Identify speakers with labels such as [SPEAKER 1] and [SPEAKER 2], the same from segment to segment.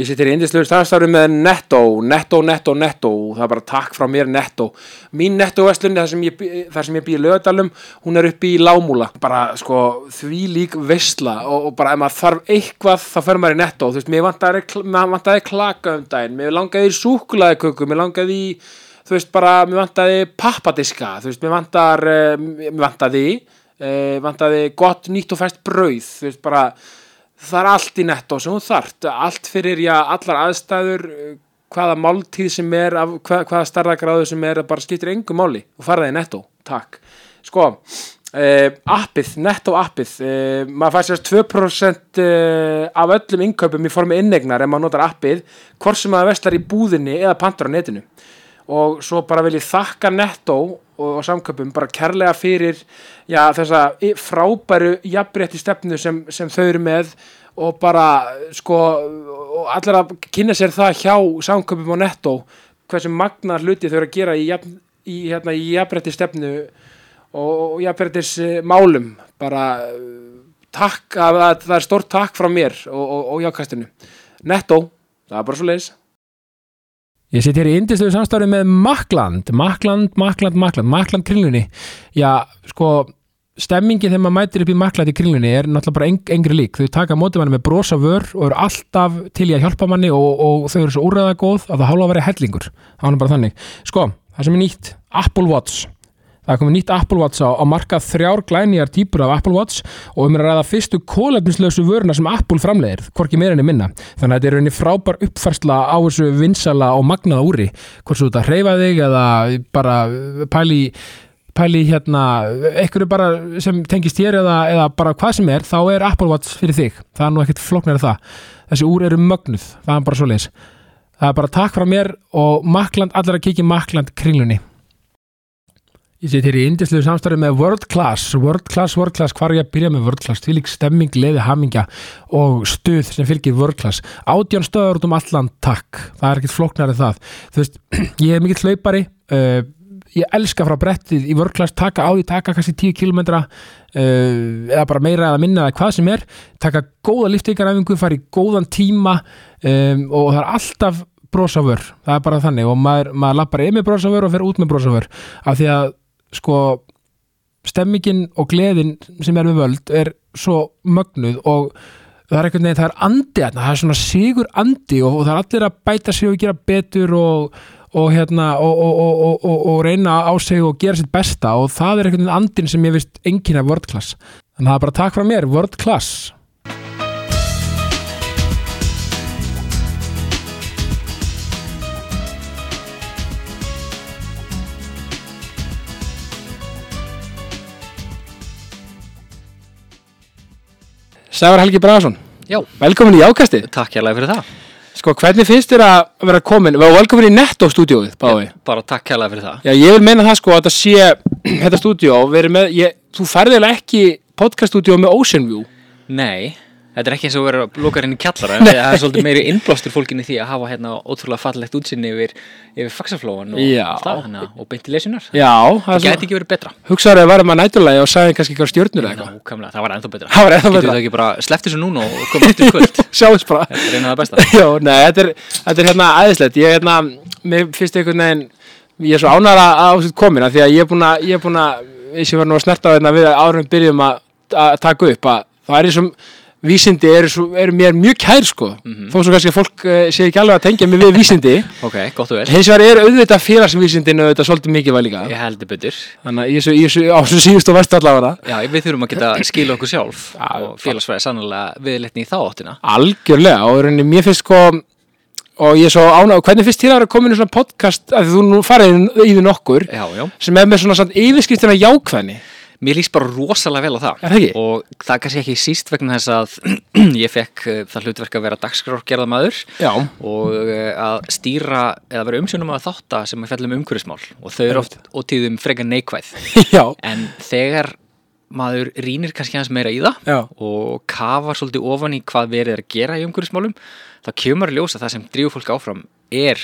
[SPEAKER 1] Ég sittir í indisluður starfstafru með Netto, Netto, Netto, Netto og það er bara takk frá mér Netto. Mín Netto-vestlun, þar sem ég, bý- þar sem ég býi lögadalum, hún er uppi í Lámúla. Bara sko því lík vestla og, og bara ef maður þarf eitthvað þá fer maður í Netto. Þú veist, mér vantaði, kl- mér vantaði klaka um daginn, mér langaði í súkulaðiköku, mér langaði í, þú veist, bara mér vantaði pappadiska, þú veist, mér vantar, eh, mér vantaði, eh, vantaði gott nýtt og fæst brauð, þú veist, bara það er allt í netto sem hún þart allt fyrir já, allar aðstæður eh, hvaða máltíð sem er af, hvað, hvaða starðagráðu sem er það bara skiptir engu máli og fara það í netto, takk sko, eh, appið netto appið, eh, maður fær sérst 2% eh, af öllum innkaupum í formi innegnar ef maður notar appið hvort sem maður veslar í búðinni eða pantar á netinu og svo bara vil ég þakka Netto og, og samköpum bara kærlega fyrir já, þessa í- frábæru jafnrétti stefnu sem, sem þau eru með og bara sko og allir að kynna sér það hjá samköpum og Netto hversu magna hluti þau eru að gera í, jafn, í, hérna, í jafnrétti stefnu og, og jafnréttis eh, málum bara eh, takk að að það er stórt takk frá mér og, og, og jákastinu Netto, það er bara svo leiðis Ég sitt hér í indistöðu samstarfi með Makland, Makland, Makland, Makland, Makland kringlunni. Já, sko, stemmingi þegar maður mætir upp í Makland í kringlunni er náttúrulega bara eng, engri lík. Þau taka mótið manni með brosa vör og eru alltaf til í að hjálpa manni og, og þau eru svo úrræða góð að það hálfa að vera hellingur. Það var nú bara þannig. Sko, það sem er nýtt, Apple Watch. Það er komið nýtt Apple Watch á, á markað þrjár glænýjar típur af Apple Watch og um er að ræða fyrstu kólefnislausu vöruna sem Apple framlegir, hvorki meira enni minna. Þannig að þetta er rauninni frábær uppfærsla á þessu vinsala og magnaða úri, hvort svo þetta hreyfa þig eða bara pæli, pæli hérna, einhverju bara sem tengist þér eða, eða bara hvað sem er, þá er Apple Watch fyrir þig. Það er nú ekkert flóknar það. Þessi úr eru mögnuð, það er bara svoleiðis. Það er bara takk frá mér og makland, allar að kikið makland kringlunni. Ég seti hér í indisluðu samstarfi með World Class, World Class, World Class, hvar er ég að byrja með World Class, tvílík stemming, gleði, hamingja og stuð sem fylgir World Class. Átján stöðar út um allan takk, það er ekkert flóknar en það. Þú veist, ég er mikill hlaupari, uh, ég elska frá brettið í World Class, taka á því, taka kannski 10 kilometra uh, eða bara meira eða minna eða hvað sem er, taka góða liftingaræfingu, fara í góðan tíma um, og það er alltaf brosavör, það er bara þannig og maður, maður lappar inn með brosavör og fer út með brosavör af því að sko stemmingin og gleðin sem er við völd er svo mögnuð og það er einhvern veginn, það er andi þarna, það er svona sigur andi og, og það er allir að bæta sig og gera betur og, og hérna og, og, og, og, og, og reyna á sig og gera sitt besta og það er einhvern veginn andin sem ég veist enginn af World Class þannig að það er bara takk frá mér, World Class Sævar Helgi Braðarsson,
[SPEAKER 2] Já,
[SPEAKER 1] velkomin í ákastið
[SPEAKER 2] takk hérlega fyrir það
[SPEAKER 1] Sko, hvernig finnst þér að vera komin, vera velkomin í Netto-stúdíóið, báði?
[SPEAKER 2] Bara takk hérlega fyrir það
[SPEAKER 1] Já, ég vil meina það sko að þetta sé, þetta stúdíó, verið með, ég, þú færði eiginlega ekki podcast-stúdíó með Ocean View.
[SPEAKER 2] Nei, þetta er ekki eins og vera lokar inn í kjallara en Það er svolítið meiri innblástur fólkinni því að hafa hérna ótrúlega fallegt útsinni yfir, yfir faxaflóan og,
[SPEAKER 1] Já.
[SPEAKER 2] allt það, hana, og beinti lesunar
[SPEAKER 1] Já, það
[SPEAKER 2] Það
[SPEAKER 1] er
[SPEAKER 2] gæti
[SPEAKER 1] svona,
[SPEAKER 2] ekki verið betra
[SPEAKER 1] hugsaður að varum að nætulegi og sagði kannski eitthvað stjórnur eða eitthvað.
[SPEAKER 2] Nákvæmlega, það var ennþá betra
[SPEAKER 1] Það var ennþá
[SPEAKER 2] Getum
[SPEAKER 1] betra.
[SPEAKER 2] við það ekki bara sleppt þessu núna og komum eftir kvöld
[SPEAKER 1] Sjáumst bara.
[SPEAKER 2] Þetta er eina af það besta
[SPEAKER 1] Já, nei, þetta er, þetta er hérna æðislegt, ég er hérna, mér finnst einhvern veginn, ég er svo ánægður að ásett komin að því að ég er búin að, ég er búin að, eins og ég var nú að snerta á hérna við að árum byrjum að, að taka upp að það er eins og vísindi eru, svo, eru mér mjög kær sko, þó svo kannski að fólk uh, sé ekki alveg að tengja mig við vísindi,
[SPEAKER 2] Ok, gott og vel
[SPEAKER 1] hins vegar eru auðvitað félagsvísindin auðvitað svolítið mikið var líka,
[SPEAKER 2] Ég heldur betur
[SPEAKER 1] þannig að ég er svo, ég er svo, á svo síðust og vest allavega
[SPEAKER 2] Já, við þurfum að geta skila okkur sjálf
[SPEAKER 1] Já,
[SPEAKER 2] og félagsfræði sannlega viðleitni í þá áttina
[SPEAKER 1] Algjörlega, og í rauninni, mér finnst sko og ég er svo ánæg, hvernig finnst þér að vera komin í svona podcast, að þú nú farið í- í því nokkur,
[SPEAKER 2] Já, já
[SPEAKER 1] sem er með svona samt yfirskriftina jákvæðni
[SPEAKER 2] Mér líst bara rosalega vel á það
[SPEAKER 1] Er það ekki?
[SPEAKER 2] og það er kannski ekki síst vegna þess að ég fekk eh, það hlutverk að vera dagskrárgerðamaður
[SPEAKER 1] Já.
[SPEAKER 2] og eh, að stýra eða vera umsjónum að þátta sem er fjallum umhverfismál og þau eru oft og tíðum frekar neikvæð
[SPEAKER 1] Já,
[SPEAKER 2] en þegar maður rýnir kannski hans meira í það
[SPEAKER 1] Já.
[SPEAKER 2] og kafar svolítið ofan í hvað verið er að gera í umhverfismálum þá kemur í ljós að það sem drífur fólk áfram er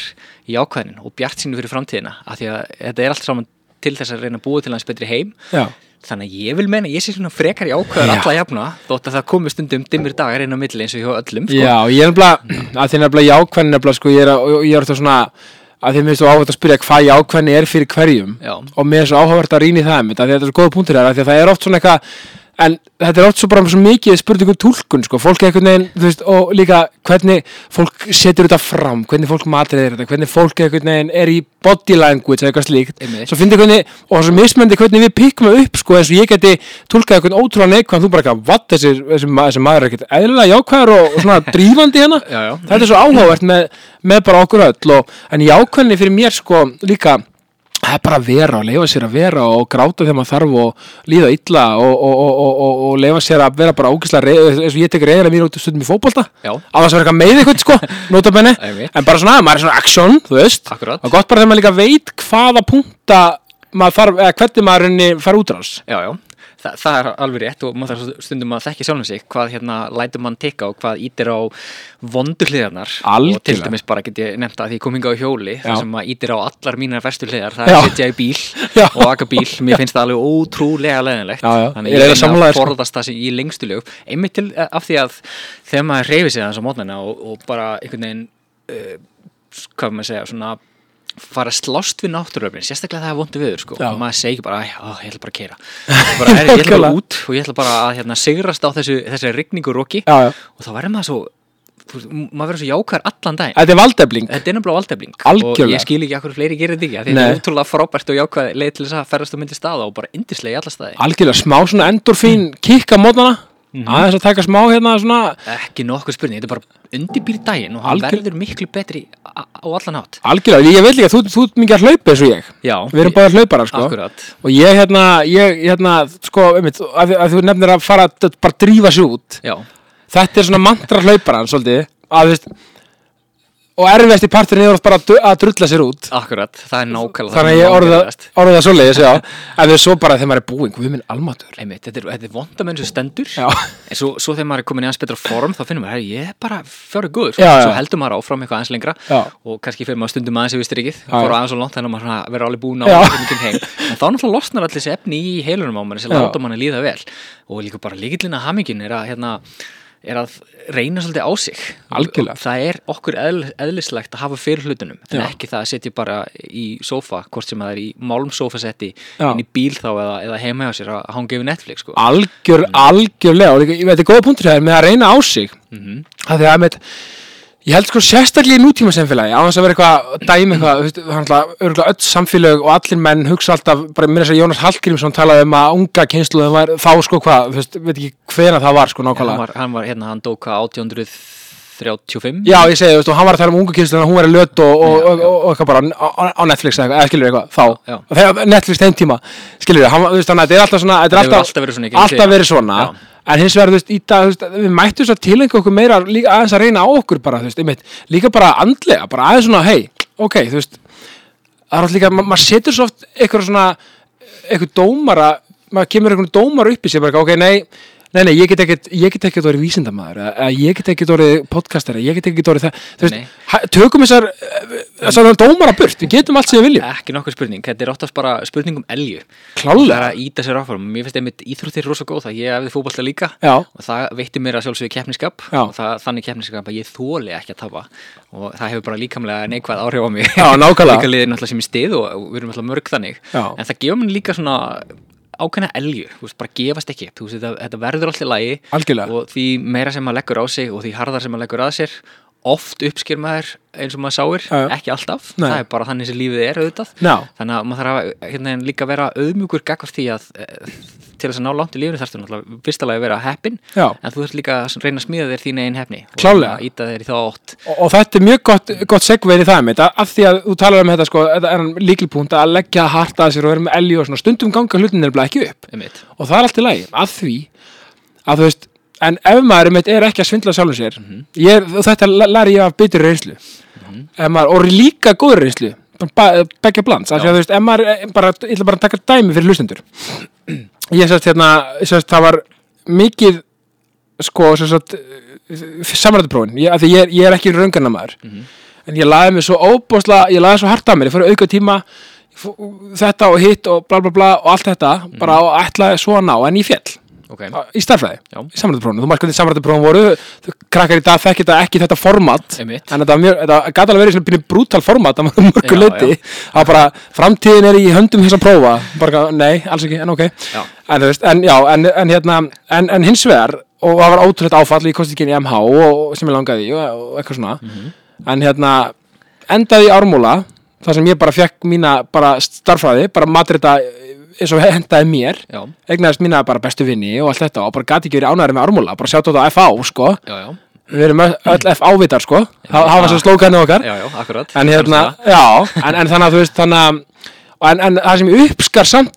[SPEAKER 2] í ákvæðin og bjart sínu fyrir framtíðina af því að þetta er allt saman til þess að reyna að búa til hans betri heim
[SPEAKER 1] já, sko.
[SPEAKER 2] þannig að ég vil menna, ég sé svona frekar í ákveður
[SPEAKER 1] Já.
[SPEAKER 2] alla jafna, þótt að það komi stundum dimmir dagar inn á milli eins og hjá öllum sko.
[SPEAKER 1] Já, ég er nefnilega, að því nefnilega ég ákveðin nefnilega, sko, ég er, að- og ég er alltaf svona, að því mér finnst þú áhugavert að spyrja hvað ég ákveðin er fyrir hverjum
[SPEAKER 2] Já.
[SPEAKER 1] og mér er svo áhugavert að rýna í það einmitt, af því þetta er svo góða punktur þar, af því að það er oft svona eitthvað, en þetta er oft svo bara svo mikið spurningu tólkun, sko, fólk er einhvern veginn, þú veist, og líka hvernig fólk setur þetta fram, hvernig fólk matriðir þetta, hvernig fólk einhvern veginn er í body language eða eitthvað slíkt,
[SPEAKER 2] Einmitt.
[SPEAKER 1] svo fyndi hvernig, og það er svo mismöndi hvernig við pikkum það upp, sko, eins og ég geti tólkað einhvern ótrúlega neikvæðan, þú bara eitthvað, vatt, þessi, þessi, ma þessi maður er ekkert eðlilega jákvæður og, og svona drífandi hérna,
[SPEAKER 2] Já, já.
[SPEAKER 1] þetta er svo áhugavert með, með bara okkur öll, og, en jákvæðinni fyrir mér, sko, líka, það er bara að vera og leifa sér að vera og gráta þegar maður þarf og líða illa og, og, og, og, og, og leifa sér að vera bara ógislega reið, eins og ég tek reyðilega mér út stundum í fótbolta
[SPEAKER 2] Já.
[SPEAKER 1] að það sem er eitthvað með eitthvað sko, notabenni
[SPEAKER 2] Einmitt.
[SPEAKER 1] en bara svona, maður er svona action, þú veist
[SPEAKER 2] Akkúrat.
[SPEAKER 1] og gott bara þegar maður líka veit hvaða punkta maður þarf, eða hvernig maður henni fara útrás
[SPEAKER 2] Já, já, Þa, það er alveg rétt og maður þarf stundum að þekki sjálfum sig hvað hérna lætur mann tikka og hvað ítir á vondu hliðarnar
[SPEAKER 1] Algjörlega.
[SPEAKER 2] og til dæmis bara get ég nefnt að því ég kom hingað á hjóli
[SPEAKER 1] Já.
[SPEAKER 2] þar sem maður ítir á allar mínar verstu hliðar það er
[SPEAKER 1] Já.
[SPEAKER 2] að sitja í bíl
[SPEAKER 1] Já.
[SPEAKER 2] og aka bíl mér finnst það alveg ótrúlega leðinlegt
[SPEAKER 1] Já, já.
[SPEAKER 2] þannig
[SPEAKER 1] Ég er eiginlega
[SPEAKER 2] ég reyna
[SPEAKER 1] sammála þér,
[SPEAKER 2] að
[SPEAKER 1] sko.
[SPEAKER 2] forðast það sem ég lengstu lög einmitt til eh, af því að þegar maður reyfi sig þess á mótnana og, og bara einhvern veginn uh, hvað maður segja, svona fara að slást við náttúröfnin, sérstaklega það er vondi viður sko,
[SPEAKER 1] Já.
[SPEAKER 2] og maður segir bara, "Æ, ó, ég ætla bara að keira bara, er, ég ætla bara
[SPEAKER 1] Nákvæmlega.
[SPEAKER 2] út og ég ætla bara að hérna, sigrast á þessu, þessu rigningu roki
[SPEAKER 1] Já, já.
[SPEAKER 2] og þá verður maður svo þú veist, maður verður svo jákar allan daginn
[SPEAKER 1] Þetta er valdefling
[SPEAKER 2] Þetta er nefnilega valdefling
[SPEAKER 1] Algjörlega.
[SPEAKER 2] og ég skil ekki okkur fleiri gerir þetta ekki af því þetta
[SPEAKER 1] Nei.
[SPEAKER 2] er útrúlega frábært og jákvæð leið til þess að ferðast og myndi staða og bara yndislega í alla staði
[SPEAKER 1] algjörlega smá svona endorfín kikka mótnana
[SPEAKER 2] Mhm.
[SPEAKER 1] aðeins að taka smá hérna svona
[SPEAKER 2] ekki nokkuð spurning, þetta er bara undirbýr daginn og hann
[SPEAKER 1] Algjör-
[SPEAKER 2] verður miklu betri á á allan hátt
[SPEAKER 1] algjörlega, ég veit líka, þú, þú ert mikið að hlaupa eins og ég
[SPEAKER 2] Já,
[SPEAKER 1] við erum bara hlauparar sko
[SPEAKER 2] akkurat
[SPEAKER 1] og ég hérna, ég hérna sko, einmitt, að, að þú nefnir að fara að bara drífa sér út
[SPEAKER 2] Já,
[SPEAKER 1] þetta er svona mantra hlauparan svolítið að, þú veist, og erfiðast í parturinn er oft bara að dru- að drulla sér út
[SPEAKER 2] akkurat, það er nákvæmlega
[SPEAKER 1] þannig að
[SPEAKER 2] sem
[SPEAKER 1] ég orða,
[SPEAKER 2] gerðist.
[SPEAKER 1] orða það svoleiðis já. en þau svo bara þegar maður er búinn við minn almatur
[SPEAKER 2] Einmitt, þetta er, þetta er vonda með eins og stendur
[SPEAKER 1] Já.
[SPEAKER 2] en svo, svo þegar maður er komin í aðeins betra form þá finnum maður, herri, ég er bara fjóri góður
[SPEAKER 1] Já, já.
[SPEAKER 2] svo heldur maður áfram eitthvað aðeins lengra
[SPEAKER 1] Já.
[SPEAKER 2] og kannski fyrir maður stundum aðeins yfir strikið
[SPEAKER 1] Já, já.
[SPEAKER 2] fór aðeins og langt þannig að maður svona verður alveg búin á
[SPEAKER 1] Já.
[SPEAKER 2] mikið heim en þá náttúrulega losnar allir þessi efni í heilunum á manni sem
[SPEAKER 1] Já.
[SPEAKER 2] láta manni líða vel og líka bara líkillin að hamingin er að hérna, er að reyna svolítið á sig
[SPEAKER 1] Algjörlega.
[SPEAKER 2] það er okkur eðl, eðlislegt að hafa fyrir hlutunum en
[SPEAKER 1] Já.
[SPEAKER 2] ekki það að setja bara í sófa hvort sem það er í málum sófasetti
[SPEAKER 1] Já.
[SPEAKER 2] inn í bíl þá eða, eða heima hjá sér að að hanga yfir Netflix sko.
[SPEAKER 1] algjör, algjörlega og líka, ég veit, þetta er góða punktur hér með að reyna á sig mm
[SPEAKER 2] Mhm.
[SPEAKER 1] -hmm. að því að með ég held sko sérstaklega í nútíma samfélagi á þess að vera eitthvað dæmi eitthvað, þú veist, hann alltaf örgulega öll samfélög og allir menn hugsa alltaf, bara mér þess að Jónas Hallgrímsson talaði um að unga kynsluðum var þá sko hvað, þú veist, veit ekki hvena það var sko nákvæmlega.
[SPEAKER 2] hann, var, hann var hérna, hann dóka 1835
[SPEAKER 1] Já, ég segi, þú veist, og hann var að tala um ungu kynslu hún var í löt og, og, og, og, og eitthvað bara á, á- á Netflix eða eitthvað, eða skilur eitthvað, þá
[SPEAKER 2] Já.
[SPEAKER 1] Og þegar Netflix þeim tíma, skilur hann, þú veist, þannig að þetta er alltaf svona þetta er
[SPEAKER 2] Þetta hefur
[SPEAKER 1] alltaf,
[SPEAKER 2] alltaf verið svona, ekki?
[SPEAKER 1] alltaf verið svona.
[SPEAKER 2] um Já.
[SPEAKER 1] en hins vegar, þú veist, í dag, þú veist, við mættum svo til einhver okkur meira líka aðeins að reyna á okkur bara, þú veist, einmitt, líka bara andlega, bara aðeins svona, hei, ok, þú veist það er alltaf líka, ma maður setur svo oft eitthvað svona, eitthvað dómara maður kemur eitthvað dómara upp í sér bara, eitthvað, ok, nei, nei, nei, ég get ekkert ég get ekkert orðið vísindamaður, eða eða ég get ekkert orðið podcastari, ég get ekkert orðið það þú
[SPEAKER 2] Nei.
[SPEAKER 1] veist, ha- tökum þessar eh, þessar dómara burt, við getum allt sem við viljum
[SPEAKER 2] ekki nokkuð spurning, þetta er óttast bara spurning um elju það er
[SPEAKER 1] klálega,
[SPEAKER 2] að íta sér áfram, mér finnst einmitt íþróttir rosa góð það ég hefði fótballta líka
[SPEAKER 1] já,
[SPEAKER 2] og það veitti mér að sjálfsögðu keppniskap
[SPEAKER 1] Já.
[SPEAKER 2] og það, þannig keppniskap að ég þóli ekki að tapa og það hefur bara líkamlega neikvæð áhrif á mig
[SPEAKER 1] Já, nákvæmlega.
[SPEAKER 2] líka liðir náttúrulega sem ég stið og og við erum náttúrulega mörg þannig
[SPEAKER 1] Já.
[SPEAKER 2] en það gefur mér líka svona ákveðna elju, þú veist, bara gefast ekki upp þú veist, þetta, þetta verður alltaf lægi
[SPEAKER 1] Algjörlega.
[SPEAKER 2] og því meira sem maður leggur á sig og því harðar sem maður leggur að sér oft uppsker maður eins og maður sáir
[SPEAKER 1] Já, já.
[SPEAKER 2] ekki alltaf,
[SPEAKER 1] Nei.
[SPEAKER 2] það er bara þannig sem lífið er auðvitað
[SPEAKER 1] Já.
[SPEAKER 2] þannig að maður þarf að hérna, líka vera auðmjúkur gagvart því að eh, til þess að ná langt í lífinu þarfstu náttúrulega fyrst alveg að vera heppin
[SPEAKER 1] Já.
[SPEAKER 2] en þú þurft líka að reyna að smíða þér þín einn heppni
[SPEAKER 1] Klárlega.
[SPEAKER 2] og íta þér í þá átt
[SPEAKER 1] og, og þetta er mjög gott, gott segveið í það mitt, af því að þú talar um þetta sko, þetta er líkilpunkt að leggja hart að sér og vera með elju og svona, stundum ganga hlutin er ekki upp
[SPEAKER 2] einmitt.
[SPEAKER 1] og það er allt í lagi að því að þú veist en ef maður mitt er ekki að svindla sjálfum sér mm og þetta la- lari ég af bitur reynslu
[SPEAKER 2] Mhm.
[SPEAKER 1] ef maður, og líka góður reynslu bara ba- begge blands af því að þú veist, ef maður, er bara, ég ætla bara að taka dæmi fyrir hlustendur ég sérst hérna, sérst það var mikið sko, sérst samrættuprófin, af því ég, er- ég
[SPEAKER 2] Mhm.
[SPEAKER 1] er ekki raungana maður en ég laði mig svo óbóðslega, ég laði svo hart að mér, ég fór í auka tíma ég f- þetta og hitt og bla bla bla og allt þetta
[SPEAKER 2] Mhm.
[SPEAKER 1] bara á ætlaði svo að ná en í fjall
[SPEAKER 2] ok,
[SPEAKER 1] í starfræði,
[SPEAKER 2] Já.
[SPEAKER 1] í samrættuprófinu þú margir hvernig samrættuprófin voru þau krakkar í dag þekki þetta ekki þetta format
[SPEAKER 2] Einmitt.
[SPEAKER 1] en þetta, var mjög, þetta gæti alveg verið svona pínu brútal format að mörgu
[SPEAKER 2] Já,
[SPEAKER 1] leiti
[SPEAKER 2] já.
[SPEAKER 1] að bara framtíðin er í höndum þess að prófa bara, nei, alls ekki, en ok
[SPEAKER 2] Já.
[SPEAKER 1] en, þú veist, en, já, en, en, hérna, en, en hins vegar og það var ótrúlegt áfall ég kosti ekki inn í MH og, og sem ég langaði í og, og eitthvað svona
[SPEAKER 2] Mhm.
[SPEAKER 1] en hérna endaði í ármúla þar sem ég bara fekk mína bara starfræði bara matrita eins og hendaði mér
[SPEAKER 2] já,
[SPEAKER 1] eignaðist mína bara bestu vinni og allt þetta og bara gati ekki verið ánæður með ármúla, bara sjátt á þetta FA sko,
[SPEAKER 2] já, já
[SPEAKER 1] við erum öll öll FA-vitar sko, það það var svo slókanið okkar
[SPEAKER 2] já, já, akkurat
[SPEAKER 1] en hérna, já, en, en þannig að þú veist þannig að, og en, en það sem ég uppskar samt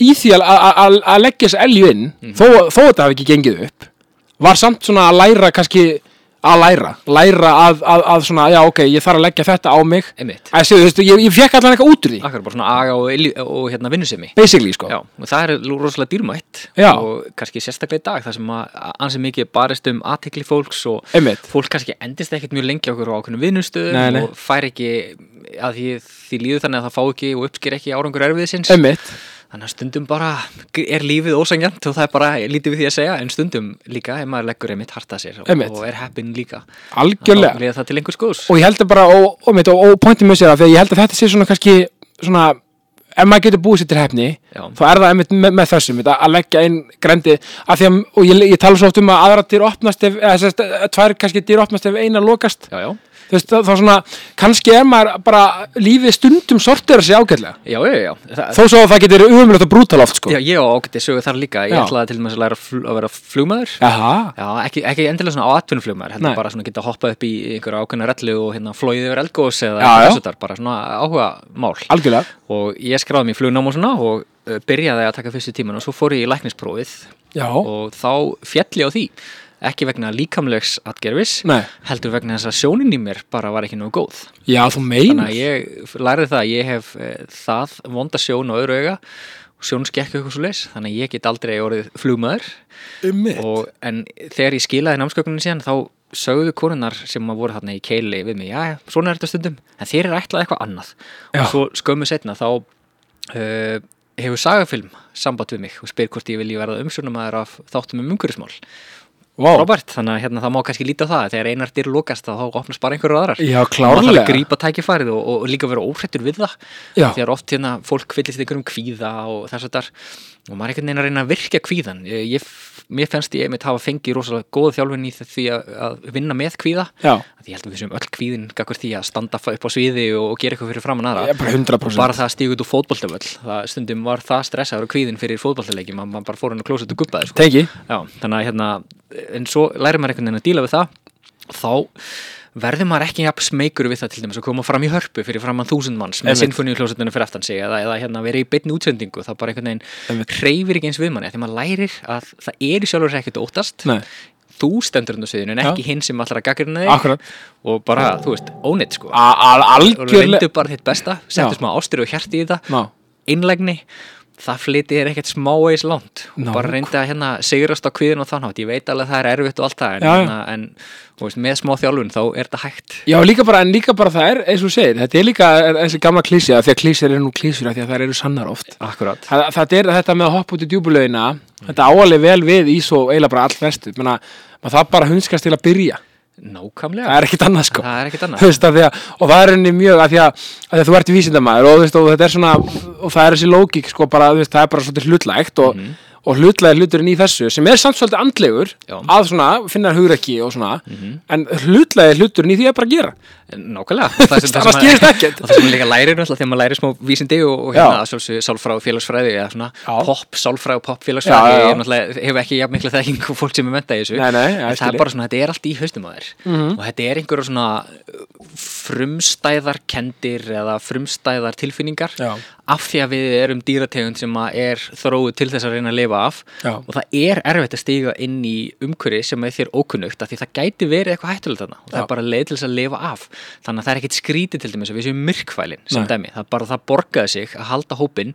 [SPEAKER 1] í því að- að að- að leggja þessu elju inn,
[SPEAKER 2] Mhm.
[SPEAKER 1] þó, þó þetta hafi ekki gengið upp, var samt svona að læra kannski, að læra læra að, að, að svona, já ok, ég þarf að leggja þetta á mig,
[SPEAKER 2] einmitt,
[SPEAKER 1] að séu, þú veist, ég, ég fekk allan eitthvað út úr því,
[SPEAKER 2] akkurat bara svona aga og, illi- og hérna vinnusemi
[SPEAKER 1] basically sko,
[SPEAKER 2] Já, og það er lú- rosalega dýrmætt
[SPEAKER 1] Já.
[SPEAKER 2] og kannski sérstaklega í dag þar sem að ansi mikið er barist um aðtekli fólks og
[SPEAKER 1] einmitt
[SPEAKER 2] fólk kannski endist ekkert mjög lengi okkur á ákveðnum
[SPEAKER 1] Nei, nei.
[SPEAKER 2] vinnustöðum og fær ekki að því, því líður þannig að það fá ekki og uppsker ekki árangur erfiðisins
[SPEAKER 1] einmitt,
[SPEAKER 2] þannig að stundum bara er lífið ósangjant og það er bara lítið við því að segja en stundum líka ef maður leggur einmitt harta sér og,
[SPEAKER 1] Einmitt.
[SPEAKER 2] og er heppin líka
[SPEAKER 1] algjörlega
[SPEAKER 2] þá leiða það til einhvers góðs
[SPEAKER 1] og ég held að bara, og, og, mitt, og, og pointum með sér það, því að ég held að þetta sé svona kannski svona, ef maður getur búið sér til hefni
[SPEAKER 2] Já.
[SPEAKER 1] þá er það einmitt með, með þessum þetta, að leggja inn grendi að að, og ég, ég tala svo oft um að aðra dyr opnast ef, eða sérst, tvær kannski dyr opnast ef eina lokast
[SPEAKER 2] Já, já,
[SPEAKER 1] þú veist, þá þá svona, kannski er maður bara lífið stundum sortir sig ágætlega
[SPEAKER 2] já, já, já. Þa,
[SPEAKER 1] þó svo að það getur umlögt og brútal oft sko
[SPEAKER 2] Já, ég á ágætti sögu þar líka, ég
[SPEAKER 1] Já.
[SPEAKER 2] ætlaði til dæmis að læra fl- að vera flugmaður
[SPEAKER 1] Jaha,
[SPEAKER 2] Já, ekki, ekki endilega svona á atvinnflugmaður heldur
[SPEAKER 1] Nei.
[SPEAKER 2] bara svona geta hoppað upp í einhverja ákveðna rellu og hérna flóið yfir eldgós eða
[SPEAKER 1] Já, já.
[SPEAKER 2] þessu þar, bara svona áhuga mál
[SPEAKER 1] algjörlega
[SPEAKER 2] og ég skráði mér flugnám og svona og uh, byrjaði að taka fyrstu tíman og svo fór ég í læknisprófið
[SPEAKER 1] Já,
[SPEAKER 2] og þá fjall ég á því ekki vegna líkamlegs atgerfis
[SPEAKER 1] Nei.
[SPEAKER 2] heldur vegna þess að sjónin í mér bara var ekki nógu góð
[SPEAKER 1] já þú
[SPEAKER 2] þannig
[SPEAKER 1] meinar
[SPEAKER 2] að ég lærði það að ég hef eh, það vonda sjón og öðru auga og sjónskekku eitthvað svo leis þannig að ég get aldrei orðið flugmaður
[SPEAKER 1] Einmitt.
[SPEAKER 2] og, en þegar ég skilaði námskökunni síðan þá sögðu konunnar sem að voru þarna í keili við mig, já, svona er þetta stundum en þeir eru ætlað eitthvað annað
[SPEAKER 1] Já.
[SPEAKER 2] og svo skömmu setna þá uh, hefur sagafilm samband við mig og spyr hvort ég vilji verða umsjónumæður af þáttum um umhverjusmál
[SPEAKER 1] Vá.
[SPEAKER 2] Robert, þannig að hérna, það má kannski líta á það þegar einar dyr lokast þá opnast bara einhverju aðrar
[SPEAKER 1] Já,
[SPEAKER 2] maður þarf að
[SPEAKER 1] klárlega
[SPEAKER 2] grípa tækifærið og, og líka vera óhrættur við það
[SPEAKER 1] Já.
[SPEAKER 2] þegar oft hérna fólk fyllist einhverjum kvíða og þess að þar og maður er einhvern veginn að reyna að virka kvíðan ég, ég, mér fennst ég einmitt hafa fengið rosalega góða þjálfin í því að, að vinna með kvíða
[SPEAKER 1] Já,
[SPEAKER 2] að ég held að við séum öll kvíðin gakkur því að standa upp á sviði og, og gera eitthvað fyrir framann aðra
[SPEAKER 1] ég er bara 100%
[SPEAKER 2] bara það stígut úr fótboltavöll það stundum var það stressaður og kvíðin fyrir fótboltalegjum að maður bara fór hann að klósa þetta gubbaði sko.
[SPEAKER 1] Tengi,
[SPEAKER 2] Já, þannig að hérna, en svo lærir maður einhvern veginn að díla við það, þá verður maður ekki jafn smeykur við það til dæmis að koma fram í hörpu fyrir framann þúsund manns með
[SPEAKER 1] Einmitt.
[SPEAKER 2] sinfoníuklósetinu fyrir aftan sig eða, eða hérna verið í beinni útsendingu, það bara einhvern veginn
[SPEAKER 1] Einmitt.
[SPEAKER 2] hreyfir ekki eins við manni, af því maður lærir að það er í sjálfur sér ekkert að óttast,
[SPEAKER 1] nei,
[SPEAKER 2] þú stendur hann á sviðinu en
[SPEAKER 1] Já.
[SPEAKER 2] ekki hinn sem allar að gaggrina þig
[SPEAKER 1] akkurat
[SPEAKER 2] og bara, þú veist, ónett sko,
[SPEAKER 1] A- al-
[SPEAKER 2] og
[SPEAKER 1] Algjörlega
[SPEAKER 2] reyndu bara þitt besta,
[SPEAKER 1] Já.
[SPEAKER 2] settu smá ástyr og hjarti í það
[SPEAKER 1] Ná,
[SPEAKER 2] einlægni það flytið er ekkert smávegis langt og
[SPEAKER 1] Ná.
[SPEAKER 2] bara reyndi að hérna sigurast á kviðin og þannig ég veit alveg að það er erfitt og allt það en,
[SPEAKER 1] Já, já.
[SPEAKER 2] hérna, en þú veist, með smá þjálfun þá er þetta hægt
[SPEAKER 1] Já, líka bara, en líka bara það er, eins og þú segir, þetta er líka þessi gamla klísja, því að klísjur eru nú klísjur af því að þær eru sannar oft.
[SPEAKER 2] Akkurat
[SPEAKER 1] Það, það er þetta með að hoppa út í djúbulauðina, þetta áalið vel við í svo eiginlega bara allt vestu, menna, maður það bara hunskast til að byrja,
[SPEAKER 2] Nákvæmlega,
[SPEAKER 1] það er ekkit annað sko.
[SPEAKER 2] það er ekkert annað
[SPEAKER 1] Þú veist, af því að, og það er henni mjög, af því að, af því að þú ert vísindamæður og, þú veist, og þetta er svona, og það er þessi lógík, sko, bara, þú veist, það er bara svolítið hlutlægt og,
[SPEAKER 2] Mhm.
[SPEAKER 1] og hlutlægir hluturinn í þessu, sem er samt svolítið andlegur,
[SPEAKER 2] Já. Mhm.
[SPEAKER 1] að svona, finna hugrekki og svona, en hlutlægir hluturinn í því er bara að gera.
[SPEAKER 2] Nákvæmlega Og það sem- það
[SPEAKER 1] Annars
[SPEAKER 2] sem maður-
[SPEAKER 1] gerist ekkert.
[SPEAKER 2] Og það sem maður líka lærir náttúrulega þegar maður lærir smá vísindi og, og
[SPEAKER 1] Já.
[SPEAKER 2] hérna sjálfsög sálfræð og félagsfræði eða svona
[SPEAKER 1] Já.
[SPEAKER 2] pop, sálfræð og pop
[SPEAKER 1] Já, já,
[SPEAKER 2] félagsfræði
[SPEAKER 1] já.
[SPEAKER 2] ég náttúrulega hef ekki jafn mikla þekking og fólk sem er mentað í þessu
[SPEAKER 1] Nei, nei, já, ég
[SPEAKER 2] en það
[SPEAKER 1] skil Mhm.
[SPEAKER 2] er bara svona, þetta er allt í haustum á þér og þetta er einhverja svona uh, frumstæðar kendir eða frumstæðar tilfinningar
[SPEAKER 1] Já.
[SPEAKER 2] af því að við erum dýrategund sem að er þróið til þess að reyna að lifa af
[SPEAKER 1] Já.
[SPEAKER 2] og það er erfitt að stíga inn í umhverfi sem er þér ókunnugt af því það gæti verið eitthvað hættulegt þarna og það
[SPEAKER 1] Já.
[SPEAKER 2] er bara leið til þess að lifa af þannig að það er ekkit skrítið til dæmis að við séum myrkvælin sem
[SPEAKER 1] Nei.
[SPEAKER 2] dæmi, það er bara það borgaði sig að halda hópin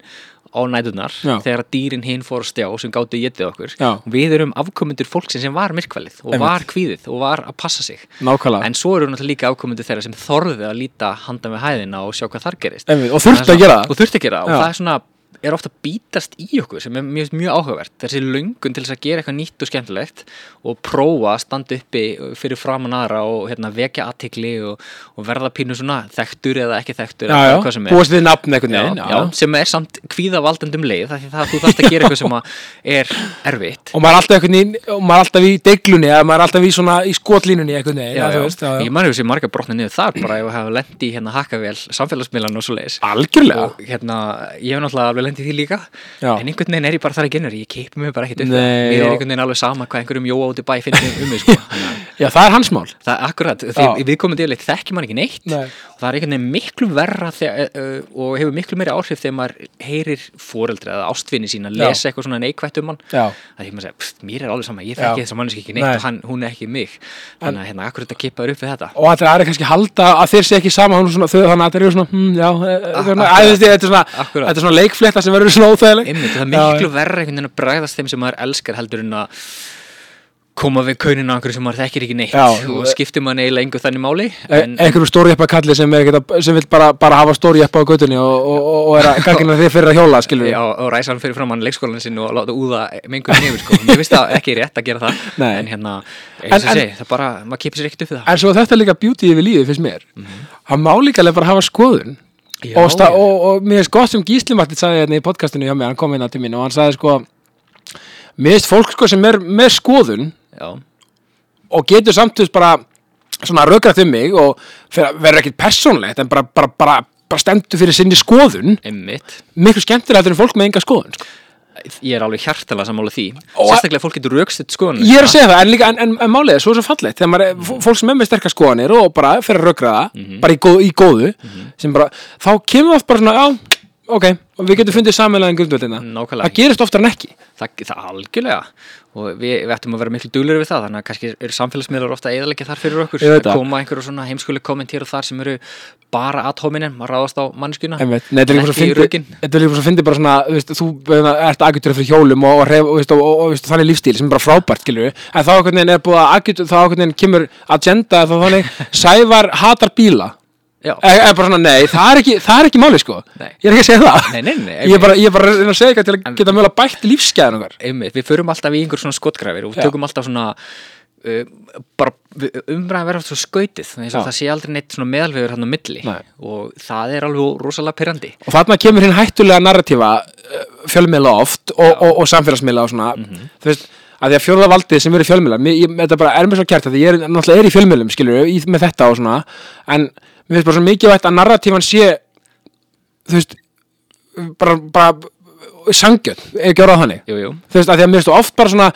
[SPEAKER 2] á nætunar
[SPEAKER 1] Já.
[SPEAKER 2] þegar að dýrin hinn fór að stjá sem gáttu að getið okkur
[SPEAKER 1] Já.
[SPEAKER 2] við erum afkomendur fólksins sem var myrkvalið og
[SPEAKER 1] Einmitt.
[SPEAKER 2] var kvíðið og var að passa sig
[SPEAKER 1] nákvæmlega
[SPEAKER 2] en svo eru náttúrulega líka afkomendur þeirra sem þorðu að líta handa með hæðina og sjá hvað þar gerist
[SPEAKER 1] Einmitt, og þurfti
[SPEAKER 2] Það
[SPEAKER 1] að gera
[SPEAKER 2] er svona-
[SPEAKER 1] það
[SPEAKER 2] og þurfti að gera það
[SPEAKER 1] Já.
[SPEAKER 2] og það er svona er ofta bítast í okkur sem er mjög, mjög áhugavert þessi löngun til þess að gera eitthvað nýtt og skemmtilegt og prófa að standa uppi fyrir framan aðra og hérna, vekja aðtikli og, og verða pínu svona þekktur eða ekki þekktur
[SPEAKER 1] já,
[SPEAKER 2] eða
[SPEAKER 1] já,
[SPEAKER 2] hvað sem er
[SPEAKER 1] búast við nafn einhvern
[SPEAKER 2] já,
[SPEAKER 1] veginn
[SPEAKER 2] já, sem er samt kvíðavaldendum leið það, það, þú þarft að gera eitthvað sem að er erfitt
[SPEAKER 1] og maður er alltaf einhvern veginn og maður er alltaf í deiglunni eða maður er alltaf í svona í skotlínunni einhvern veginn
[SPEAKER 2] já,
[SPEAKER 1] eða
[SPEAKER 2] já.
[SPEAKER 1] þú veist, já,
[SPEAKER 2] ég
[SPEAKER 1] já.
[SPEAKER 2] margur sem margar brotni niður þar bara ef að hafa lendi í hérna hakavél samfélagsmiðlan og svo leiðis
[SPEAKER 1] algjörlega
[SPEAKER 2] og hérna, ég hef náttúrulega alveg lendið í því líka
[SPEAKER 1] Já.
[SPEAKER 2] en einhvern veginn er ég bara þar að genur ég keipi mig bara ekkert upp
[SPEAKER 1] Nei,
[SPEAKER 2] mér er
[SPEAKER 1] og-
[SPEAKER 2] einhvern veginn alveg sama hvað einhverjum jóa út í bæ finnir um mig sko. Þannig að
[SPEAKER 1] já, það er hans mál
[SPEAKER 2] það er akkurat,
[SPEAKER 1] Já.
[SPEAKER 2] því við komum yfirleitt þekki mann ekki neitt
[SPEAKER 1] Nei.
[SPEAKER 2] og það er einhvern veginn miklu verra þegar, uh, og hefur miklu meiri áhrif þegar maður heyrir foreldra eða ástvinni sína
[SPEAKER 1] Já.
[SPEAKER 2] lesa eitthvað svona neikvætt um hann
[SPEAKER 1] já,
[SPEAKER 2] að ég maður segja, "Pst, mér er alveg sama, ég
[SPEAKER 1] Já.
[SPEAKER 2] þekki þess að manneski ekki
[SPEAKER 1] Nei.
[SPEAKER 2] neitt og hann, hún er ekki mig þannig að hérna, akkurat að kippa þér upp við þetta
[SPEAKER 1] og allir aðri kannski halda að þeir sé ekki sama hún er svona, þau, þannig að þeir eru svona hm, já, e- e- svona,
[SPEAKER 2] akkurat.
[SPEAKER 1] að, veist, þetta er svona
[SPEAKER 2] Ah, Akkurat.
[SPEAKER 1] þetta er svona leikflétta sem verður svona óþægileg
[SPEAKER 2] einmitt, það er
[SPEAKER 1] Já,
[SPEAKER 2] miklu verra einhvern veginn að bræðast þeim sem maður elskar heldur en að koma við kauninu á einhverju sem maður þekkir ekki neitt
[SPEAKER 1] Já.
[SPEAKER 2] og skiptir maður eiginlega engu þannig máli
[SPEAKER 1] e- einhverjum stórjeppa kalli sem, er ekkert að- sem vil bara, bara hafa stórjeppa á göttunni og, og, og, og er að gangina þið fyrir að hjóla skilur
[SPEAKER 2] Já, og ræsa hann fyrir framann leikskólan sinn og láta úða mengun nefur sko. Mér finnst það ekki rétt að gera það
[SPEAKER 1] Nei.
[SPEAKER 2] En hérna,
[SPEAKER 1] En-
[SPEAKER 2] eins og
[SPEAKER 1] en-
[SPEAKER 2] segi, það bara, maður kipir sér ekkert upp við það
[SPEAKER 1] en svo þetta er líka beauty yfir lífið finnst mér hann má líka alveg bara hafa skoðun
[SPEAKER 2] Mhm. Já,
[SPEAKER 1] og, sta,
[SPEAKER 2] já.
[SPEAKER 1] og, og mér er gott sem Gísli Martin sagði hérna í podcastinu hjá mér, hann kom hérna til mín og hann sagði sko mér finnst fólk sko sem er með skoðun
[SPEAKER 2] Já,
[SPEAKER 1] og getur samtúrs bara svona rökrat um mig og fer- verður ekkit persónlegt en bara, bara, bara, bara stendur fyrir sinni skoðun
[SPEAKER 2] einmitt
[SPEAKER 1] miklu skemmtir heldur en fólk með enga skoðun sko.
[SPEAKER 2] Ég er alveg hjartalega sammála því
[SPEAKER 1] Og-
[SPEAKER 2] Sérstaklega að fólk getur rökstuð skoðan
[SPEAKER 1] ég er að segja það, en líka en, en, en málið er svo er svo fallegt þegar maður, mm. fólk sem er með sterkar skoðanir og bara fer að rökraða, bara í, góð, í góðu sem bara, þá kemur oft bara svona já, ok, og við getum fundið samanlega grundvöldina,
[SPEAKER 2] Nákvæmlega.
[SPEAKER 1] það gerist oftar en ekki
[SPEAKER 2] það, það algjörlega og við, við ættum að vera miklu duglegur við það þannig að kannski eru samfélagsmiðlar ofta eðalegja þar fyrir okkur
[SPEAKER 1] Ég veit
[SPEAKER 2] að
[SPEAKER 1] það.
[SPEAKER 2] koma einhverju svona heimskuleg kommentir og þar sem eru bara at hominin, maður ráðast á mannskjuna
[SPEAKER 1] Einmitt. Nei, þetta er líka svo
[SPEAKER 2] Ekki í
[SPEAKER 1] fyndi
[SPEAKER 2] rökin.
[SPEAKER 1] Þetta er líka svo fyndi bara svona þú veist, Þú hérna, ert aðgjötur fyrir hjólum og, og, hreyf- og, veist, og, og, og veist, þannig lífstíl sem er bara frábært skilur við En þá einhvern veginn er búið að aðgjötur Þá einhvern veginn kemur agenda þá þannig Sævar hatar bíla
[SPEAKER 2] Já,
[SPEAKER 1] e, e, bara svona, Nei, það er ekki, það er ekki máli sko
[SPEAKER 2] Nei.
[SPEAKER 1] Ég er ekki að segja það
[SPEAKER 2] Nei, nei, nei,
[SPEAKER 1] Ég er bara, ég er bara að reyna að segja eitthvað til að geta mögulega bætt lífsgæðan okkar
[SPEAKER 2] einmitt, við förum alltaf í einhver svona skotgrafir og við
[SPEAKER 1] Já.
[SPEAKER 2] tökum alltaf svona uh, bara umræðan verða alltaf svo skautið þannig að
[SPEAKER 1] Já.
[SPEAKER 2] það sé aldrei neitt svona meðalvegur hann á milli
[SPEAKER 1] Nei.
[SPEAKER 2] og það er alveg rosalega pyrrandi
[SPEAKER 1] Og þarna kemur hinn hættulega narratífa fjölmiðla oft og, og, og samfélagsmiðla og svona, þú veist, að því að fjórða valdið sem eru fjölmiðla, mér, ég, þetta bara er mér svo kært að því ég er, náttúrulega er í fjölmiðlum, skilur í, með þetta og svona, en mér finnst bara svo mikilvægt að narratífan sé þú veist bara, bara sangjönd, ekki orðað þannig
[SPEAKER 2] Jú, jú,
[SPEAKER 1] þú veist, að því að mér finnst þú oft bara svona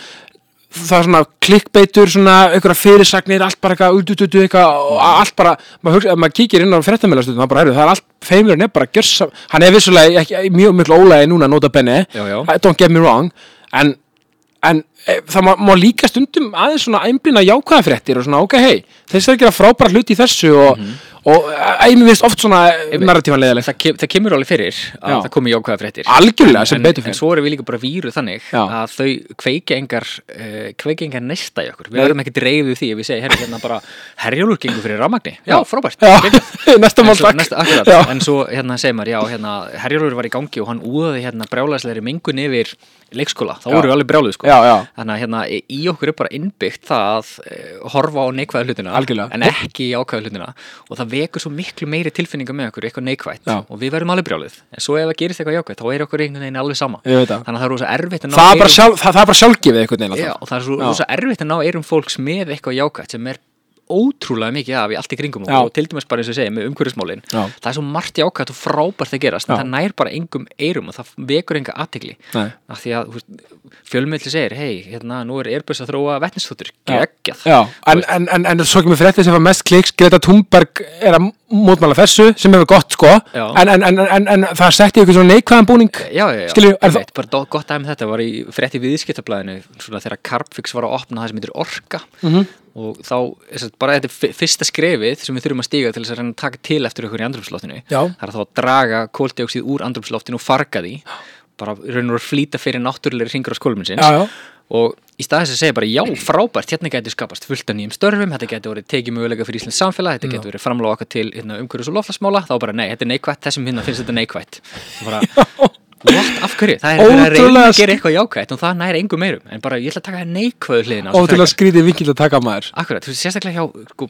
[SPEAKER 1] það er svona klikkbeitur, svona einhverja fyrirsagnir, allt bara eitthvað, út, út, út, eitthvað og allt bara, maður hugsa, ef maður kíkir inn á fréttamélastundum, það bara er, það er allt, feimurinn er bara gjörsam, hann er vissulega ekki, mjög miklu ólega núna, nota bene,
[SPEAKER 2] Já, já.
[SPEAKER 1] don't get me wrong, en, en e, það má, má líka stundum aðeins svona einblina jákvæða fréttir og svona, ok, hei, þessi er að gera frábæra hluti í þessu og,
[SPEAKER 2] Mhm.
[SPEAKER 1] mm -hmm. og, e, mér finnst oft svona narratífan leiðileg,
[SPEAKER 2] það, kem, það kemur alveg fyrir að
[SPEAKER 1] Já.
[SPEAKER 2] það komi jákvæða fréttir
[SPEAKER 1] algjörlega sem
[SPEAKER 2] en,
[SPEAKER 1] betur
[SPEAKER 2] en
[SPEAKER 1] fyrir,
[SPEAKER 2] svo erum við líka bara víru þannig
[SPEAKER 1] Já.
[SPEAKER 2] að þau kveikja engar uh, kveikja engar nesta í okkur, við verðum ekki dreifið því ef við segja, herri, hérna bara herjólur gengur fyrir rafmagni, já, frábært
[SPEAKER 1] Já.
[SPEAKER 2] geggjað.
[SPEAKER 1] Næsta
[SPEAKER 2] En
[SPEAKER 1] mál,
[SPEAKER 2] svo-
[SPEAKER 1] takk.
[SPEAKER 2] næsta- akkurat.
[SPEAKER 1] Já.
[SPEAKER 2] en svo hérna segir maður, já, hérna herjólur var í gangi og hann úðaði hérna brjálæsleiri mengun yfir leikskóla, þá
[SPEAKER 1] Já.
[SPEAKER 2] voru við alveg brjálið sko
[SPEAKER 1] Já, já.
[SPEAKER 2] þannig að hérna í- í okkur er bara innbyggt það að uh, horfa á neikvæða hlutina
[SPEAKER 1] Algjörlega.
[SPEAKER 2] en ekki í ákvæða hlutina og það vekur svo miklu meiri tilfinninga með okkur eitthvað neikvætt
[SPEAKER 1] Já.
[SPEAKER 2] og við verðum alveg brjálið en svo ef það gerist eitthvað jákvætt þá er okkur einhvern veginn alveg sama
[SPEAKER 1] Ég veit það.
[SPEAKER 2] þannig að það er rosa erfitt að ná
[SPEAKER 1] það er bara,
[SPEAKER 2] eyrum-
[SPEAKER 1] sjálf, það, það er bara sjálfgefið einhvern veginn alltaf.
[SPEAKER 2] Já, og það er svo,
[SPEAKER 1] Já.
[SPEAKER 2] rosa erfitt að ná eirum fólks með eitthvað jákvætt sem er ótrúlega mikið af í allt í kringum okkur
[SPEAKER 1] Já.
[SPEAKER 2] og til dæmis bara eins og ég segi með umhverfismálin
[SPEAKER 1] Já.
[SPEAKER 2] það er svo margt jákvætt og frábært að gerast
[SPEAKER 1] Já.
[SPEAKER 2] en það nær bara engum eirum og það vekur enga aðtegli
[SPEAKER 1] Nei.
[SPEAKER 2] af því að þú veist, fjölmiðli segir hei, hérna, nú er Airbus að þróa vetnisþóttur, geggjað
[SPEAKER 1] Já, en, en, en, en svo kemur fréttið sem var mest kliks Greta Thunberg er að mótmála þessu sem hefur gott sko
[SPEAKER 2] Já.
[SPEAKER 1] en, en, en, en, en það setti ykkur svona neikvæðan búning
[SPEAKER 2] já, já, já.
[SPEAKER 1] Skilju, er
[SPEAKER 2] Einmitt, bara dó- gott dæmi um þetta var í frétti viðskiptablaðinu svona þegar Carbfix var að opna það sem heitir Orka
[SPEAKER 1] Mhm.
[SPEAKER 2] -hmm. og þá er sagt, bara þetta er fi- fyrsta skrefið sem við þurfum að stíga til þess að reyna að taka til eftir okkur í andrumsloftinu
[SPEAKER 1] Já.
[SPEAKER 2] það er þá að draga kóldioksið úr andrumsloftinu og farga því bara í raun og veru flýta fyrir náttúrulegri ringur á skóluminn sinns
[SPEAKER 1] já, já,
[SPEAKER 2] og í staðis að segja bara já, frábært, hérna gæti skapast fullt af nýjum störfum, þetta gæti orðið tekið möguleika fyrir Íslands samfélag, þetta gæti verið framláð okkar til hérna, umhverjus og loflasmála, þá bara nei, þetta er neikvætt, þessum hérna finnst þetta neikvætt. Og Bara, what, af hverju? Það er verið að reyna
[SPEAKER 1] Ótrúlega
[SPEAKER 2] að gera eitthvað jákvætt og það næri engum meirum, en bara ég ætla að taka neikvæðu hliðina. á þessu
[SPEAKER 1] og til að
[SPEAKER 2] frekar.
[SPEAKER 1] skrýti vinkil að taka maður
[SPEAKER 2] Akkurat, þú veist, sérstaklega hjá sko,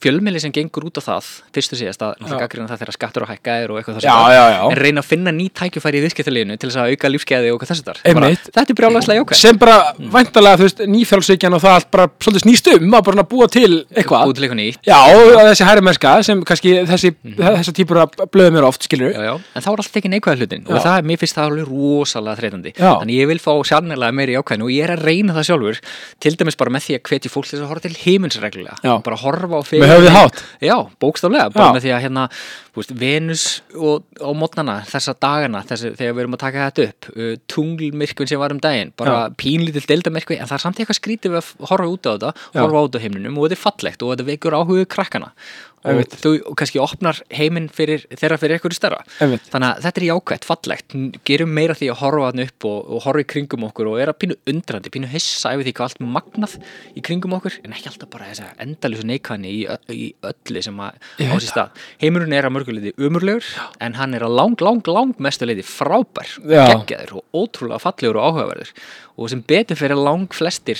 [SPEAKER 2] fjölmiðli sem gengur út á það fyrst og síðast að náttúrulega gagnrýna það þegar skattur og hækkaðir og eitthvað þess
[SPEAKER 1] Já,
[SPEAKER 2] að
[SPEAKER 1] já, já.
[SPEAKER 2] en reyna að finna ný tækjufæri í viðskiptaleginu til þess að auka lífskeiði og eitthvað þess að þar bara,
[SPEAKER 1] Einmitt.
[SPEAKER 2] þetta er brjálagslega jákvæð
[SPEAKER 1] sem bara
[SPEAKER 2] Mm.
[SPEAKER 1] væntalega, þú veist, nýfjálfsveikjan og það allt bara svolítið snýst um að bara svona búa til eitthvað
[SPEAKER 2] út til eitthvað nýtt
[SPEAKER 1] Já, og þessi hærumerska sem kannski þessi, þessar típur að blöðum eru oft, skilur
[SPEAKER 2] já, já. en þá er alltaf ekki neikvæða hlutin
[SPEAKER 1] Já.
[SPEAKER 2] og það, mér finnst það alveg rosalega þreytandi
[SPEAKER 1] Já.
[SPEAKER 2] þannig ég vil fá sannlega meiri jákvæðin og ég er að reyna það sjálfur til dæmis bara með því að hvetja fólk til þess að horfa til heiminsreglulega
[SPEAKER 1] Já.
[SPEAKER 2] bara horfa á fyrir
[SPEAKER 1] Með höfuðið hátt.
[SPEAKER 2] já, bókstaflega, bara
[SPEAKER 1] Já.
[SPEAKER 2] með því að hérna þú veist, Venus og, á mótnana þessa dagana, þessi, þegar við erum að taka þetta upp uh, tunglmyrkvin sem var um daginn bara pínlítil deildamirkvi, en það er samt eitthvað skrítið við að horfa út á þetta,
[SPEAKER 1] Já.
[SPEAKER 2] horfa út á heiminum og þetta er fallegt og þetta vekur áhuga krakkana og
[SPEAKER 1] Einmitt.
[SPEAKER 2] þú og kannski opnar heiminn fyrir, þeirra fyrir eitthvað stærra
[SPEAKER 1] Einmitt.
[SPEAKER 2] þannig að þetta er jákvætt, fallegt N- gerum meira af því að horfa hann upp og, og horfa í kringum okkur og er að pínu undrandi, pínu hissa yfir því hvað allt magnað í kringum okkur en ekki alltaf bara þess að endalísu neikvæðni í, ö- í öllu sem að
[SPEAKER 1] Ég
[SPEAKER 2] á
[SPEAKER 1] veit
[SPEAKER 2] sér stað heimurinn er að mörguleiti umurlegur en hann er að lang, lang, lang mestuleiti frábær
[SPEAKER 1] Já.
[SPEAKER 2] geggjaður og ótrúlega fallegur og áhugaverður og sem betur fyrir lang flestir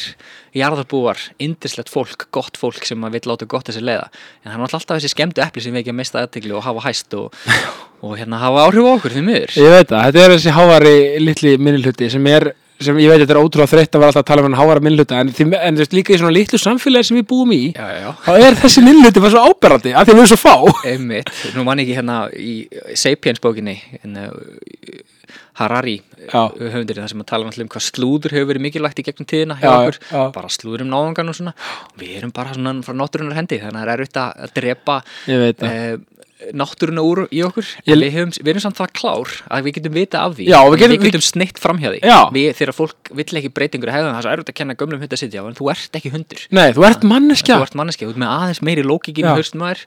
[SPEAKER 2] jarðarbúar, indislegt fólk, gott fólk sem að vil láta gott þessi leiða en hann er alltaf þessi skemmtu epli sem við ekki að mista aðtegli og hafa hæst og, og hérna hafa áhrif á okkur því miður
[SPEAKER 1] Ég veit það, þetta er þessi hávari litli minnilhuti sem er, sem ég veit þetta er ótrúlega þreytt að vera alltaf að tala um hann hávara minnilhuta en, því- en þú veist líka í svona litlu samfélagi sem við búum í
[SPEAKER 2] já, já, já
[SPEAKER 1] þá er þessi minnilhuti bara svo áberandi af því að við erum svo fá
[SPEAKER 2] Einmitt, nú man ég ekki hérna í Sapiens bókinni en, uh, Harari
[SPEAKER 1] Já.
[SPEAKER 2] höfundurinn þar sem að tala náttúrulega um hvað slúður hefur verið mikilvægt í gegnum tíðina hjá
[SPEAKER 1] Já,
[SPEAKER 2] okkur,
[SPEAKER 1] já.
[SPEAKER 2] bara slúður um náðungan og svona, við erum bara svona frá náttúrunar hendi, þannig að það er erfitt að að drepa
[SPEAKER 1] Ég veit það
[SPEAKER 2] uh, náttúruna úr í okkur
[SPEAKER 1] Ég-
[SPEAKER 2] en við, höfum, við erum samt það klár að við getum vita af því
[SPEAKER 1] Já, við
[SPEAKER 2] En
[SPEAKER 1] getum-
[SPEAKER 2] við getum sneitt framhjá því
[SPEAKER 1] Já.
[SPEAKER 2] við, þegar fólk vill ekki breytingur hefðan það er svo erfitt að kenna gömlum hund að sitja á, en þú ert ekki hundur
[SPEAKER 1] Nei, þú ert
[SPEAKER 2] þú
[SPEAKER 1] manneskja
[SPEAKER 2] ert manneskja, þú ert með aðeins meiri lókikinn
[SPEAKER 1] Já.
[SPEAKER 2] höstum maður,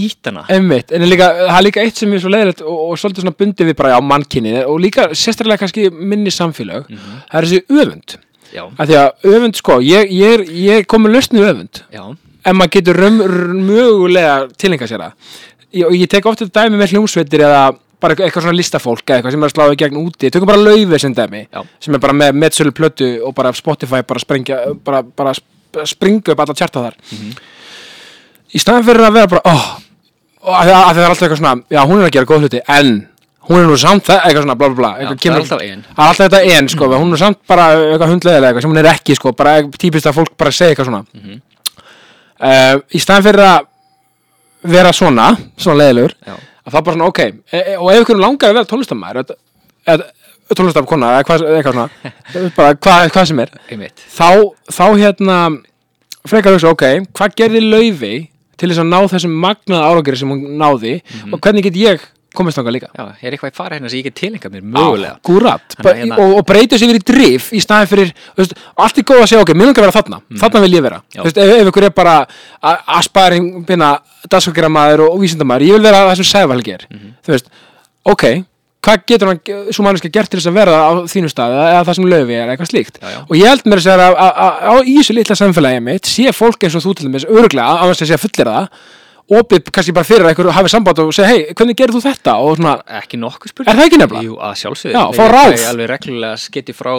[SPEAKER 2] nýtana
[SPEAKER 1] Einmitt, en er líka, það er líka eitt sem er svo leiðilegt og, og svolítið svona bundið við bara á mannkinni og líka sérstaklega kannski minni samfélög það er þessi öfund
[SPEAKER 2] já,
[SPEAKER 1] af því að öfund, sko, ég, ég, er- ég kom með lausn við öfund
[SPEAKER 2] já
[SPEAKER 1] en maður getur raum, raum, mögulega tilhenga sér það Ég- og ég tek ofta dæmi með hljómsveitir eða bara eitthvað svona listafólk eða eitthvað sem er að sláða gegn úti tökum bara laufið sem dæmi
[SPEAKER 2] Já.
[SPEAKER 1] sem er bara með metsölu plötu og bara Spotify bara sprengja bara, bara sp- springa upp alla tjarta þar í staðan fyrir að vera bara oh, og að, að, að það er alltaf eitthvað svona já hún er að gera góð hluti en hún er nú samt það eitthvað svona bla bla bla eitthvað
[SPEAKER 2] það er alltaf ein. Mhm.
[SPEAKER 1] það er alltaf þetta en sko hún er samt bara eitthvað hundleðilega eitthvað sem hún er ekki sko bara típist að fólk bara segja eitthvað svona
[SPEAKER 2] Mhm.
[SPEAKER 1] uh, í staðan fyrir að vera svona, svona leiðilegur
[SPEAKER 2] Já.
[SPEAKER 1] að það bara svona, ok, e e- og ef ykkur langar að vera tónlistamæður tónlistamkona, eða hvað, eitthvað svona bara hvað, hvað sem er
[SPEAKER 2] einmitt
[SPEAKER 1] þá, þá hérna frekar hugsa, ok, hvað gerði laufi til þess að ná þessum magnaða árangri sem hún náði og hvernig get ég komist þangað líka
[SPEAKER 2] Já, er eitthvað í fara hérna sem ég get tilenga mér mögulega
[SPEAKER 1] Akkurat,
[SPEAKER 2] Þannig að
[SPEAKER 1] Bara-
[SPEAKER 2] hérna-
[SPEAKER 1] og, og breyta sér yfir í drif í staðin fyrir, þú veist, allt er góð að segja ok, mér langar að vera þarna, þarna vil ég vera
[SPEAKER 2] Mm. Já.
[SPEAKER 1] Þú veist, ef, ef ykkur er bara asparing, bina, dagskakiramaður og, og vísindamaður, ég vil vera það sem sæðvalgi er
[SPEAKER 2] Mhm.
[SPEAKER 1] þú veist, ok hvað getur hann, svo manneska gert til þess að vera á þínu stað eða, eða það sem löfi er eitthvað slíkt
[SPEAKER 2] Já, já.
[SPEAKER 1] og ég held mér að segja að, að, að, að í þessu litla samfélagi mitt sé fólk eins og þú til dæmis örglega, á þess að segja fullir það opið kannski bara fyrir að einhver hafi samband og segja, hei, hvernig gerir þú þetta og svona,
[SPEAKER 2] ekki nokkuð spurning
[SPEAKER 1] Er það ekki nefnilega?
[SPEAKER 2] Jú, að sjálfsögðu
[SPEAKER 1] Já,
[SPEAKER 2] Þegar
[SPEAKER 1] fá
[SPEAKER 2] ég
[SPEAKER 1] ráð.
[SPEAKER 2] fæ alveg reglulega skiti frá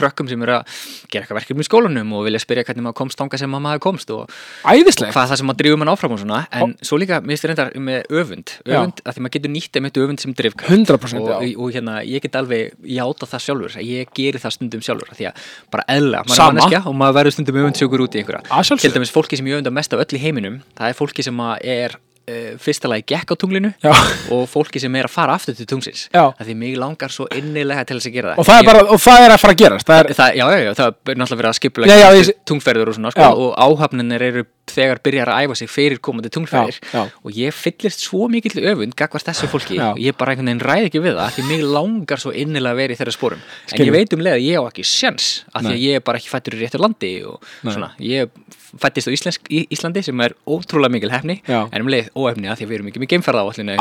[SPEAKER 2] krökkum sem eru að gera eitthvað verkefni í skólanum og vilja spyrja hvernig maður komst þanga sem maður hafi komst og
[SPEAKER 1] æðislega
[SPEAKER 2] hvað er það sem maður drifur mann áfram og svona en svo líka, mér finnst reyndar með öfund öfund, að því maður getur nýtt einmitt öfund sem drifkraft
[SPEAKER 1] 100%
[SPEAKER 2] og,
[SPEAKER 1] já.
[SPEAKER 2] og hérna, ég get alveg játa það sjálfur að ég geri það stundum sjálfur af því að bara eðla, maður
[SPEAKER 1] Sama.
[SPEAKER 2] er manneskja og maður verður stundum öfundsjúkur út í einhverja
[SPEAKER 1] Að sjálfsögðu.
[SPEAKER 2] til dæmis fólki sem ég öfunda mest af öll í heiminum það er fólki sem að er uh, fyrsta lagi gekk á tunglinu
[SPEAKER 1] Já.
[SPEAKER 2] og fólki sem er að fara aftur til tungsins
[SPEAKER 1] Já.
[SPEAKER 2] af því mig langar svo innilega til þess að gera það
[SPEAKER 1] og það er
[SPEAKER 2] Ég-
[SPEAKER 1] bara, og það er að fara að gerast það er,
[SPEAKER 2] Það, já, já, já, það er náttúrulega verið að skipla
[SPEAKER 1] Já, já, ég-
[SPEAKER 2] tungferður og svona, sko,
[SPEAKER 1] Já.
[SPEAKER 2] og áhafnir eru þegar byrjar að æfa sig fyrir komandi tunglferðir
[SPEAKER 1] Já, já.
[SPEAKER 2] og ég fyllist svo mikill öfund gagvart þessu fólki
[SPEAKER 1] Já.
[SPEAKER 2] og ég bara einhvern veginn ræð ekki við það því mig langar svo innilega að vera í þeirra sporum en
[SPEAKER 1] Skilji.
[SPEAKER 2] ég veit um leið að ég á ekki sjens af því að
[SPEAKER 1] Nei.
[SPEAKER 2] ég er bara ekki fættur í réttu landi og
[SPEAKER 1] Nei.
[SPEAKER 2] svona, ég fættist á Íslensk, í, Íslandi sem er ótrúlega mikil hefni
[SPEAKER 1] Já. Ah.
[SPEAKER 2] en um leið óefni af því að við erum ekki með geimferðaáallinu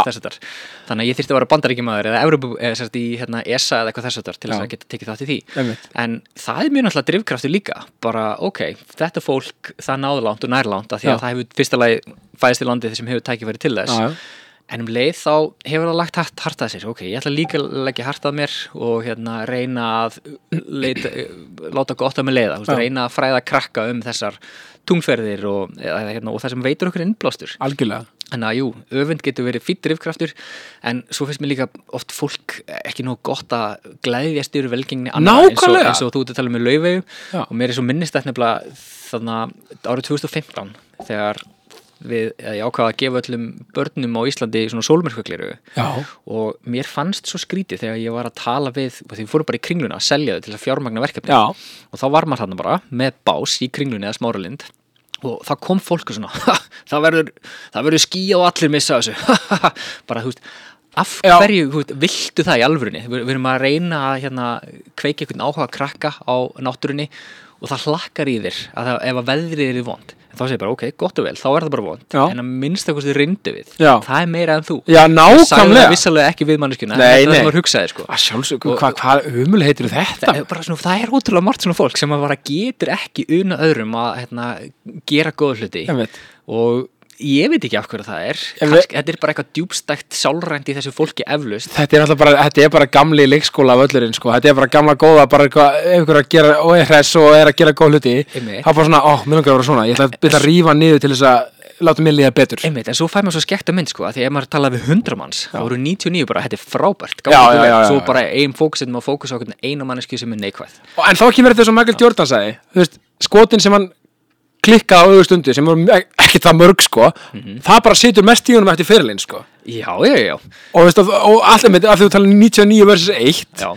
[SPEAKER 2] þannig að ég þyrfti að vera bandaríkjumæður eða Evropu, eða sérst í hérna, ESA eða eitthvað þess aftar til þess
[SPEAKER 1] Já.
[SPEAKER 2] að geta tekið þátt í því
[SPEAKER 1] Einmitt.
[SPEAKER 2] en það er mjög náttúrulega drifkraftur líka bara ok, þetta fólk það náður langt og nær langt af því að
[SPEAKER 1] Já.
[SPEAKER 2] það hefur fyrsta lagi fæðist í landið sem hefur tækifæri til þess
[SPEAKER 1] Já, já.
[SPEAKER 2] en um leið þá hefur það lagt hart, hart að sér ok, ég ætla líka að leggja hart að mér og hérna reyna að leita, láta gott að mig leiða þú veist,
[SPEAKER 1] Já.
[SPEAKER 2] reyna að fræða krakka um þessar tungferðir og, eða, hérna, og það sem veitur okkur innblástur
[SPEAKER 1] algjörlega
[SPEAKER 2] Þannig að jú, öfund getur verið fýtt drifkraftur en svo finnst mér líka oft fólk ekki nóg gott að glæðjast yfir velgengni annarra, eins, og-
[SPEAKER 1] Nákvæmlega.
[SPEAKER 2] eins og þú ert að tala með laufegu
[SPEAKER 1] Já.
[SPEAKER 2] og mér er svo minnist þetta nefnilega þannig að árið 2015 þegar við, eða ég ákvaða að gefa öllum börnum á Íslandi svona sólmyrkvögliru
[SPEAKER 1] Já,
[SPEAKER 2] og mér fannst svo skrítið þegar ég var að tala við, og því við fórum bara í kringluna að selja þau til að fjármagna verkefni
[SPEAKER 1] Já.
[SPEAKER 2] og þá var maður hann bara með bás í kringlunni eða smáralind og þá kom fólk og svona "Ha, það verður, það verður skýja og allir missa af þessu bara þú veist af
[SPEAKER 1] Já.
[SPEAKER 2] hverju þú veist, viltu það í alvörunni við, við erum að reyna að hérna, kveiki einhvern áhuga krakka á náttúrunni og það hlakkar í þér að það, ef að veðrið er í vond þá segir bara ok, gott og vel, þá er það bara vond
[SPEAKER 1] Já.
[SPEAKER 2] en að minnst það hvort þið reyndu við
[SPEAKER 1] Já.
[SPEAKER 2] það er meira en þú
[SPEAKER 1] já
[SPEAKER 2] sagði það
[SPEAKER 1] nákvæmlega
[SPEAKER 2] vissalega ekki við manneskjuna
[SPEAKER 1] Nei,
[SPEAKER 2] þetta er
[SPEAKER 1] nei.
[SPEAKER 2] það maður hugsaði sko
[SPEAKER 1] Að sjálfsögum, hvað hva umul heitir þetta?
[SPEAKER 2] það er, bara svona, það er ótrúlega margt svona fólk sem að bara getur ekki una öðrum að hérna, gera góð hluti
[SPEAKER 1] Ég veit.
[SPEAKER 2] og ég veit ekki af hverju það er
[SPEAKER 1] Ég
[SPEAKER 2] Kansk, þetta er bara eitthvað djúbstækt sálrænt í þessu fólki eflust
[SPEAKER 1] Þetta er alltaf bara, þetta er bara gamli leikskóla völlurinn, sko, þetta er bara gamla góða bara eitthvað, einhver að gera, og er hress og er að gera góð hluti,
[SPEAKER 2] Einmitt.
[SPEAKER 1] það er bara svona, ó, mér langar að vera svona, ég ætla að byrja að rífa niður til þess að láta mér líða betur.
[SPEAKER 2] Einmitt, en svo fær maður svo skekta mynd sko að því ef maður talaði við 100 manns þá voru 99 bara, þetta er frábært gangi
[SPEAKER 1] Já,
[SPEAKER 2] ykkur
[SPEAKER 1] já,
[SPEAKER 2] vel."
[SPEAKER 1] já, já,
[SPEAKER 2] svo
[SPEAKER 1] já.
[SPEAKER 2] bara ein fókus sem maður fókus á einhvern einu mannesku sem er neikvæð
[SPEAKER 1] Og- En þá kemur þetta sem Michael Jordan sagði, þú veist, skotin sem hann klikkaði á auðvustundu, sem voru ek- ekkert það mörg, sko,
[SPEAKER 2] Mhm.
[SPEAKER 1] það bara situr mest í honum eftir fyrirlinn, sko.
[SPEAKER 2] já, já, já,
[SPEAKER 1] Og, þú veist, og, og alltaf með, af því þú talar um 99 versus 1,
[SPEAKER 2] já.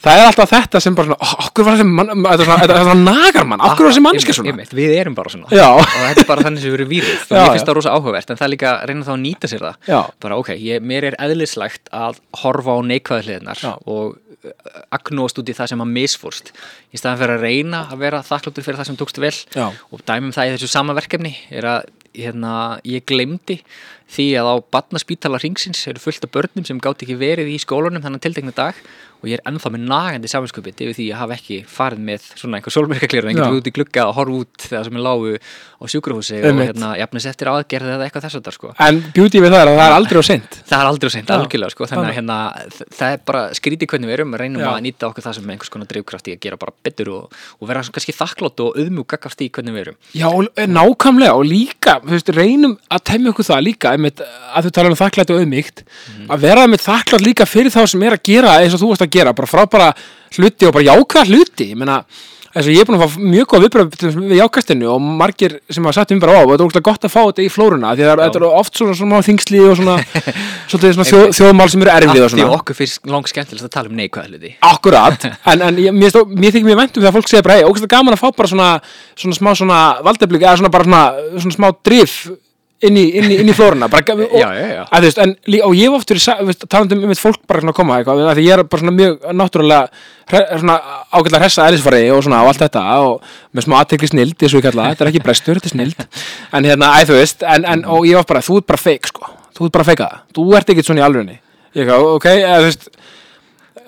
[SPEAKER 1] það er alltaf þetta sem bara svona, ó, okkur var þessi mann, þetta er svona, þetta er svona nagar mann, okkur var þessi mannskja svona.
[SPEAKER 2] Ah, Einmitt, einmitt, við erum bara svona
[SPEAKER 1] Já.
[SPEAKER 2] og þetta er bara þannig sem við erum vírið og
[SPEAKER 1] Já,
[SPEAKER 2] mér finnst
[SPEAKER 1] já.
[SPEAKER 2] það rosa áhugavert en það er líka að reyna þá að nýta sér það
[SPEAKER 1] Já.
[SPEAKER 2] bara ok, ég, mér er eðlislegt að horfa á neikvæðu hliðinar
[SPEAKER 1] Já.
[SPEAKER 2] og uh, agnóast út í það sem að misfórst í staðan fyrir að reyna að vera þakkláttur fyrir það sem tókst vel
[SPEAKER 1] Já.
[SPEAKER 2] og dæmum það í þessu sama verkefni er að hérna, ég glemdi því að á batnaspítala ringsins eru fullt af börnum sem gátt ekki verið í skólanum þannig tiltekna dag og ég er ennþá með nagandi saminskupið yfir því að ég hafa ekki farið með svona einhver sólmyrkaklýrun en
[SPEAKER 1] Já.
[SPEAKER 2] getur út í glugga og horfa út þegar sem ég lágu á sjúkrahúsi og
[SPEAKER 1] Einmitt.
[SPEAKER 2] hérna, jafnist eftir aðgerði eða eitthvað þess að sko.
[SPEAKER 1] En beauty við það er að það er aldrei á seint.
[SPEAKER 2] það er aldrei sent
[SPEAKER 1] Já.
[SPEAKER 2] algjörlega sko, þannig
[SPEAKER 1] Þannig.
[SPEAKER 2] að hérna, þ- það er bara skrítið hvernig við erum, reynum
[SPEAKER 1] Já.
[SPEAKER 2] að nýta okkur það sem er einhvers konar drifkraft í að gera bara betur og, og vera svona kannski þakklátt og auðmjúkakast í hvernig við erum
[SPEAKER 1] Já, og- eh, nákvæmlega og líka, þú veist, reynum að temja okkur það líka, einmitt, að þú tala um þakklætt og auðmygt,
[SPEAKER 2] Mhm.
[SPEAKER 1] að vera einmitt þakklætt líka fyrir þá sem er að gera eins og þú varst að gera, bara frábæra hluti og bara jákvæða hluti, ég meina, eins og ég er búin að fá mjög góð viðbröð við jákastinu og margir sem hafa sagt um bara á, og þetta er ógst gott að fá þetta í flóruna, því það er, þetta er oft svona, svona þingsli og svona, svolítið svona þjó, þjóðmál sem eru erfið og
[SPEAKER 2] Allt í
[SPEAKER 1] svona.
[SPEAKER 2] okkur finnst langt skemmtilegst að tala um neikvæða hluti
[SPEAKER 1] Akkurat, en, en ég- mér, stó, mér þykir mjög vænt um þegar fólk segir bara, hei, ógæslega gaman að fá bara svona, svona smá svona valdeblík eða svona bara svona, svona smá drif inn í, inn í, inn í flóruna bara, gaf- og,
[SPEAKER 2] Já, já, já.
[SPEAKER 1] Að, þú veist, en, lí- og ég hef oft verið sa- þú veist, talandi um um fólk bara svona að koma eitthvað, af því ég er bara svona mjög náttúrulega hre, svona ágætlega hressa eðlisfari og svona og allt þetta og með smá aðtekli snild, eins og ég kalla það, þetta er ekki brestur, þetta er snild en hérna, æ, þú veist, en, en, og ég var bara, þú ert bara feik, sko, þú ert bara að feika það þú ert ekkert svona í alvegni, ég gaf, ok, eða, þú veist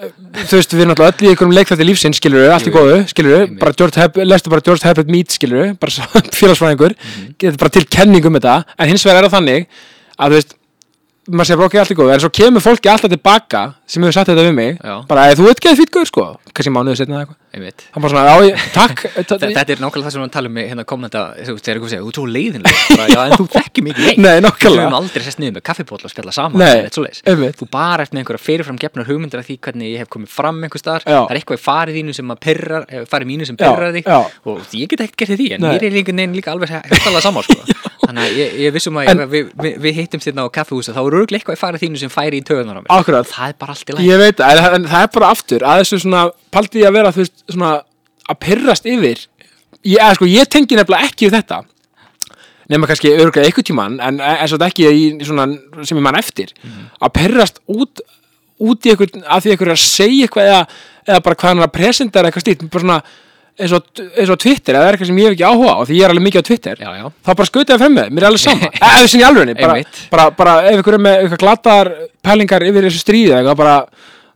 [SPEAKER 1] þú veist, við erum alltaf öll í einhverjum leikþætti lífsins, skilur við, allt í
[SPEAKER 2] Jú, jú.
[SPEAKER 1] góðu, skilur við,
[SPEAKER 2] Einmitt.
[SPEAKER 1] bara George Hebb, lestu bara George Herbert Mead, skilur við, bara félagsfræðingur,
[SPEAKER 2] Mhm.
[SPEAKER 1] getur bara til kenning um þetta, en hins vegar er það þannig að, þú veist, maður sé bara okkur allt í góðu, en svo kemur fólki alltaf tilbaka sem hefur sagt þetta við mig,
[SPEAKER 2] Já.
[SPEAKER 1] bara að þú veit ekki að fýtgöður, sko, kannski mánuðu setna eða eitthvað,
[SPEAKER 2] einmitt
[SPEAKER 1] hann bara svona, já, ég, takk,
[SPEAKER 2] Þa-
[SPEAKER 1] þetta-
[SPEAKER 2] Þetta er nákvæmlega það sem hann tala um í hérna komnenda þegar eitthvað segja, þú ert svo leiðinlega bara, já, en þú þekki mikið leik
[SPEAKER 1] Nei, nákvæmlega.
[SPEAKER 2] Við höfum aldrei sest niður með kaffipótla og spjalla saman
[SPEAKER 1] Nei,
[SPEAKER 2] eða neitt svoleiðis.
[SPEAKER 1] einmitt.
[SPEAKER 2] Þú bara ert með einhverja fyrirfram gefnar hugmyndir af því hvernig ég hef komið fram einhver staðar
[SPEAKER 1] Já.
[SPEAKER 2] Það er eitthvað í farið þínu sem að perrar, farið mínu sem
[SPEAKER 1] Já,
[SPEAKER 2] perrar þig
[SPEAKER 1] já.
[SPEAKER 2] og ég get ekkert gert því en
[SPEAKER 1] Nei.
[SPEAKER 2] mér er líka, nein, líka alveg hættalega saman sko. Þannig að ég, ég vissum að
[SPEAKER 1] En-
[SPEAKER 2] en, við, við, við hittum þérna á kaffihúsa þá eru eitthvað í farið þínu sem færi í töðunar á mér
[SPEAKER 1] Akkurat.
[SPEAKER 2] Það er bara allt í lagi
[SPEAKER 1] ég veit það, en, en það er bara aftur, að þessu svona, paldi ég að vera, þú veist, svona, að pyrrast yfir, ég, eða, sko, ég tengi nefnilega ekki við þetta, nema kannski örgulega einhvern tímann en eins og þetta ekki í, svona, sem ég mann eftir að perrast út út í einhvern, að því einhver er að segja eitthvað eða, eða bara hvað hann er að presentera eitthvað slíkt, bara svona eins og, eins og á Twitter, eða það er eitthvað sem ég hef ekki áhuga á því ég er alveg mikið á Twitter,
[SPEAKER 2] Já, já.
[SPEAKER 1] þá bara skautaði frem með, mér er alveg sama, E- eða sem í alvegni bara,
[SPEAKER 2] Einmitt.
[SPEAKER 1] bara, bara ef einhver er með eitthvað glataðar pælingar yfir þessu stríði eða eitthvað bara,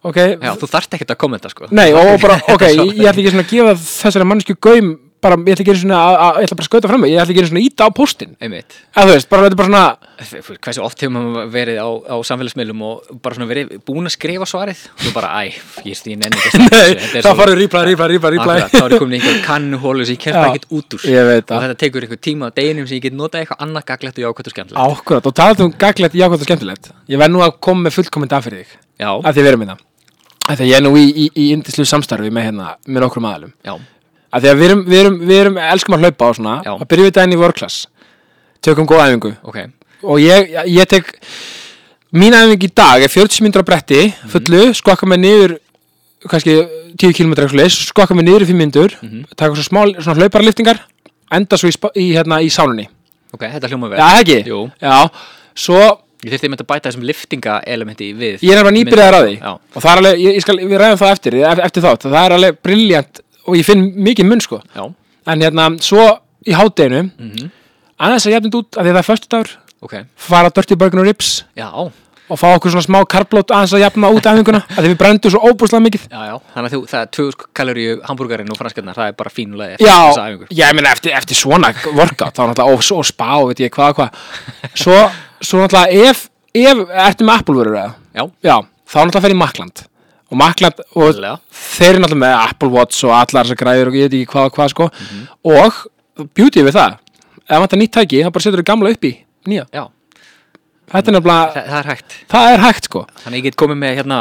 [SPEAKER 1] ok,
[SPEAKER 2] Já, þú þarft ekkert að kommenta sko
[SPEAKER 1] Nei, og bara, ok, ég ég ætla ekki svona að gefa þessari mannsku gaum bara, ég ætla ekki einu svona að, að, ég ætla bara að skauta fram mig, ég ætla ekki einu svona að íta á póstin
[SPEAKER 2] Einmitt
[SPEAKER 1] eða þú veist, bara, þetta er bara svona
[SPEAKER 2] F- f- Hversu oft hefur maður verið á, á samfélagsmiðlum og bara svona verið búin að skrifa svarið og bara, æ, ég stýn enn ekki að standa þessu. Þetta er
[SPEAKER 1] þá
[SPEAKER 2] svo-
[SPEAKER 1] farið rýpla, rýpla, rýpla, rýpla
[SPEAKER 2] Akkurat, þá er ég komin í einhver kannuhólu sem ég kemst
[SPEAKER 1] Já,
[SPEAKER 2] ekkert út úr
[SPEAKER 1] ég veit
[SPEAKER 2] og
[SPEAKER 1] það.
[SPEAKER 2] þetta tekur einhver tíma á deginum sem ég get notað í eitthvað annað gaglegt og jákvæmt og skemmtilegt
[SPEAKER 1] Ákkurat, og talað um gaglegt, jákvæmt og skemmtilegt ég verð nú að koma með fullkomend af fyrir þig
[SPEAKER 2] Já,
[SPEAKER 1] að því að vera minna að því að ég er nú í, í, í indislu samstarfi með hérna, með nokkrum aðalum
[SPEAKER 2] já,
[SPEAKER 1] að því að við erum, við erum, við erum elskum að hlaupa á svona,
[SPEAKER 2] Já.
[SPEAKER 1] að byrjum við daginn í world class tökum góða æfingu
[SPEAKER 2] ok
[SPEAKER 1] og ég, ég tek mín æfing í dag er 40 myndur á bretti
[SPEAKER 2] Mhm.
[SPEAKER 1] fullu, skokka mig niður kannski 10 km leis, skokka mig niður í 5 myndur
[SPEAKER 2] Mhm.
[SPEAKER 1] taka svo smá, svona hlauparliftingar enda svo í, spa- í, hérna, í sálunni
[SPEAKER 2] Ok, þetta hljóma vel
[SPEAKER 1] Já, það ekki?
[SPEAKER 2] Jú,
[SPEAKER 1] Já, svo
[SPEAKER 2] ég þurfti einmitt að bæta þessum liftinga elementi við
[SPEAKER 1] ég er nefnilega nýbyrðar að því
[SPEAKER 2] Já,
[SPEAKER 1] og það er alveg, ég, ég skal, við ræðum það eftir ef- eftir þátt, það er alveg briljant og ég finn mikið mun sko
[SPEAKER 2] já, Mhm,
[SPEAKER 1] en hérna, svo í hátdeinu mm -hmm. annars að jafnind út, að því að það er föstudagur
[SPEAKER 2] ok
[SPEAKER 1] fara Dirty Burger og Rips
[SPEAKER 2] Já,
[SPEAKER 1] og fá okkur svona smá karblót aðeins að jafna út æfinguna af því við brendum svo óbúslega mikið
[SPEAKER 2] já, já Þannig að þú, það er 2000 kaloríu hambúrgarinn og franskarnar það er bara fínulega eftir þessa
[SPEAKER 1] Já,
[SPEAKER 2] æfingu
[SPEAKER 1] ég meina eftir, eftir svona workout þá náttúrulega, og, og spa og veit ég hvað og hvað svo, svo náttúrulega ef, ef ertu með Apple-vörur eða
[SPEAKER 2] Já,
[SPEAKER 1] já, þá náttúrulega fer í Makland og Makland, og
[SPEAKER 2] Allega.
[SPEAKER 1] þeir eru náttúrulega með Apple Watch og allar þessar græður og ég veit ekki hvað og hvað sko og beauty við það ef vantar nýtt tæki, þá bara setur þau gamla upp í nýja,
[SPEAKER 2] já,
[SPEAKER 1] þetta er nefnilega
[SPEAKER 2] það, það er hægt
[SPEAKER 1] það er hægt sko
[SPEAKER 2] Þannig að ég get komið með hérna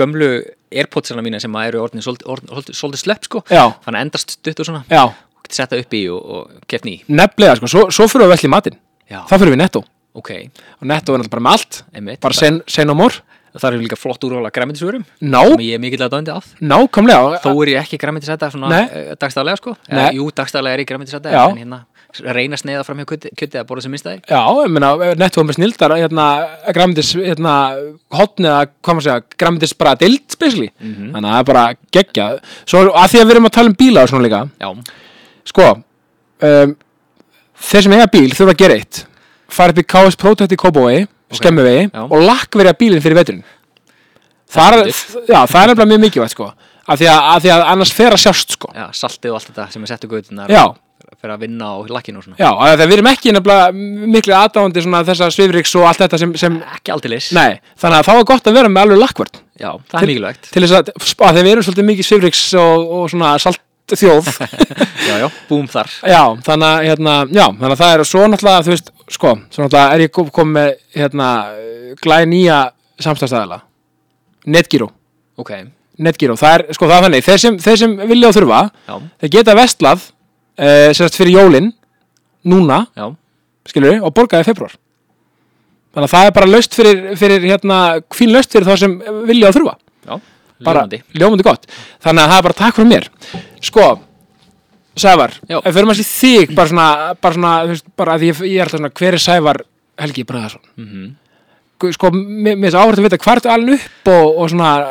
[SPEAKER 2] gömlu Airpodsina mína sem eru orðin svolítið orðin- svolítið slepp sko
[SPEAKER 1] Já.
[SPEAKER 2] Þannig að endast stutt og svona
[SPEAKER 1] já,
[SPEAKER 2] og getur sett það upp í og, og keft ný
[SPEAKER 1] nefnilega sko, svo, svo fyrir við velli matinn
[SPEAKER 2] Já,
[SPEAKER 1] það fyrir við í nettó og
[SPEAKER 2] ok,
[SPEAKER 1] netto er náttúrulega bara með allt
[SPEAKER 2] einmitt
[SPEAKER 1] bara sen, sen og mór
[SPEAKER 2] Það eru líka flott úrvala græmitisvörum
[SPEAKER 1] Ná,
[SPEAKER 2] sem ég er mikill að döndi af
[SPEAKER 1] nákvæmlega
[SPEAKER 2] Þó er ég ekki græmitisæta svona
[SPEAKER 1] Nei.
[SPEAKER 2] eh, dagstaglega sko
[SPEAKER 1] Nei.
[SPEAKER 2] Eða, Jú, dagstaglega er ég græmitisæta
[SPEAKER 1] Já.
[SPEAKER 2] en hérna reyna að sneiða fram hjá kjöti, kjöti að borða sem minnst þær
[SPEAKER 1] Já, ég meina, netto er með snildar hérna, græmdis, hérna, hotn eða, hvað maður segja, græmdis bara dild, spesli, þannig að það er bara geggja Svo, að því að við erum að tala um bíla og svona líka
[SPEAKER 2] Já,
[SPEAKER 1] Sko, um, þeir sem eiga bíl þurfa að gera eitt Fara upp í KS Protect í Kóbói, skemmuvegi
[SPEAKER 2] já.
[SPEAKER 1] og lakkverja bílinn fyrir veturinn Það er, já, það er nefnilega mjög mikilvægt, sko Af því að, að, því að annars fer að sjást, sko
[SPEAKER 2] já, saltið og allt þetta sem er sett í götunar
[SPEAKER 1] Já.
[SPEAKER 2] fyrir að vinna á lakkinu og svona
[SPEAKER 1] Já, af því að við erum ekki nefnilega miklu aðdáandi svona þessa svifriks og allt þetta sem, sem
[SPEAKER 2] Ekki aldeilis,
[SPEAKER 1] nei, þannig að þá er gott að vera með alveg lakkvörn
[SPEAKER 2] já, það er mikilvægt
[SPEAKER 1] til þess að, að þegar við erum svolítið mikið svifriks og, og svona salt þjóð
[SPEAKER 2] Já, já, búum þar
[SPEAKER 1] Já, þannig að, hérna, já, þannig að það er svo náttúrulega, þú veist, sko, svo náttúrulega er ég kom- komið með, hérna, glæði nýja samstæðstæðala Netgyro,
[SPEAKER 2] Ok,
[SPEAKER 1] Netgyro, það er, sko, það er þannig, þeir sem, þeir sem vilja og þurfa,
[SPEAKER 2] já,
[SPEAKER 1] þeir geta vestlað, uh, sérst fyrir jólin, núna,
[SPEAKER 2] já,
[SPEAKER 1] skilur og borgaði í februar þannig að það er bara laust fyrir, fyrir hérna, fín laust fyrir þá sem vilja að þurfa
[SPEAKER 2] já
[SPEAKER 1] bara
[SPEAKER 2] Ljómandi.
[SPEAKER 1] ljómandi gott þannig að það er bara takk fyrir mér sko, Sævar,
[SPEAKER 2] Já.
[SPEAKER 1] ef við erum að sé þig bara svona, bara svona, þú veist, bara að ég, ég er alltaf svona, hver er Sævar Helgi Bræðarsson mm
[SPEAKER 2] Mhm.
[SPEAKER 1] -hmm. sko, mér mér er svo áhægt að vita hvar ertu alveg upp og, og svona,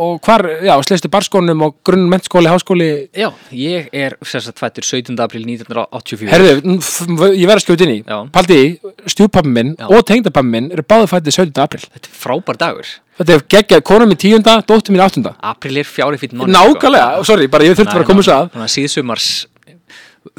[SPEAKER 1] og hvar, já, sleistu barskónum og grunn mennskóli, háskóli
[SPEAKER 2] Já, ég er sem sagt fættur 17. april 1984
[SPEAKER 1] Herðu, n- f- ég verð að skjóta inn í
[SPEAKER 2] Já.
[SPEAKER 1] Paldi í, stjúpappi minn
[SPEAKER 2] Já.
[SPEAKER 1] og tengdapappi minn eru báðu fættið 17. april
[SPEAKER 2] Þetta er frábær dagur
[SPEAKER 1] Þetta er geggjað, konan minn 10. dóttir mín 8.
[SPEAKER 2] April er fjári fyrir
[SPEAKER 1] Nákvæmlega, sorry, bara ég þurfti bara að koma svo að
[SPEAKER 2] Þannig að síðsumars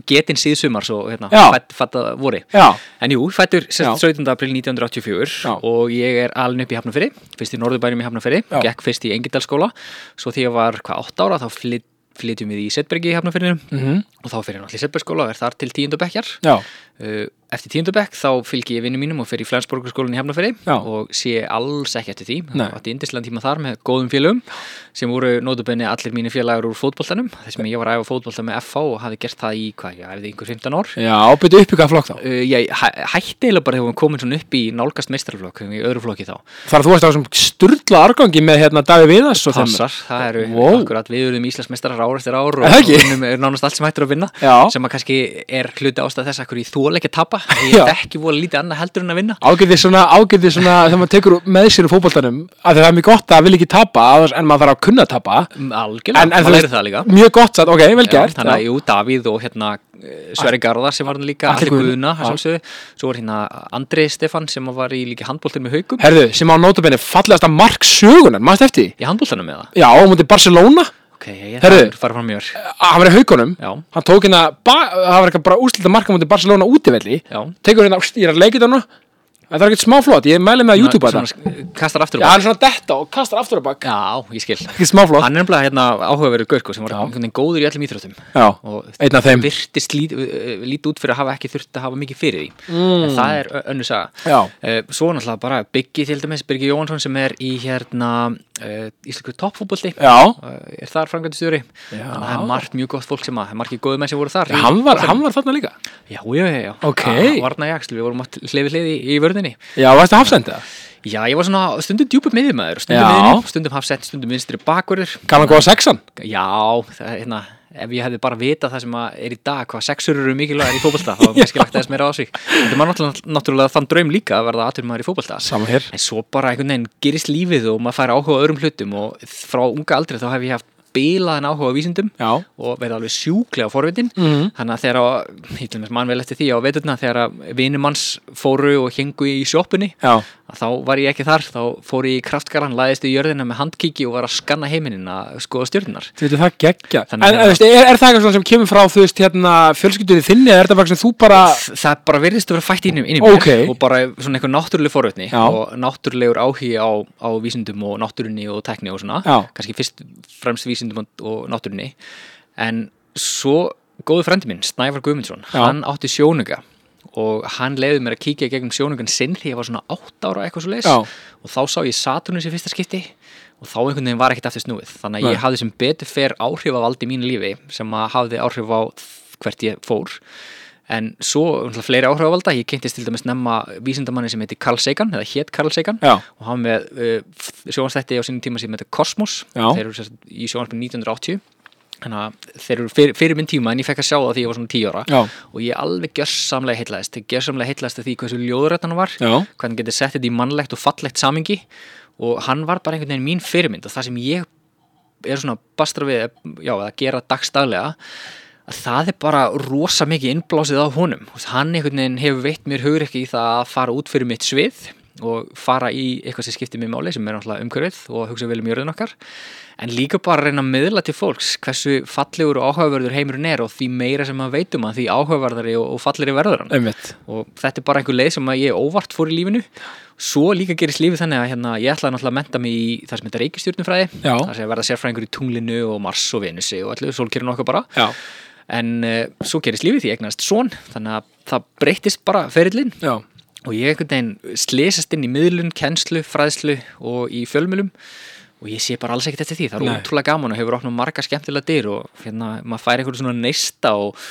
[SPEAKER 2] Getinn síðsumars og hérna
[SPEAKER 1] Já.
[SPEAKER 2] fætt, fætt að voru
[SPEAKER 1] Já,
[SPEAKER 2] En jú, fættur sem sagt
[SPEAKER 1] Já.
[SPEAKER 2] 17. april 1984
[SPEAKER 1] Já.
[SPEAKER 2] og ég er alin upp í Hafnafyrri fyrst í Norðurbænum í Hafnafyrri,
[SPEAKER 1] Já.
[SPEAKER 2] gekk fyrst í Engildalskóla svo því ég var hvað 8 ára þá flyt, flytjum við í Setbergi í Hafnafyrinu
[SPEAKER 1] Mhm.
[SPEAKER 2] og þá fyrir ég náttúrulega í Setbergskóla og er þar til tíundabekjar
[SPEAKER 1] já,
[SPEAKER 2] Uh, eftir tíundabekk þá fylgi ég vinnum mínum og fer í Flensborgarskólan í Hefnaferi
[SPEAKER 1] Já.
[SPEAKER 2] og sé alls ekki eftir því
[SPEAKER 1] Nei.
[SPEAKER 2] átti indislega tíma þar með góðum félögum sem voru nótabenni allir mínir félagar úr fótboltanum þessum ég var að æfa fótbolta með FH og hafi gert það í hvað, ég æfði einhver 15 ár
[SPEAKER 1] já, byrju upp í hvað flokk þá
[SPEAKER 2] uh, ég hæ hætti eiginlega bara þegar við komin svona upp í nálgast meistarflokk, í öðru flokki þá
[SPEAKER 1] Þar þú varst á þessum sturla argangi með hérna Davi Viðars og þeim
[SPEAKER 2] Passar, það eru
[SPEAKER 1] Wow.
[SPEAKER 2] akkurat við erum Íslandsmeistarar ár eftir ár
[SPEAKER 1] Er það
[SPEAKER 2] og
[SPEAKER 1] ekki?
[SPEAKER 2] vinnum er nánast allt sem hættur að vinna
[SPEAKER 1] Já.
[SPEAKER 2] sem að kannski er hluti ástæð þess að hverju þú leik að tapa ég
[SPEAKER 1] Já.
[SPEAKER 2] þekki vola lítið annað heldur en að vinna
[SPEAKER 1] Ágætið svona, ágætið svona þegar maður tekur með sér úr fótboltanum að það er mjög gott að vilja ekki tapa annars- en maður þarf að kunna tapa
[SPEAKER 2] Mm, algjörlega,
[SPEAKER 1] En- en þú
[SPEAKER 2] maður
[SPEAKER 1] veist-
[SPEAKER 2] læri það líka
[SPEAKER 1] mjög gott satt, ok, vel
[SPEAKER 2] Já,
[SPEAKER 1] gert
[SPEAKER 2] þannig að
[SPEAKER 1] já.
[SPEAKER 2] jú, Davíð og hérna eh, Sverri Garðar sem var hann líka,
[SPEAKER 1] Atli
[SPEAKER 2] Allir Guðuna
[SPEAKER 1] Guðna,
[SPEAKER 2] að sjálfsögðu. svo var hérna Andri Stefan sem var í líka handbóltin með haukum
[SPEAKER 1] Herðu, sem á nótabenni fallegasta mark sögunar, maður eftir því?
[SPEAKER 2] í handbóltanum með það
[SPEAKER 1] Já, á mútið Barcelona
[SPEAKER 2] ok, ég
[SPEAKER 1] Herru.
[SPEAKER 2] þarf fara fram mér
[SPEAKER 1] hann var í haugunum
[SPEAKER 2] Já.
[SPEAKER 1] hann tók hérna, ba- það var eitthvað bara úslita marka mútið Barcelona útivelli
[SPEAKER 2] Já.
[SPEAKER 1] tekur hérna, úst, ég er að leika þetta nú þetta er ekkert smá flott, ég mæli með að YouTube þetta
[SPEAKER 2] Svona, eh, kastar aftur
[SPEAKER 1] Já,
[SPEAKER 2] á
[SPEAKER 1] hann
[SPEAKER 2] bak
[SPEAKER 1] er svona detta og kastar aftur á bak
[SPEAKER 2] já, ég skil
[SPEAKER 1] ekki smá flott
[SPEAKER 2] hann er nefnilega hérna áhugaverður Görko sem var einhvern veginn góður í öllum íþróttum
[SPEAKER 1] Já,
[SPEAKER 2] og
[SPEAKER 1] einn af þeim
[SPEAKER 2] virtist lít, uh, lít út fyrir að hafa ekki þurft að hafa mikið fyrir því mm. en það er ö- önnur saga
[SPEAKER 1] Já.
[SPEAKER 2] Eh, svo er náttúrulega bara Byggi til dæmis, Byrgi Jóhansson sem er í hérna uh, íslensku toppfútbolti
[SPEAKER 1] Já,
[SPEAKER 2] Eh, er þar framkvæmdi stjóri þannig að það er margt mjög gott fólk sem að, það er margir góðu menn sem voru þar
[SPEAKER 1] hann var, hann var þarna líka
[SPEAKER 2] já, já, já, já,
[SPEAKER 1] Ok.
[SPEAKER 2] Ah, varna jaksl, við vorum átt hliði hliði í, í vörðinni
[SPEAKER 1] Já, varstu hafsendið það?
[SPEAKER 2] já, ég var svona stundum djúpur miðjumæður
[SPEAKER 1] Já.
[SPEAKER 2] stundum miðjum, stundum hafsett, stundum vinstri bakverður
[SPEAKER 1] Kann hann góða sexan?
[SPEAKER 2] já, það er hérna ef ég hefði bara vitað það sem að er í dag hvað sexur eru mikilvægir í fótbolta þá hefði kannski lagt aðeins meira á sig þetta var náttúrulega, náttúrulega þann draum líka að verða aðtur maður í fótbolta
[SPEAKER 1] Saman hér
[SPEAKER 2] en svo bara einhvern veginn gerist lífið og maður fær áhuga á öðrum hlutum og frá unga aldrei þá hef ég haft bilaðan áhuga á vísindum
[SPEAKER 1] Já,
[SPEAKER 2] og verið alveg sjúklega forvitin
[SPEAKER 1] Mhm.
[SPEAKER 2] þannig að þegar á, ég til dæmis mann vel eftir því á veturna þegar að vinumanns fóru og hengu í sjoppunni
[SPEAKER 1] já
[SPEAKER 2] að þá var ég ekki þar, þá fór ég í kraftgaran læðist í jörðina með handkiki og var að skanna heiminin að skoða stjörnunar
[SPEAKER 1] Þú veitir það geggja En
[SPEAKER 2] Þannig
[SPEAKER 1] en,
[SPEAKER 2] að-
[SPEAKER 1] þú veist, er, er það eitthvað svona sem kemur frá þú veist hérna fjölskyldunni þinni eða er það bara eitthvað sem þú bara
[SPEAKER 2] Þ- það bara virðist að vera fætt inn í inn í mér
[SPEAKER 1] Ókei.
[SPEAKER 2] og bara svona einhver náttúruleg forvitni
[SPEAKER 1] Já.
[SPEAKER 2] og náttúrulegur áhugi á, á vísindum og náttúrunni og tekni og svona
[SPEAKER 1] Já.
[SPEAKER 2] kannski fyrst fremst vísindum og- og náttúrunni en svo góðu frendi minn, Snævar Guðmundsson
[SPEAKER 1] Já.
[SPEAKER 2] hann átti sjónuga og hann leiði mér að kíkja í gegnum sjónugan sinn þegar ég var svona 8 ára eitthvað svo leis
[SPEAKER 1] Já.
[SPEAKER 2] og þá sá ég Saturnus í fyrsta skipti og þá einhvern veginn var ekkert aftur snúið þannig að
[SPEAKER 1] Nei.
[SPEAKER 2] ég hafði sem betur fer áhrif af allt í mínu lífi sem að hafði áhrif á hvert ég fór en svo náttúrulega, fleiri áhrifavalda, ég kynntist til dæmis nefna vísindamanni sem heiti Carl Sagan eða hétt Carl Sagan
[SPEAKER 1] Já.
[SPEAKER 2] og hann með uh, sjónastætti á sínum tíma sem heiti Cosmos
[SPEAKER 1] Já.
[SPEAKER 2] þeir eru sem sagt í sjónastætti 1980 þannig að þeir eru fyrir, fyrir minn tíma en ég fekk að sjá það því ég var svona 10 ára
[SPEAKER 1] Já.
[SPEAKER 2] og ég alveg gjörsamlega heitlaðist gjörsamlega heitlaðist af því hversu ljóðrætt hann var
[SPEAKER 1] Já.
[SPEAKER 2] hvernig getið sett þetta í mannlegt og fallegt samingi og hann var bara einhvern veginn mín fyrirmynd og það sem ég er svona bastra við já, að gera dagstaglega að það er bara rosa mikið innblásið á honum Þú veist, hann einhvern veginn hefur veitt mér hugur ekki í það að fara út fyrir mitt svið og fara í eitthvað sem skiptir mér máli sem er náttúrulega umhverfið og að hugsa vel um jörðin okkar en líka bara að reyna að miðla til fólks hversu fallegur og áhugaverður heimurinn er og því meira sem maður veit um hann því áhugaverðari og, og fallegri verður hann
[SPEAKER 1] Einmitt
[SPEAKER 2] og þetta er bara einhver leið sem að ég óvart fór í lífinu svo líka gerist lífið þannig að hérna, ég ætlaði náttúrulega að menta mig í það sem þetta er reikistjórnumfræði
[SPEAKER 1] Já.
[SPEAKER 2] það sem að verða sérfræðingur í tunglinu og Mars og Venusi og allir sólkerinn okkar bara
[SPEAKER 1] Já
[SPEAKER 2] en uh, svo gerist lífið því ég eignast son þannig að það breyttist bara ferillin
[SPEAKER 1] Já
[SPEAKER 2] og ég einhvern veginn slésast inn í miðlun, kennslu, fræðslu og í fjölmjölum og ég sé bara alls ekkert eftir því, það er
[SPEAKER 1] Nei.
[SPEAKER 2] ótrúlega gaman og hefur opnað marga skemmtilega dyr og hérna maður fær einhverju svona neista og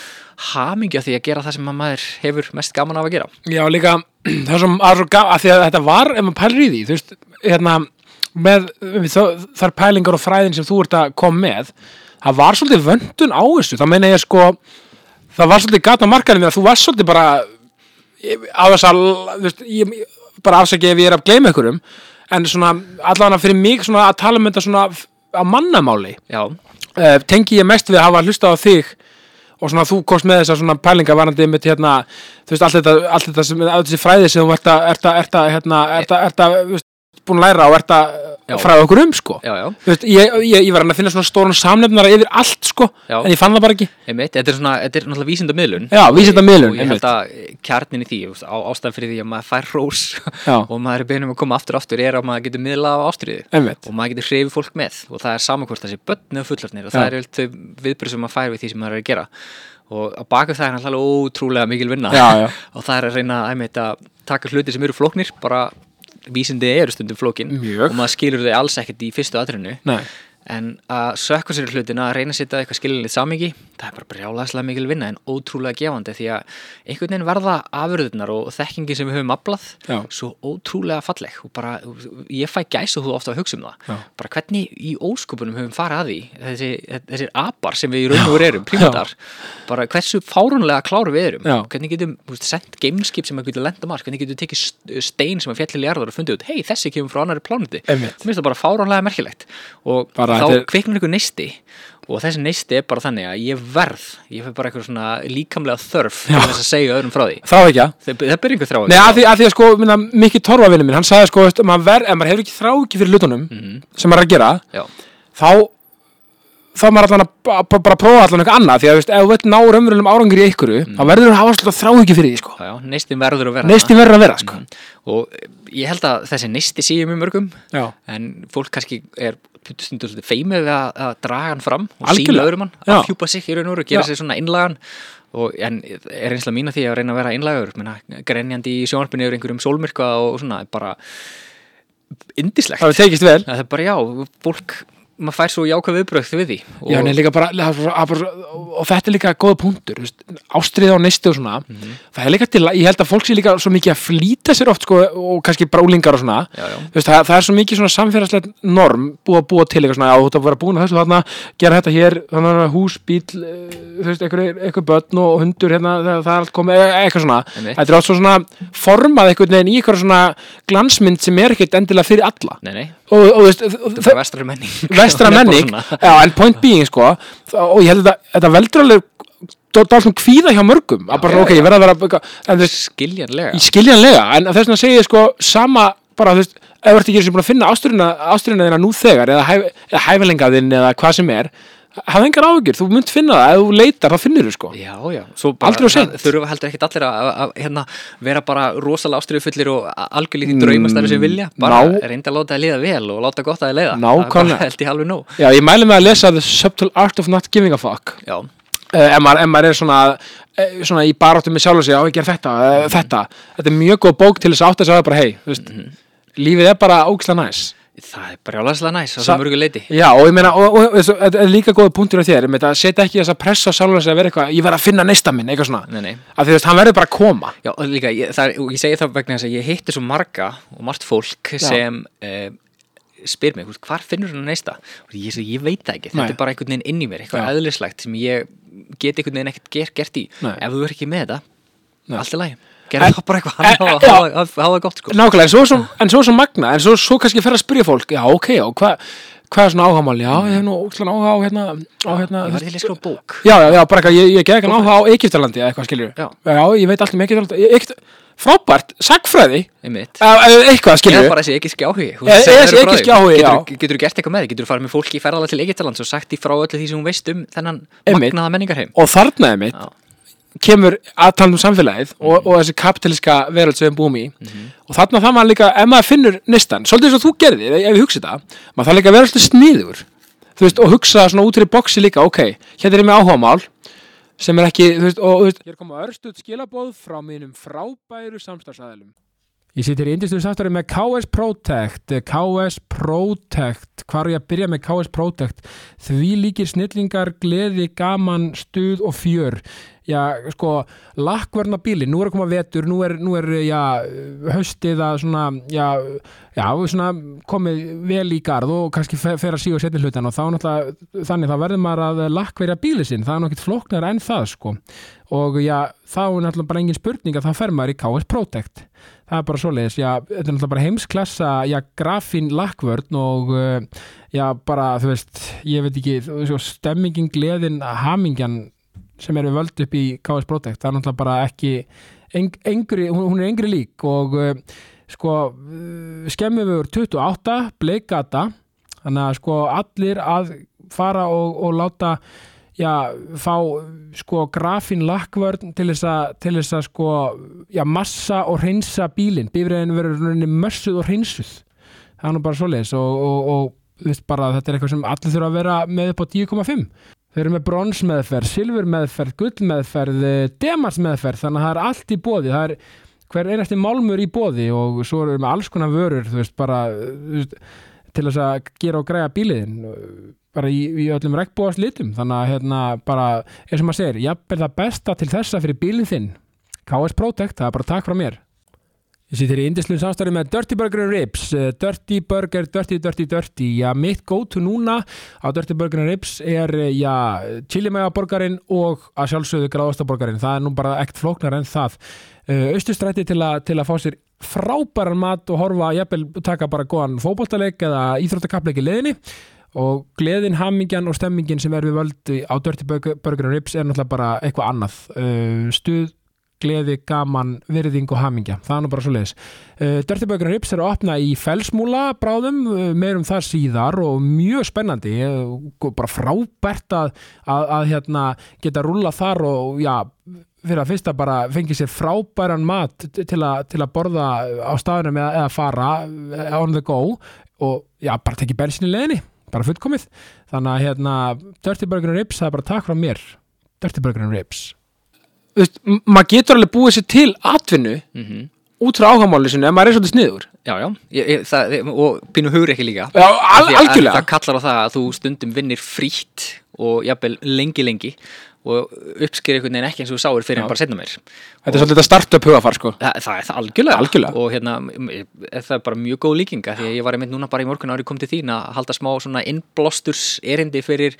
[SPEAKER 2] hamingja því að gera það sem að maður hefur mest gaman af að gera
[SPEAKER 1] Já, líka það er svo, það er svo gaf að því að þetta var ef maður pælir í því, þú veist hérna með við þá- þar pælingar og fræðin sem þú ert að koma með það var svolítið vöndun á þessu þá meina ég sko það var svolítið gata markanum að þú varst svolítið bara ég- á þess að þú veist, ég, bara afsaki ef ég er að gleyma ykkurum en svona allavega fyrir mig svona að tala um þetta svona f- á mannamáli
[SPEAKER 2] Já,
[SPEAKER 1] uh, tengi ég mest við að hafa hlustað á þig og svona þú komst með þessar svona pælinga varandi einmitt hérna, þú veist, allt þetta, allt þetta sem, allt þessi fræði sem þú ert að, ert að, ert að, hérna, ert að, ert að, þú veist, búin að læra og ert að
[SPEAKER 2] Já.
[SPEAKER 1] fræða okkur um, sko.
[SPEAKER 2] já, já,
[SPEAKER 1] Þú veist, ég, ég, ég var hann að finna svona stóran samlefnara yfir allt, sko,
[SPEAKER 2] Já.
[SPEAKER 1] en ég fann það bara ekki.
[SPEAKER 2] einmitt, þetta er svona, þetta er náttúrulega vísindamiðlun
[SPEAKER 1] Já, vísindamiðlun,
[SPEAKER 2] Og ég
[SPEAKER 1] einmitt.
[SPEAKER 2] held að kjarnin í því, þú veist, á, ástæðan fyrir því að maður fær rós
[SPEAKER 1] Já.
[SPEAKER 2] og maður er beinum að koma aftur og aftur er að maður getur miðlað af ástriðu
[SPEAKER 1] Einmitt.
[SPEAKER 2] og maður getur hreyfið fólk með og það er saman hvort það sé börn eða fullorðnir og
[SPEAKER 1] Já.
[SPEAKER 2] það er yfirleitt þau viðbröð sem maður fær við því sem maður er að gera og að baka það er náttúrulega ótrúlega mikil vinna
[SPEAKER 1] Já, já.
[SPEAKER 2] og það er að reyna einmitt, að taka hluti sem eru flóknir bara vísindi eru stundum flókin
[SPEAKER 1] Mjög.
[SPEAKER 2] og maður skilur þau alls ekkert í fyrstu atrinu
[SPEAKER 1] Nei.
[SPEAKER 2] en að sökka sér í hlutina að reyna að setja eitthvað skilinlið samingi það er bara brjálaðslega mikil vinna en ótrúlega gefandi því að einhvern veginn verða afurðunar og þekkingi sem við höfum aflað
[SPEAKER 1] Já.
[SPEAKER 2] svo ótrúlega falleg og bara, ég fæ gæs og þú ofta að hugsa um það
[SPEAKER 1] Já.
[SPEAKER 2] bara hvernig í óskupunum höfum farað að því þessi, þessir apar sem við í raun og veru erum prímatar, bara hversu fárunlega kláru við erum,
[SPEAKER 1] Já.
[SPEAKER 2] hvernig getum þú veist, sendt gameskip sem að getur lenda mars, hvernig getum tekið st- stein sem að fjallilega jarðar og fundið út, hei þessi kemur frá annari plániti
[SPEAKER 1] Einmitt.
[SPEAKER 2] Mér finnst það bara fáránlega merkilegt og
[SPEAKER 1] Bara
[SPEAKER 2] þá
[SPEAKER 1] þetta er-
[SPEAKER 2] kviknar ykkur neisti og þessi neisti er bara þannig að ég verð ég fyrir bara eitthvað svona líkamlega þörf til þess að segja öðrum frá því
[SPEAKER 1] þá ekki að
[SPEAKER 2] það, það byrja ykkur þrá
[SPEAKER 1] Nei, að því, að því að sko, minna, Mikki Torfavinni minn, hann sagði sko, veist, maður ver, ef maður hefur ekki þrá ekki fyrir hlutunum
[SPEAKER 2] Mhm.
[SPEAKER 1] sem maður er að gera,
[SPEAKER 2] Já,
[SPEAKER 1] þá þá er maður allan að ba- ba- bara prófa allan eitthvað annað, því að þú veist, ef þú veit ná raunverulegum árangri í einhverju, þá verður þú að hafa alltaf þrá ekki fyrir því, sko.
[SPEAKER 2] já, já, neistin verður að vera
[SPEAKER 1] Neistin verður að vera, sko.
[SPEAKER 2] þarna. og eh, ég held að þessi neisti séu mjög mörgum
[SPEAKER 1] Já.
[SPEAKER 2] en fólk kannski er stundur svolítið feimið við að, að draga hann fram og sína
[SPEAKER 1] Algjörlega.
[SPEAKER 2] öðrum hann,
[SPEAKER 1] Já.
[SPEAKER 2] að fjúpa sig í raun og veru, gera
[SPEAKER 1] Já.
[SPEAKER 2] sig svona innlagan og, en er einslega mín að því að reyna að vera innlagur menna, grenjandi í sjónarpinu yfir einhverjum sólmyrkva og svona, bara indislegt,
[SPEAKER 1] Það hefur tekist vel.
[SPEAKER 2] það er bara já fólk, maður fær svo jáka viðbröð við því
[SPEAKER 1] Já, nei, líka bara, það er svo- það er bara, svo- og þetta er líka góða punktur, þú veist, ástriða og neisti og svona, það er líka til, að- ég held að fólk sé líka svo mikið að flýta sér oft, sko, og kannski brálingar og svona,
[SPEAKER 2] Já, já.
[SPEAKER 1] Þú veist, það, það er svo mikið svona samfélagslegt norm búið að búa til eitthvað svona, já, þú ert að vera búin að þessu þarna, gera þetta hér, þannig að hús, bíl, eh, þú veist, eitthvað, eitthvað börn og hundur hérna, það, það er allt komið, e- eitthvað svona.
[SPEAKER 2] Einmitt.
[SPEAKER 1] Þetta er allt svo svona formað einhvern veginn í eitthvað svona glansmynd sem er ekkert endilega fyrir alla.
[SPEAKER 2] nei, nei,
[SPEAKER 1] Og, og þú veist, þ-
[SPEAKER 2] það er vestra menning
[SPEAKER 1] vestra
[SPEAKER 2] Hún er bara
[SPEAKER 1] menning
[SPEAKER 2] svona.
[SPEAKER 1] já, en point being sko þá- og ég held að þetta- þetta veldur alveg dálfum kvíða hjá mörgum að bara,
[SPEAKER 2] já,
[SPEAKER 1] ok, ég verða að vera eitthvað- en þú veist,
[SPEAKER 2] skiljanlega
[SPEAKER 1] í skiljanlega, en þess vegna segi ég sko sama, bara þú veist, ef þú ert ekki einu sinni búin að finna ástyrjuna, ástyrjuna þína nú þegar eða, hæf, eða hæfilenga þinn eða hvað sem er hafði engar áhyggjur, þú munt finna það ef þú leitar, þá finnur þú sko
[SPEAKER 2] Já, já, svo bara
[SPEAKER 1] Aldrei of seint.
[SPEAKER 2] það þurfa heldur ekkit allir að, að, að hérna, vera bara rosalega ástriðufullir og algjörlítið mm, draumastæri sem vilja bara
[SPEAKER 1] ná-
[SPEAKER 2] reynda að láta það liða vel og láta gott að það leiða það er
[SPEAKER 1] Nákvæmlega.
[SPEAKER 2] bara held ég alveg nóg
[SPEAKER 1] Já, ég mæli með að lesa The Subtle Art of Not Giving a Fuck
[SPEAKER 2] Já,
[SPEAKER 1] uh, ef, maður, ef maður er svona, uh, svona í baráttu með sjálf og sig á ég ger þetta, uh, þetta þetta er mjög góð bók til þess að átta sig á það bara hei, þú veist, lífið er bara ógislega næs
[SPEAKER 2] það er bara jálagslega næs á
[SPEAKER 1] Sa-
[SPEAKER 2] svo mörgu leiti
[SPEAKER 1] Já, og ég meina, og, og, og, þetta er líka góða punktur á þér, ég meina, setja ekki þess að pressa sjálf og sig að vera eitthvað, ég verð að finna neista minn eitthvað svona,
[SPEAKER 2] Nei, nei
[SPEAKER 1] af því þú veist, hann verður bara að koma
[SPEAKER 2] Já, og líka, ég, það, er- og ég segi það vegna þess að ég hitti svo marga og margt fólk sem eh, spyr mig, þú veist, hvar finnur hann neista? Og ég, segi, ég veit það ekki, þetta
[SPEAKER 1] Nei.
[SPEAKER 2] er bara einhvern veginn inn í mér, eitthvað
[SPEAKER 1] Já.
[SPEAKER 2] eðlislegt sem ég get einhvern veginn ekkert ger, gert í
[SPEAKER 1] Nei.
[SPEAKER 2] ef þú er ekki með þetta,
[SPEAKER 1] Nei.
[SPEAKER 2] allt er lægi gerðu
[SPEAKER 1] En-
[SPEAKER 2] það bara eitthvað,
[SPEAKER 1] en-
[SPEAKER 2] hafa-
[SPEAKER 1] já.
[SPEAKER 2] hafa hafa- hafa það gott sko
[SPEAKER 1] Nákvæmlega, en svo er svo, en svo, er svo magna, en svo, svo kannski fer að spyrja fólk, já, ok, og hvað hvað er svona áhagamál, já, ég hef nú ógislega áhuga á hérna, á hérna,
[SPEAKER 2] ég var til að skrifa bók
[SPEAKER 1] Já, já, já, bara eitthvað, ég, ég geði eitthvað áhuga á Egyptalandi eða eitthvað skilur
[SPEAKER 2] Já.
[SPEAKER 1] ég veit alltaf um Egyptalandi Ég- Egypt, Frábært, sagfræði
[SPEAKER 2] einmitt
[SPEAKER 1] eða eða eitthvað skilur
[SPEAKER 2] Eða
[SPEAKER 1] við
[SPEAKER 2] bara þessi ekki skjáhugi þú
[SPEAKER 1] Eða-
[SPEAKER 2] veist, segðu
[SPEAKER 1] eða þessi
[SPEAKER 2] öðru frá því.
[SPEAKER 1] ekki-skjáhugi, já.
[SPEAKER 2] Geturðu- Geturðu gert eitthvað með því, geturðu farið með fólki í ferðala til Egyptalands og sagt því frá öllu því sem hún veist um þennan
[SPEAKER 1] Einmitt.
[SPEAKER 2] magnaða menningarheim
[SPEAKER 1] Og þarnaðið mitt
[SPEAKER 2] Já.
[SPEAKER 1] kemur að tala um samfélagið og, og þessi kapitaliska veröld sem við búum í og þarna það maður líka, ef maður finnur nistan, svolítið eins og þú gerði, ef ég hugsi það maður þarf líka að vera alltaf sniður þú veist, og hugsa svona út fyrir boxi líka, ok hérna er ég með áhugamál sem er ekki, þú veist, og þú veist Hér koma örstuð skilabóð frá mínum frábæru samstagsæðilum Ég sittir í indistum samstæri með KS Protect KS Protect Hvar er ég að byrja með KS Protect? Því líkir snillingar, gleði, gaman, stuð og fjör Já, sko, lakkverna bíli Nú er að koma vetur, nú er, nú er já, haustið að svona já, já, svona komið vel í garð og kannski fe- fer að síga setni hlutan og þá náttúrulega þannig þá verður maður að lakkverja bíli sinn það er nokkið flóknar enn það, sko og já, þá er náttúrulega bara engin spurning að það fer maður í KS Protect það er bara svoleiðis, já, þetta er náttúrulega bara heimsklassa, já, grafín lakkvörn og uh, já, bara þú veist, ég veit ekki, þú veist, stemmingin, gleðin, hamingjan sem eru völd upp í KS Protect það er náttúrulega bara ekki eng, engri, hún, hún er engri lík og uh, sko, uh, skemmum við 28, bleikgata þannig að sko allir að fara og, og láta já, fá sko grafín lakkvörn til þess að, til þess að sko, já, massa og hreinsa bílinn, bifræðin verður rauninni mössuð og hreinsuð, það er nú bara svoleiðis og, og, og þú veist bara þetta er eitthvað sem allir þurfa að vera með upp á 10,5 Þau eru með bronsmeðferð, silfurmeðferð, gullmeðferð,
[SPEAKER 3] eh,
[SPEAKER 1] demarsmeðferð, þannig að það er allt í bóði, það er hver einasti málmur í bóði og svo eru með alls konar vörur, þú veist, bara, þú veist,
[SPEAKER 3] eh, til þess að gera og græja bíliðin bara í, í öllum regnbúast litum þannig að hérna bara eins og maður segir, jafnvel það besta til þessa fyrir bílinn þinn KS Protect, það er bara takk frá mér Ég sýttir í indislu samstarfi með Dirty Burger and Ribs Eh, Dirty Burger, Dirty, Dirty, Dirty Já, mitt go-to núna á Dirty Burger and Ribs er eh, já, chilimægaborgarinn og að sjálfsögðu gráðastaborgarinn, það er nú bara ekkert flóknar en það austustrætti til, að- til að fá sér frábæran mat og horfa, jafnvel taka bara góðan fótboltaleik eða íþróttakapleik í leðinni og gleðin, hamingjan og stemmingin sem er við völd á Dirty Burger Burger and Ribs er náttúrulega bara eitthvað annað uh, stuð, gleði, gaman virðing og hamingja, það er nú bara svo leiðis uh, Dirty Burger and Ribs er að opna í felsmúla bráðum, uh, meirum það síðar og mjög spennandi uh, bara frábært að, að, að hérna, geta rúlla þar og já, fyrir að fyrsta bara fengið sér frábæran mat til, a, til að borða á staðunum eða, eða fara eh, on the go og já, bara tekið bensin í leðinni, bara fullkomið þannig að hérna, Dirty Burger and Ribs það er bara takk frá mér, Dirty Burger and Ribs
[SPEAKER 1] Þú veist, m- maður getur alveg búið sér til atvinnu
[SPEAKER 2] Mhm.
[SPEAKER 1] út frá áhamáli sinu ef maður er svolítið sniður
[SPEAKER 2] Já, já, ég, ég, það, og pínu hugur ekki líka
[SPEAKER 1] Já, al,
[SPEAKER 2] Því að
[SPEAKER 1] algjörlega
[SPEAKER 2] Það kallar á það að þú stundum vinnir frítt og jafnvel lengi lengi og uppsker einhvern veginn ekki eins og þú sáir fyrir en bara setna mér
[SPEAKER 1] Þetta er svolítið að starta upp hugafar sko
[SPEAKER 2] Þa, það er það algjörlega,
[SPEAKER 1] Algjörlega.
[SPEAKER 2] og hérna, m- m- það er bara mjög góð líkinga því að ég var einmitt núna bara í morgun ári kom til þín að halda smá svona innblosturs erindi fyrir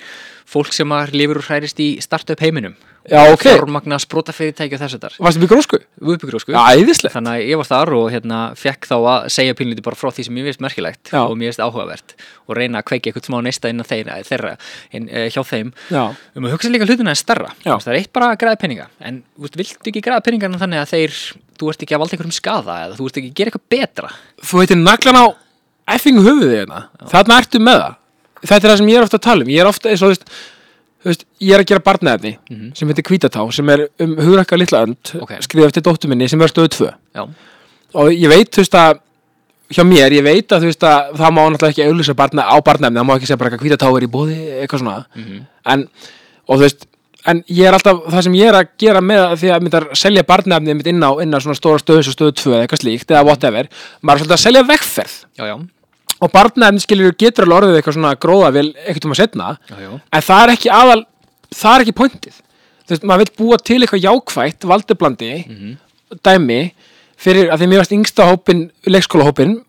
[SPEAKER 2] fólk sem að lifur og hrærist í startup heiminum
[SPEAKER 1] Já, ok.
[SPEAKER 2] fjármagna sprótafyrirtæki og þess að þar
[SPEAKER 1] Varstu mjög grósku?
[SPEAKER 2] Uppbyggrúsku
[SPEAKER 1] Já, æðislega
[SPEAKER 2] Þannig að ég var þar og hérna fekk þá að segja pínlítið bara frá því sem ég veist merkilegt
[SPEAKER 1] Já.
[SPEAKER 2] og mér veist áhugavert og reyna að kveiki eitthvað smá neista innan þeirra, þeirra inn, uh, hjá þeim
[SPEAKER 1] Já,
[SPEAKER 2] um að hugsa líka hlutina en stærra
[SPEAKER 1] Já.
[SPEAKER 2] það er eitt bara að græða peninga en þú veist, viltu ekki græða peningarna þannig að þeir þú ert ekki að valda einhverjum skada eða þú ert ekki að gera eitthvað betra
[SPEAKER 1] þú heitir naglan á effingu höfuðið hérna Þarna ertu með það Þetta er það sem ég er ofta að tala um Ég er ofta, eins og þú veist, þú veist Ég er að gera barnaefni sem heitir Hvítatá sem er um hugrakka litla önd
[SPEAKER 2] Mhm. Ok.
[SPEAKER 1] skrifa eftir dóttur minni sem er stöðu tvö
[SPEAKER 2] Já,
[SPEAKER 1] og ég veit, þú veist að hjá mér, ég veit að þú veist að það má náttúrulega ekki auðlýsa barna, á barnaefni, það má ekki segja bara eitthvað hvítatáir í bóði, eitthvað svona
[SPEAKER 2] Mhm.
[SPEAKER 1] en, og þú veist, en ég er alltaf það sem ég er að gera með að því að myndar selja barnaefni mitt inn á, inn á svona stóra stöðu eins og stöðu 2 eða eitthvað slíkt, eða whatever maður er svolítið að selja vegferð
[SPEAKER 2] já, já,
[SPEAKER 1] og barnaefni skilur getur alveg orðið eitthvað svona gróða vel eitthvað um að setna,
[SPEAKER 2] já, já.
[SPEAKER 1] en það er ekki aðal, það er ekki pointið þú veist, maður vill búa til eitthvað jákvætt valdeblandi
[SPEAKER 2] Mhm.
[SPEAKER 1] dæmi fyrir að því mér varst yngsta hópin leikskólahópin,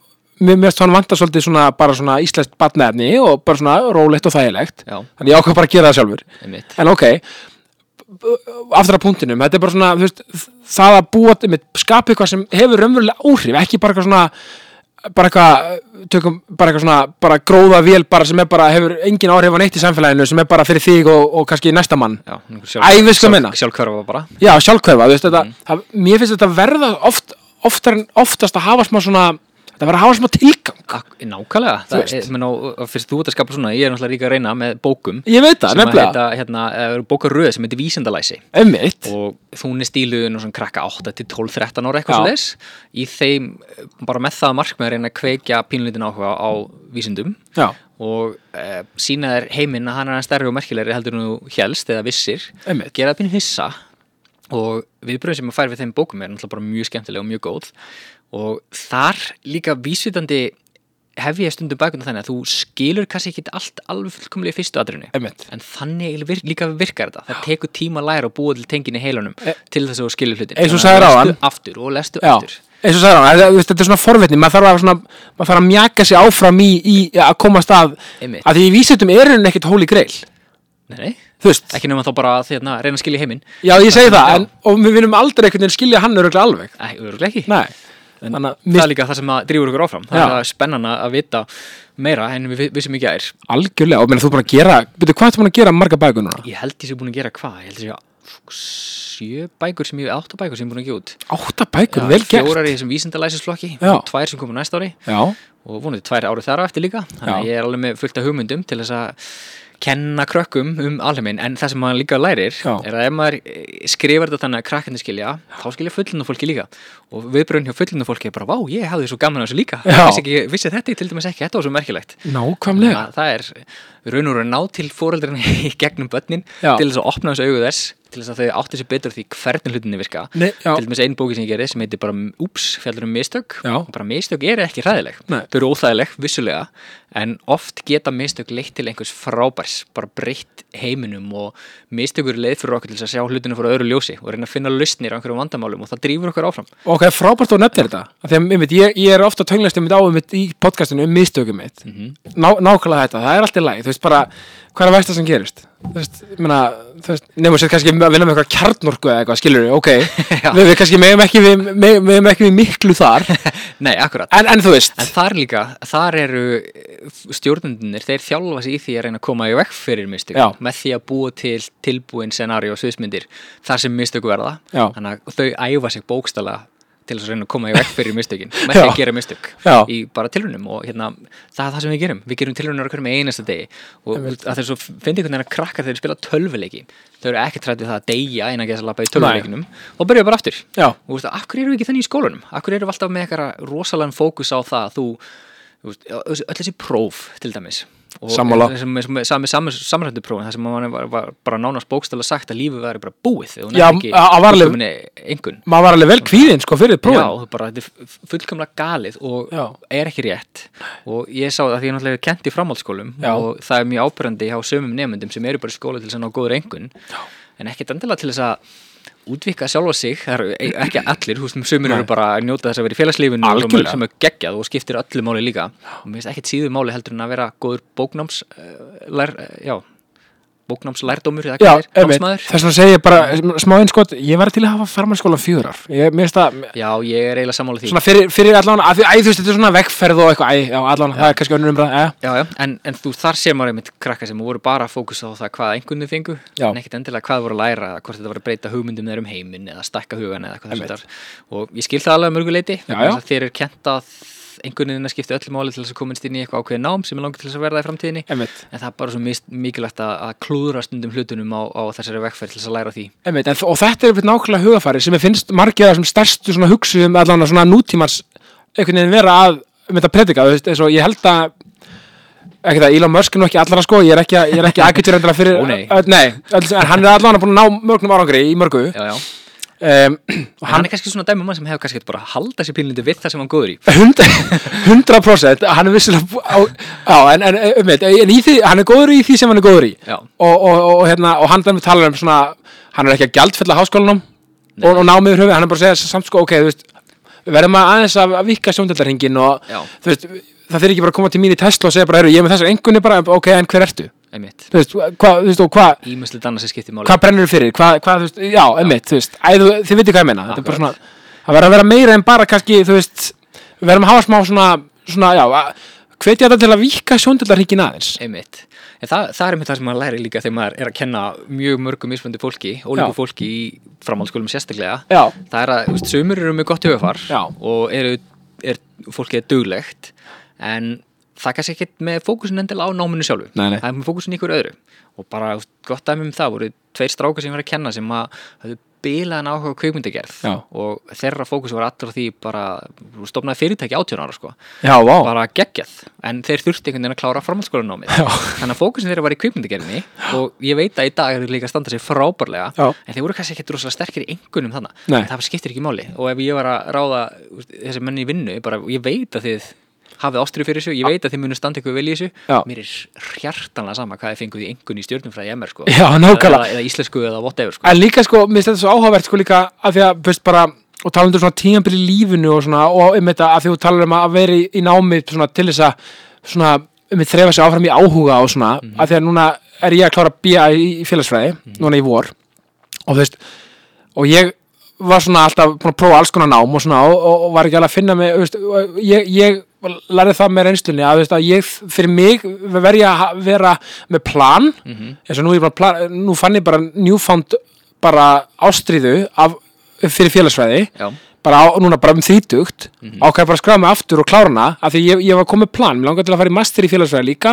[SPEAKER 1] mér mér varst hann vanta svolítið svona bara svona íslenskt batnaefni og bara svona rólegt og þægilegt
[SPEAKER 2] Já.
[SPEAKER 1] þannig ég ákvað bara að gera það sjálfur
[SPEAKER 2] einmitt
[SPEAKER 1] en ok aftur að punktinum, þetta er bara svona þú veist, það að búa, einmitt, skapa eitthvað sem hefur raunverulega áhrif, ekki bara eitthvað svona bara eitthvað tökum, bara eitthvað svona, bara gróða vél bara sem er bara, hefur engin áhrif á neitt í samfélaginu sem er bara fyrir þig og, og kannski næsta mann
[SPEAKER 2] Já,
[SPEAKER 1] Æ, við skulum meina.
[SPEAKER 2] Sjálfkörfa bara
[SPEAKER 1] Já, sjálfkvefa, þú veist þetta
[SPEAKER 2] Mm.
[SPEAKER 1] það, Mér finnst þetta verða oft, oftar en oftast að hafa smá svona Þetta verða að hafa smá tilgang
[SPEAKER 2] Ak- Nákvæmlega,
[SPEAKER 1] Þú
[SPEAKER 2] það
[SPEAKER 1] veist.
[SPEAKER 2] er, menn, og, og fyrst þú ert að skapa svona, ég er náttúrulega líka að reyna með bókum
[SPEAKER 1] Ég veit það,
[SPEAKER 2] sem að
[SPEAKER 1] nefnilega.
[SPEAKER 2] heita, hérna, eru bókar röð sem heitir vísindalæsi
[SPEAKER 1] Einmitt
[SPEAKER 2] og hún er stíluðin og svona krakka 8 til 12, 13 ára
[SPEAKER 1] Já.
[SPEAKER 2] eitthvað svo leis í þeim, eh, bara með það markmið að reyna að kveikja pínlítin áhuga á vísindum
[SPEAKER 1] Já,
[SPEAKER 2] og e, sína þær heiminn að hann er aðeins stærri og merkilegri heldur en þú helst eða vissir
[SPEAKER 1] Einmitt.
[SPEAKER 2] gera það pínu hissa og viðbröðin sem að fær við þeim bókum er náttúrulega bara mjög skemmtileg og mjög góð og þar líka vísvitandi hef ég stundum bækuna þannig að þú skilur kannski ekki allt alveg fullkomlega í fyrstu atrinu
[SPEAKER 1] einmitt
[SPEAKER 2] en þannig eiginlega vir- líka virkar þetta það tekur tíma að læra og búa til tengin í heilanum
[SPEAKER 1] E-
[SPEAKER 2] til þess að þú skilur hlutin
[SPEAKER 1] Eins og
[SPEAKER 2] Þannig
[SPEAKER 1] sagðir
[SPEAKER 2] að
[SPEAKER 1] áðan.
[SPEAKER 2] lestu aftur og lestu
[SPEAKER 1] Já,
[SPEAKER 2] aftur
[SPEAKER 1] eins og sagði hann, þetta, þú veist, þetta er svona forvitni Maður þarf að, svona, maður þarf að mjaka sig áfram í, í að komast að
[SPEAKER 2] Einmitt.
[SPEAKER 1] Að því í vísutum er henni ekkit hóli greil
[SPEAKER 2] nei, nei,
[SPEAKER 1] Þú veist
[SPEAKER 2] ekki nema þá bara að hérna, reyna að skilja heiminn
[SPEAKER 1] Já, ég segi það,
[SPEAKER 2] Já.
[SPEAKER 1] en, og við viljum aldrei einhvern veginn skilja hann öruglega alveg
[SPEAKER 2] Nei, örugglega ekki
[SPEAKER 1] Nei, þannig að
[SPEAKER 2] það
[SPEAKER 1] mér
[SPEAKER 2] er líka það sem að drífur okkur áfram það
[SPEAKER 1] Já.
[SPEAKER 2] er það spennan að að vita meira en við við sem ekki að er
[SPEAKER 1] algjörlega, og meina þú er búin að gera Byrju, hvað ertu búin að gera marga bækur núna?
[SPEAKER 2] ég held ég sé búin að gera hvað, ég held ég sé að sjö bækur sem ég, átta bækur sem ég er búin að gefa út
[SPEAKER 1] Átta bækur, vel gert
[SPEAKER 2] fjórar í þessum vísindalæsisflokki
[SPEAKER 1] Já.
[SPEAKER 2] og tvær sem komur næsta ári
[SPEAKER 1] Já,
[SPEAKER 2] og vonandi tvær árið þar á eftir líka þannig að
[SPEAKER 1] Já.
[SPEAKER 2] ég er alveg með fullt af hugmyndum til þess að kenna krökkum um alheiminn en það sem maður líka lærir
[SPEAKER 1] Já.
[SPEAKER 2] er að ef maður eh, skrifar þetta þannig að krakkarnir skilja þá skilja fullinu fólki líka og viðbröðin hjá fullinu fólki er bara vá, ég hafði svo gaman að þessu líka
[SPEAKER 1] Já.
[SPEAKER 2] vissi, ekki, vissi þetta til dæmis ekki, þetta var svo merkilegt
[SPEAKER 1] nákvæmlega
[SPEAKER 2] Að það er raun og raun ná til fóreldrarna í gegnum börnin
[SPEAKER 1] Já.
[SPEAKER 2] til þess að opna þessu augu þess til þess að þau átti sér betur á því hvernig hlutinni virka
[SPEAKER 1] Nei, já.
[SPEAKER 2] til dæmis einn bóki sem ég gerði sem heitir bara Úps, fjallur um mistök
[SPEAKER 1] Já.
[SPEAKER 2] Og bara mistök eru ekki hræðileg
[SPEAKER 1] Nei.
[SPEAKER 2] þau eru óþægileg, vissulega en oft geta mistök leitt til einhvers frábærs bara breytt heiminum og mistök eru leið fyrir okkur til þess að sjá hlutinu frá öðru ljósi og reyna að finna lausnir á einhverjum vandamálum og það drýfur okkur áfram
[SPEAKER 1] Ok, frábært að þú nefnir þetta Af því að, einmitt, ég, ég er ofta tönglast einmitt á einmitt, í podcastinu um mistökum mitt Ná, nákvæmlega þetta, það er allt í lagi þú veist bara, hvað er að veist það sem gerist þú veist, ég meina, þú veist, nefnum sér kannski að vinna með eitthvað kjarnorku eða eitthvað, skilur ok,
[SPEAKER 2] Já.
[SPEAKER 1] við, við kannski megum ekki við, meg, megum ekki við miklu þar
[SPEAKER 2] Nei, akkurat
[SPEAKER 1] en, en þú veist,
[SPEAKER 2] En þar líka, þar eru eh, stjórnendunir, þeir þjálfa sig í því að reyna að koma í vekk fyrir mistök
[SPEAKER 1] Já.
[SPEAKER 2] með því að búa til tilbúin scenari og sviðsmyndir þar sem mistök verða
[SPEAKER 1] Já.
[SPEAKER 2] þannig að þau æfa sig bókstala til þess að reyna að koma í vekk fyrir mistökin með því
[SPEAKER 1] Já.
[SPEAKER 2] að gera mistök
[SPEAKER 1] Já.
[SPEAKER 2] í bara tilrunum og hérna, það er það sem við gerum við gerum tilrunum á hverjum einasta degi og að það er svo, fyndi hvernig að krakkar þeir spila tölvuleiki þau eru ekki trætt við það að deyja einan geðs að lappa í tölvuleikinum og byrja bara aftur
[SPEAKER 1] já,
[SPEAKER 2] og þú veist, af hverju eru við ekki þannig í skólanum af hverju eru við alltaf með eitthvað rosalega fókus á það að þú, þú veist, öll þessi próf til dæmis og
[SPEAKER 1] Sammála.
[SPEAKER 2] sem, sem, sami, sami, samrættu prófin þar sem mann var, var bara nánast bókstæla sagt að lífið væri bara búið þegar hún
[SPEAKER 1] Já,
[SPEAKER 2] er ekki
[SPEAKER 1] að- að varlega-
[SPEAKER 2] fullkominni einhvern
[SPEAKER 1] maður var alveg vel kvíðinn sko fyrir
[SPEAKER 2] Já,
[SPEAKER 1] prófin
[SPEAKER 2] þú bara, þetta er f- fullkomlega galið og
[SPEAKER 1] Já.
[SPEAKER 2] er ekki rétt og ég sá það að því ég náttúrulega kent í framhaldsskólum
[SPEAKER 1] Já.
[SPEAKER 2] og það er mjög ábyrrandi hjá sömum nefnendum sem eru bara í skóla til þess að ná góður engun Já. en ekkert endilega til þess að útvika sjálfa sig, það eru e- ekki allir húsum, sömur eru bara að njóta þess að vera í félagslífinu og
[SPEAKER 1] Algjörlega.
[SPEAKER 2] sem er geggjað og skiptir öllu máli líka og mér finnst ekkert síður máli heldur en að vera góður bóknáms uh, lær, uh, já, bóknámslærdómur eða
[SPEAKER 1] Já,
[SPEAKER 2] hvað er,
[SPEAKER 1] einmitt,
[SPEAKER 2] námsmaður
[SPEAKER 1] þess vegna segi ég bara smáinn sko, ég var til að hafa farmannskóla fjögur ár, ég minnst það
[SPEAKER 2] Já, ég er eiginlega sammála því
[SPEAKER 1] svona fyrir, fyrir allan, að því, æ, þú veist, þetta er svona vegferð og eitthvað, æ, já, allan, það er kannski önnur umræð, já,
[SPEAKER 2] Já, já, en, en þú þar sér maður einmitt krakka sem voru bara að fókusa á það hvað einhvernig fengu,
[SPEAKER 1] Já.
[SPEAKER 2] en ekkit endilega hvað voru að læra, eða hvort þetta voru að breyta hugmyndum þeir um heiminn eða stækka hugan eða hvað þess að og ég skil það alveg að mörguleiti
[SPEAKER 1] Já, já.
[SPEAKER 2] þeir eru kent að einhvernig skipti öllu máli til þess að komast inn í eitthvað ákveðið nám sem er langt til þess að verða í framtíðinni
[SPEAKER 1] einmitt.
[SPEAKER 2] en það er bara svo mis- mikilvægt að, að klúðra stundum hlutunum á, á þessari vegferð til þess að læra á því
[SPEAKER 1] Einmitt, en, og þetta er einhvern nákvæmlega hugafæri sem ég finnst margir af þessum stærstu svona hugsuðum um allan að svona nútímans einhvern veginn vera að um þetta predika, þú veist, eins og ég held að ekki það, Elon Musk er nú ekki allra sko ég er ekki, ég er ekki aðgjötur endilega fyrir
[SPEAKER 2] Ó, nei.
[SPEAKER 1] Öll, nei, öll, en hann er allan að búin að ná mörgnum árangri í mörgu um,
[SPEAKER 2] Já, já,
[SPEAKER 1] og
[SPEAKER 2] en
[SPEAKER 1] hann
[SPEAKER 2] hann er kannski svona dæmi um mann sem hefur kannski bara haldað sér pínlindi við það sem hann er góður í
[SPEAKER 1] 100%, 100% hann er vissilega bú- á, á, en, en, um, en í því, hann er góður í því sem hann er góður í
[SPEAKER 2] Já.
[SPEAKER 1] og, og, og, hérna, og hann dæmi talar um svona hann er ekki að gjaldfella háskólanum og, og námið höfuð, hann er bara að segja samt sko ok, þú veist, við verðum að aðeins að, að vika sjóndaldarhingin og
[SPEAKER 2] Já.
[SPEAKER 1] þú veist, það þeir ekki bara að koma til mín í Tesla og segja bara, heyrðu, ég er með þessar engunni bara, ok, en hver ertu?
[SPEAKER 2] einmitt,
[SPEAKER 1] Þú veist, hvað, þú veist, og hvað
[SPEAKER 2] ímjömslega annars sem skiptir máli
[SPEAKER 1] hvað brennur fyrir, hvað, hvað, þú veist, já, emmitt, þú veist, æ, þú, þið veitir hvað ég meina, þetta er bara svona, það verður að vera meira en bara kannski, þú veist, við verðum að hafa smá svona, svona, já, að- hvetja þetta til að vika sjóndöldarhingin aðeins.
[SPEAKER 2] einmitt, en það, það er einmitt það sem maður læri líka þegar maður er að kenna mjög mörgum mismöndi fólki, ólíku
[SPEAKER 1] Já.
[SPEAKER 2] fólki í framhaldsskólum sérstaklega
[SPEAKER 1] Já.
[SPEAKER 2] það er að, þú veist, sömur eru með gott höfafar
[SPEAKER 1] Já.
[SPEAKER 2] og eru, er, fólki er duglegt en það er kannski ekkert með fókusin endilega á náminu sjálfu
[SPEAKER 1] Nei, nei.
[SPEAKER 2] það er með fókusin í ykkur öðru og bara þú veist, gott dæmi um það voru tveir strákar sem ég var að kenna sem að hafðu bilaðan áhuga á kveikmyndagerð
[SPEAKER 1] Já.
[SPEAKER 2] og þeirra fókus var allra því bara þú stofnaði fyrirtæki átjón ára sko
[SPEAKER 1] Já, vá,
[SPEAKER 2] bara geggjað en þeir þurfti einhvern veginn að klára framhaldsskólanámið
[SPEAKER 1] Já.
[SPEAKER 2] þannig að fókusin þeirra var í kvipmyndagerðinni og ég veit að í dag eru þeir líka að standa sér frábærlega
[SPEAKER 1] Já.
[SPEAKER 2] en þeir voru kannski ekki rosalega sterkir í engunum þannig
[SPEAKER 1] Nei.
[SPEAKER 2] en það skiptir ekki máli og ef ég var að ráða þú veist, þessi menn í vinnu bara, ég veit að þið hafið ástriðu fyrir þessu, ég veit að þið munu standa ykkur vel í þessu
[SPEAKER 1] Já.
[SPEAKER 2] mér er hjartanlega sama hvað þið fenguð í engun í stjórnumfræði MR sko
[SPEAKER 1] Já, nákvæmlega.
[SPEAKER 2] eða, eða íslensku eða whatever sko
[SPEAKER 1] en líka sko, mér finnst þetta svo áhugavert sko líka, af því að, þú veist, bara, og tala um þetta svona tímanbyrði lífinu og svona, og um þetta, af því þú talar um að vera í, í námi svona til þess að, svona, um þetta þrefa sig áfram í áhuga og svona, af því að núna er ég að klára BA í í félagsfræði, núna í vor, og þú veist, og ég var svona alltaf búin að prófa alls konar nám og svona og, og, og var ekki alveg að finna mig þú veist, og ég, ég lærði það með reynslunni að, þú veist, að ég fyrir mig verð ég að ha- vera með plan eins og nú, er ég bara plan, nú fann ég bara newfound bara ástriðu af, fyrir félagsfræði
[SPEAKER 2] Já.
[SPEAKER 1] bara á, núna bara um þrítugt mm -hmm. ákveð bara að skráða mig aftur og klára hana af því ég, ég var komið plan, mér langar til að fara í master í félagsfræði líka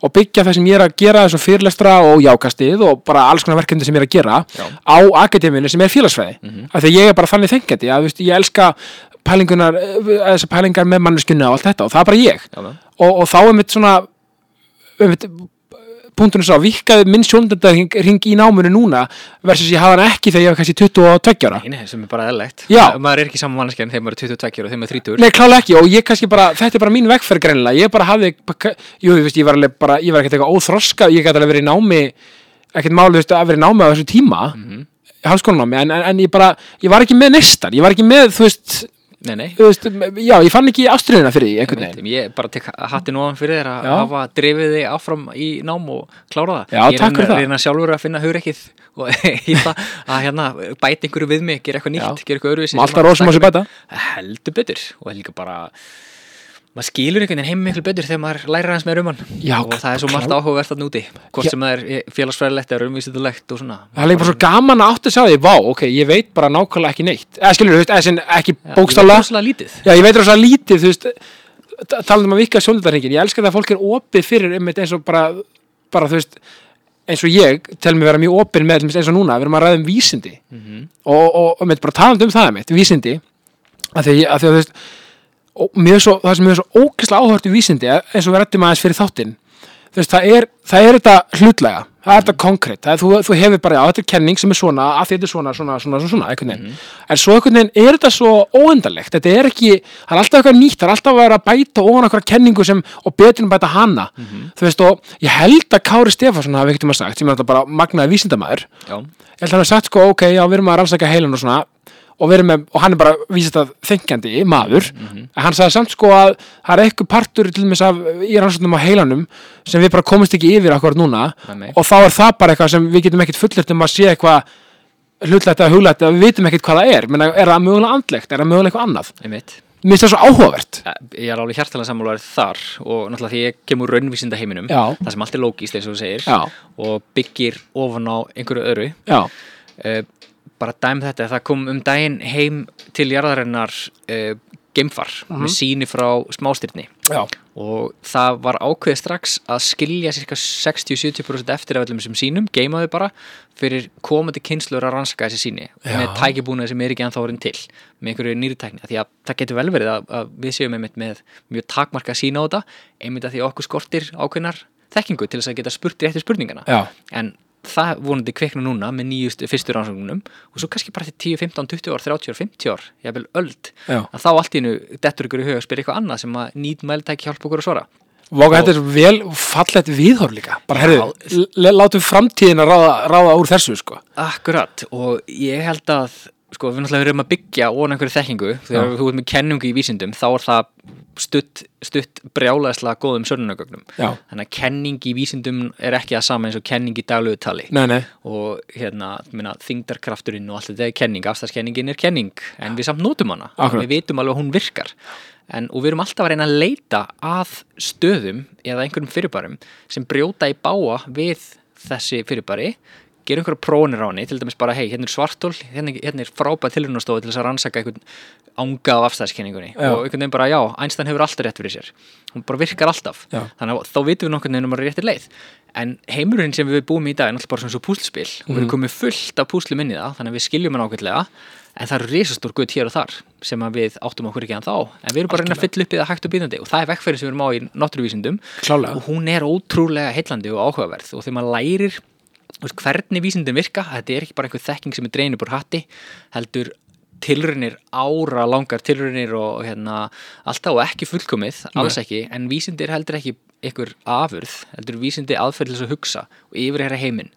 [SPEAKER 1] og byggja það sem ég er að gera þessum fyrirlestra og jákastið og bara alls konar verkefni sem ég er að gera
[SPEAKER 2] Já.
[SPEAKER 1] á akademíunni sem er félagsfræði af því ég er bara þannig þengjandi að þú veist, ég elska pælingunar, eh, þessar pælingar með manneskjunni og allt þetta og það er bara ég
[SPEAKER 2] Já, já.
[SPEAKER 1] og, og þá er mitt svona um, punkturinn sá, vikkaði minn sjónundardag ring í námunu núna versus ég hafa hann ekki þegar ég var kannski 22 ára
[SPEAKER 2] Nei, sem er bara eðlegt
[SPEAKER 1] Já.
[SPEAKER 2] Maður er ekki saman manneskjan þegar maður er 22 ára og þegar maður er 30
[SPEAKER 1] Nei, klálega ekki og ég kannski bara, þetta er bara mín vegferð greinilega, ég bara hafði, jú, þú veist, ég var alveg bara, ég var ekkert eitthvað óþroska, ég gæti alveg verið í námi, ekkert máli, þú veist, að verið í námi á þessu tíma, mm -hmm. háskólanámi, en, en, en ég bara, ég var ekki með neistar, ég var ekki með, þú veist,
[SPEAKER 2] Nei, nei,
[SPEAKER 1] þú veist, já, ég fann ekki ástriðina fyrir því, einhvern veginn.
[SPEAKER 2] Einmitt, ég bara tek hattin ofan fyrir þér að
[SPEAKER 1] Já.
[SPEAKER 2] hafa drifið þig áfram í nám og klára það
[SPEAKER 1] Já,
[SPEAKER 2] ég
[SPEAKER 1] takk fyrir
[SPEAKER 2] reyna,
[SPEAKER 1] það.
[SPEAKER 2] reyna sjálfur að finna hugreikið og í það að hérna bæti einhverju við mig, gera eitthvað nýtt,
[SPEAKER 1] Já.
[SPEAKER 2] gera eitthvað öruvísi
[SPEAKER 1] Má alltaf rósum á sér bæta.
[SPEAKER 2] heldur betur og það er líka bara maður skilur einhvern veginn heim miklu betur þegar maður læra hans með rumann
[SPEAKER 1] Já,
[SPEAKER 2] um og það er svo margt
[SPEAKER 1] klá-
[SPEAKER 2] áhugavert að núti hvort
[SPEAKER 1] Já.
[SPEAKER 2] sem það er félagsfræðilegt eða rumvísindulegt og svona
[SPEAKER 1] Það er líka bara svo gaman að átti að segja því, vá, ok, ég veit bara nákvæmlega ekki neitt, eða skilur, þú veist, eða sem ekki bókstálega,
[SPEAKER 2] bókstálega lítið
[SPEAKER 1] Já, ég veit rosa lítið, þú veist ta- talandi um að vika sjónlítarhingin, ég elska það að fólk er opið fyrir einmitt eins og bara, bara þú veist, eins og ég tel mig vera mjög opið með til dæmis, eins og núna, við erum að ræða um vísindi
[SPEAKER 2] Mhm,
[SPEAKER 1] og, og, og mitt, bara talandi um það mitt, vísindi að því að, því að þú veist og mjög svo, það sem mjög svo ókvæslega áhört í vísindi, eh, eins og við rættum aðeins fyrir þáttinn þú veist, það er, það er þetta hlutlega það er þetta konkrétt, það er, þú, þú hefur bara já, þetta er kenning sem er svona, að þetta er svona svona, svona, svona, svona einhvern veginn, en svo einhvern veginn er þetta svo óendalegt, þetta er ekki það er alltaf eitthvað nýtt, það er alltaf að vera að bæta ofan okkur kenningu sem, og betur en bæta hana þú veist, og ég held að Kári Stefánsson hafi ekkert um að sagt, sem er þetta bara magnaði vísindamæður,
[SPEAKER 2] Já.
[SPEAKER 1] ég held að hann hafi sagt sko, ok, já, við erum að rannsaka heilan og svona og við erum með, og hann er bara vísist að þengjandi maður,
[SPEAKER 2] Mhm.
[SPEAKER 1] en hann sagði samt sko að það er eitthvað partur til þess að í rannsóknum á heilanum sem við bara komumst ekki yfir akkur núna
[SPEAKER 2] Nei, nei.
[SPEAKER 1] og þá er það bara eitthvað sem við getum ekkit fullirt um að sé eitthvað hlutlætt eða huglætt eða við vitum ekkit hvað það er, menna er það mögulega andlegt, er það mögulega eitthvað annað
[SPEAKER 2] Einmitt.
[SPEAKER 1] mér finnst það svo áhugavert
[SPEAKER 2] Ja, Ég er alveg hjartalega sammálaður þar og náttúrulega því ég kemur raunvísinda heiminum
[SPEAKER 1] Já.
[SPEAKER 2] það sem allt er lógist eins og þú segir
[SPEAKER 1] Já.
[SPEAKER 2] og byggir ofan á einhverju öðru
[SPEAKER 1] Já,
[SPEAKER 2] uh, bara dæm þetta, það kom um daginn heim til jarðarinnar uh, geimfar með síni frá smástyrni
[SPEAKER 1] já,
[SPEAKER 2] og það var ákveðið strax að skilja cirka 60-70% eftir af öllum sem sínum, geima þau bara fyrir komandi kynslur að rannsaka þessi síni
[SPEAKER 1] Já.
[SPEAKER 2] með tækibúnaði sem er ekki ennþá orðin til með einhverju nýri tækni, Af því að það getur vel verið að, að við séum einmitt með mjög takmarka sína á þetta, einmitt að því að okkur skortir ákveðnar þekkingu til þess að geta spurt réttu spurningana
[SPEAKER 1] já,
[SPEAKER 2] en það vonandi kveikna núna með nýjustu fyrstu rannsóknunum og svo kannski bara til 10, 15, 20 ár, 30 ár, 50 ár jafnvel öld,
[SPEAKER 1] Já.
[SPEAKER 2] að þá allt í nú dettur ykkur í huga að spyrja eitthvað annað sem að nýt mæltæki hjálpa okkur að svara
[SPEAKER 1] Váka, þetta er vel fallett viðhorf líka bara herðu, látum framtíðin að ráða, ráða úr þessu sko
[SPEAKER 2] Akkurat, og ég held að sko, við náttúrulega erum að byggja ofan einhverju þekkingu, þegar
[SPEAKER 1] Já.
[SPEAKER 2] þú ert með kenningu í vísindum þá er það stutt, stutt brjálæðslega góðum sönnunagögnum
[SPEAKER 1] Já.
[SPEAKER 2] þannig að kenning í vísindum er ekki að sama eins og kenning í daglegu tali
[SPEAKER 1] Nei, nei,
[SPEAKER 2] og hérna, minna, þingdarkrafturinn og allt þetta er kenning, afstæðskenningin er kenning en við samt notum hana,
[SPEAKER 1] Akkurat.
[SPEAKER 2] við vitum alveg að hún virkar en, og við erum alltaf að reyna að leita að stöðum eða einhverjum fyrirbærum sem brjóta í báa við þessi fyrirbæri gera einhverja prónir á henni, til dæmis bara hei, hérna er svartól, hérna, hérna er frábæð tilhörnastofa til þess að rannsaka einhvern anga af afstæðskenningunni
[SPEAKER 1] Já.
[SPEAKER 2] og einhvern veginn bara já, Einstein hefur alltaf rétt fyrir sér hún bara virkar alltaf
[SPEAKER 1] Já.
[SPEAKER 2] þannig að þá vitum við nokkurn veginn um að réttir leið en heimurinn sem við búum í í dag er náttúrulega bara svona svo púslspil og við
[SPEAKER 1] Mhm.
[SPEAKER 2] erum komið fullt af púslum inn í það þannig að við skiljum hann ákveðlega en það eru risastór gutt hér og þar sem að við áttum okkur ekki að þá en við erum bara að reyna að fylla upp í það hægt og býðandi og það er vekkferðin sem við erum á í náttúruvísindum
[SPEAKER 1] Klálega.
[SPEAKER 2] og hún er ótrúlega heillandi og áhugaverð og þegar maður lærir þú veist, hvernig vísindin virka, þetta er ekki bara einhver þekking sem er dreinu búr hatti heldur tilraunir ára langar tilraunir og hérna alltaf og ekki fullkomið, alls ekki en vísindi er heldur ekki einhver afurð heldur vísindi aðferðlis að hugsa og yfir hérna heiminn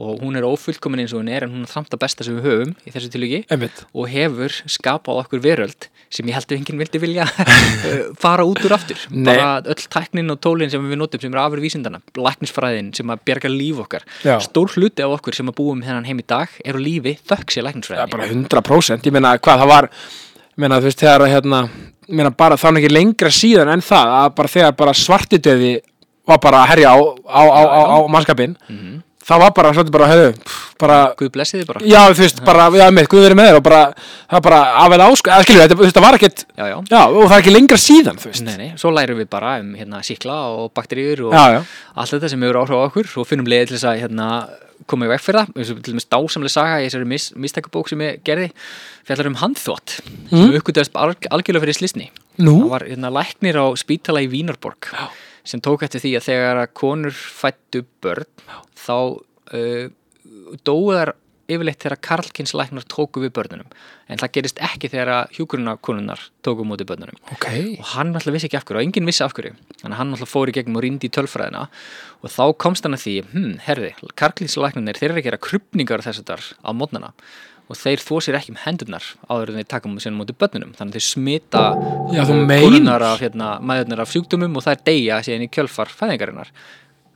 [SPEAKER 2] og hún er ófullkomin eins og hún er en hún er samt að besta sem við höfum í þessu tilviki
[SPEAKER 1] einmitt
[SPEAKER 2] og hefur skapað okkur veröld sem ég held að enginn vildi vilja eh, fara út úr aftur
[SPEAKER 1] Nei.
[SPEAKER 2] bara öll tæknin og tólin sem við notum sem er afur vísindana, læknisfræðin sem að berga líf okkar,
[SPEAKER 1] Já.
[SPEAKER 2] stór hluti af okkur sem að búum þennan heim í dag eru lífi þökk sér
[SPEAKER 1] Já,
[SPEAKER 2] læknisfræðin
[SPEAKER 1] bara 100%, ég meina hvað það var ég meina þú veist þegar að, hérna ég meina bara þá er ekki lengra síðan en það að bara þegar bara svartidöði var bara að herja á, á, á, á, á mannskapin það var bara svolítið bara, hefðu, bara
[SPEAKER 2] Guð blessi þið bara
[SPEAKER 1] já þú veist bara, já með, guð verið með þér og bara það er bara afvel ásk, eða skilju, þetta, þú veist, það var ekkert
[SPEAKER 2] Já, já.
[SPEAKER 1] og það er ekki lengra síðan, þú veist
[SPEAKER 2] Nei, nei, svo lærum við bara um hérna, síkla og bakteríur og
[SPEAKER 1] Já, já.
[SPEAKER 2] allt þetta sem hefur áhrif á okkur og finnum leiði til þess að hérna, koma í veg fyrir það, eins og til dæmis dásamlega saga í þessari mis, mistakabók sem ég gerði fjallar um handþvott
[SPEAKER 1] Mm.
[SPEAKER 2] sem uppgötast algjörlega fyrir slisni
[SPEAKER 1] Nú?
[SPEAKER 2] það var hérna, læknir á spítala í Vínarborg sem tók eftir því að þegar að konur fættu börn þá uh, dóðar yfirleitt þegar karlkinslæknar tóku við börnunum en það gerist ekki þegar hjúkuruna konunnar tóku múti börnunum
[SPEAKER 1] Ok.
[SPEAKER 2] og hann alltaf vissi ekki af hverju og enginn vissi af hverju þannig að hann alltaf fór í gegnum og rýndi í tölfræðina og þá komst hann að því hm, herði, karklíslæknarnir, þeir eru að gera krupningar þess að þar á mótnana og þeir þó sér ekki um hendurnar áður en þeir taka um sínum mútið börnunum þannig að þeir smita
[SPEAKER 1] Já, þú
[SPEAKER 2] eh,
[SPEAKER 1] meinar.
[SPEAKER 2] konurnar af, hérna, maðurnar af sjúkdumum og það er deyja síðan í kjölfar fæðingarinnar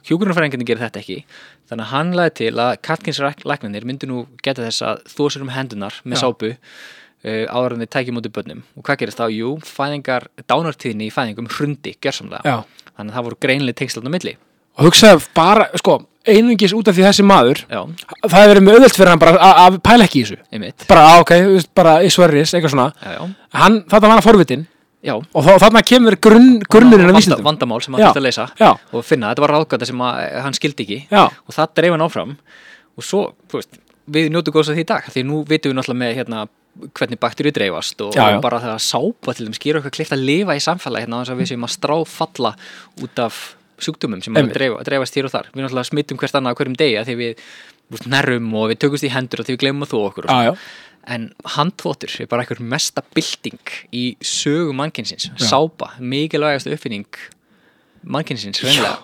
[SPEAKER 2] hjúgrunarfræðingarnir gerir þetta ekki þannig að hann laði til að kartkinslæknarnir myndu nú geta þess að þó sér um hendunar með sápu uh, áður en þeir tækjum út í börnum og hvað gerist þá? Jú, fæðingar, dánartíðinni í fæðingum hrundi gjörsamlega
[SPEAKER 1] Já.
[SPEAKER 2] þannig að það voru greinlega tengslarn á milli
[SPEAKER 1] Og hugsaði bara, sko, einungis út af því þessi maður,
[SPEAKER 2] Já,
[SPEAKER 1] það hefur verið með auðvelt fyrir hann bara að- að pæla ekki í þessu.
[SPEAKER 2] einmitt
[SPEAKER 1] Bara, á, ok, þú veist, bara í sverris, eitthvað svona.
[SPEAKER 2] Já, já,
[SPEAKER 1] Hann, þetta var hann forvitin
[SPEAKER 2] já
[SPEAKER 1] og þá, þarna kemur grunn, grunnurinn af
[SPEAKER 2] Vanda-
[SPEAKER 1] vísindum.
[SPEAKER 2] Vandamál sem hann
[SPEAKER 1] Já,
[SPEAKER 2] þurfti að leysa
[SPEAKER 1] já.
[SPEAKER 2] og finna, þetta var ráðgata sem að, eh, hann skildi ekki
[SPEAKER 1] Já.
[SPEAKER 2] og það dreif hann áfram og svo, þú veist, við njótu góðs að því í dag því nú vitum við náttúrulega með hérna hvernig bakterið dreifast og,
[SPEAKER 1] Já, já.
[SPEAKER 2] og bara það að sápa til þeim skýra okkur klift að lifa í samfélagi hérna á þess að við séum að strá falla út af sjúkdumum sem að
[SPEAKER 1] Einmitt.
[SPEAKER 2] dreifa, dreifast hér og þar við náttúrulega smittum hvert annað á hverjum degi af því við þú veist, nærrum og við tökumst í hendur og því við glemum að þú okkur og
[SPEAKER 1] Já, já.
[SPEAKER 2] en handþóttur er bara einhver mesta bylting í sögu mannkynsins sápa, mikilvægast uppfinning mannkynsins reynilega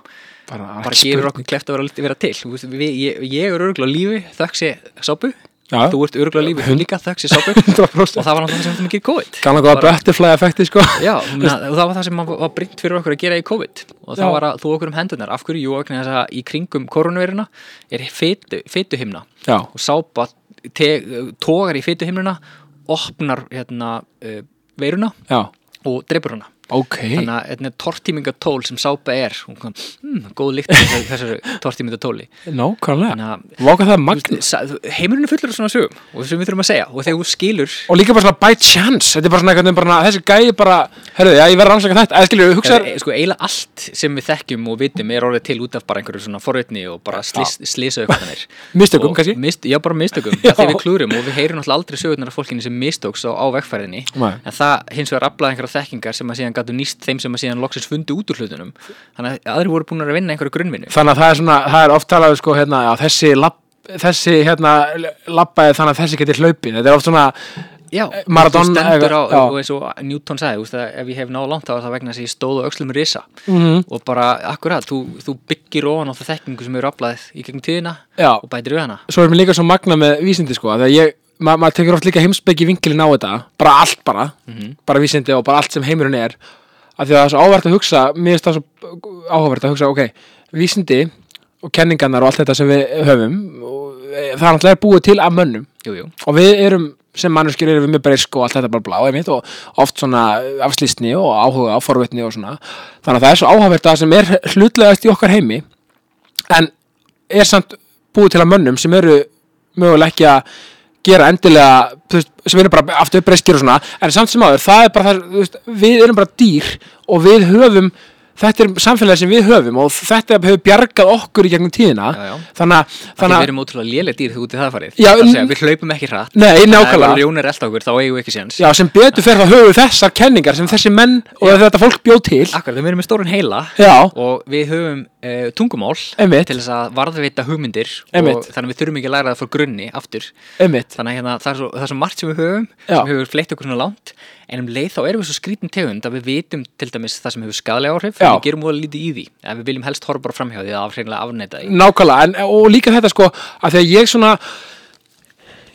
[SPEAKER 1] Bara,
[SPEAKER 2] bara gefur okkur kleft að vera, vera til Þú veist, við, ég, ég er öruglega lífi þöggs ég sápu
[SPEAKER 1] Já.
[SPEAKER 2] þú ert öruglega lífi þú líka þöggs ég sápu og
[SPEAKER 1] 100%.
[SPEAKER 2] það var náttúrulega sem þetta mikið COVID
[SPEAKER 1] Kannan góða butterfly effekti, sko.
[SPEAKER 2] Já, ég meina, og það var það sem var- var brint fyrir okkur að gera í COVID og það
[SPEAKER 1] Já.
[SPEAKER 2] var að þú okkur um hendunar af hverju, jú, vegna þess að í kringum koronaviruna er fitu, fituhimna
[SPEAKER 1] Já.
[SPEAKER 2] og sápa te, tógar í fituhimnuna opnar hérna, uh, veiruna
[SPEAKER 1] Já.
[SPEAKER 2] og dreipur hana
[SPEAKER 1] Ok.
[SPEAKER 2] þannig að þetta er tortímingatól sem sápa er hún kom, hmm, góð líkt þessar- þessaru tortímingatóli
[SPEAKER 1] Nákvæmlega.
[SPEAKER 2] þannig að
[SPEAKER 1] Váka það
[SPEAKER 2] þú
[SPEAKER 1] magni.
[SPEAKER 2] veist, sa- þú- heimurinn er fullur af svona sögum og þessum við þurfum að segja og þegar þú skilur
[SPEAKER 1] Og líka bara svona by chance. Þetta er bara svona eitthvað, bara, þessi gæi bara, herruðu, já, ég verður rannsaka þetta. Eða skilur, hugsaður,
[SPEAKER 2] Eða, sko, eiginlega allt sem við þekkjum og vitum er orðið til út af bara einhverju svona forvitni og bara slis, slisaukvæðanir
[SPEAKER 1] Mistökum, kannski?
[SPEAKER 2] mist, Já, bara mistökum,
[SPEAKER 1] Já.
[SPEAKER 2] þegar við klúrum og við heyrum alltaf aldrei sögurnar af fólkinu sem mistóks á, á vegfæriðinni
[SPEAKER 1] Nei.
[SPEAKER 2] en það hins vegar aflaði einhverja þekkingar sem að síðan gætu nýst þeim sem að síðan loksins fundu út úr hlutunum þannig að aðri voru búin að vinna einhverju grunnvinnu
[SPEAKER 1] þannig að það er svona, það er oft talað sko, hérna, já, þessi, lapp, þessi hérna, lappaði þannig að þessi geti hlaupið þetta er oft svona,
[SPEAKER 2] Já,
[SPEAKER 1] Maradona
[SPEAKER 2] þú stendur á,
[SPEAKER 1] eitthvað, já.
[SPEAKER 2] og eins og Newton sagði, þú veist að ef ég hef náð langt þá er það vegna þess að ég stóð á öxlum risa -hmm. og bara, akkurat, þú, þú byggir ofan á það þekkingu sem eru aflaðið í gegnum tíðina
[SPEAKER 1] Já.
[SPEAKER 2] og bætir við hana
[SPEAKER 1] svo er mér líka svo magna með vísindi sko, þegar ég, ma maður tekur oft líka heimsbyggi vinkilin á þetta, bara allt bara bara vísindi og bara allt sem heimurinn er af því að það er svo áhverð að hugsa mér er það svo áhverð að hugsa, ok vísindi og kenningarnar og allt þetta sem við höfum og, e, það er náttúrulega búið til af mönnum
[SPEAKER 2] Jú, jú,
[SPEAKER 1] og við erum sem manneskjur erum við mjög breysk og allt þetta bara blá einmitt, og oft svona afslýstni og áhuga og forvitni og svona þannig að það er svo áhugavert að það sem er hlutlegast í okkar heimi en er samt búið til að mönnum sem eru mögulega ekki að gera endilega þú veist, sem eru bara aftur breyskir og svona en samt sem áður, það er bara það þú veist, við erum bara dýr og við höfum þetta er samfélagi sem við höfum og þetta hefur bjargað okkur í gegnum tíðina
[SPEAKER 2] Já, já.
[SPEAKER 1] þannig að
[SPEAKER 2] þannig
[SPEAKER 1] þannig
[SPEAKER 2] að við
[SPEAKER 1] að-
[SPEAKER 2] erum ótrúlega lélega dýr þegar út í það farið
[SPEAKER 1] Já,
[SPEAKER 2] Það er að segja,
[SPEAKER 1] n-
[SPEAKER 2] Við hlaupum ekki hratt
[SPEAKER 1] Nei,
[SPEAKER 2] Það
[SPEAKER 1] nákvæmlega
[SPEAKER 2] er rjónir elda okkur, þá eigum við ekki séns
[SPEAKER 1] Já, sem betur fer það höfu þessar kenningar sem þessi menn og þetta fólk bjóð til
[SPEAKER 2] Akkurat, við erum með stórun heila
[SPEAKER 1] Já,
[SPEAKER 2] og við höfum uh, tungumál
[SPEAKER 1] Einmitt.
[SPEAKER 2] til þess að varðveita hugmyndir og
[SPEAKER 1] Einmitt.
[SPEAKER 2] þannig að við þurfum ekki að læra það frá grunni aftur
[SPEAKER 1] einmitt
[SPEAKER 2] þannig að hérna, það, er svo, það er svo margt sem við höfum
[SPEAKER 1] Já.
[SPEAKER 2] sem hefur fleitt okkur svona langt en um leið þá erum við svo skrítin tegund að við vitum til dæmis það sem hefur skadalega áhrif
[SPEAKER 1] Já.
[SPEAKER 2] en við gerum úr lítið í því en við viljum helst horfa bara framhjá því að afhreinlega afneita því
[SPEAKER 1] Nákvæmlega, en, og líka þetta sko að því að ég svona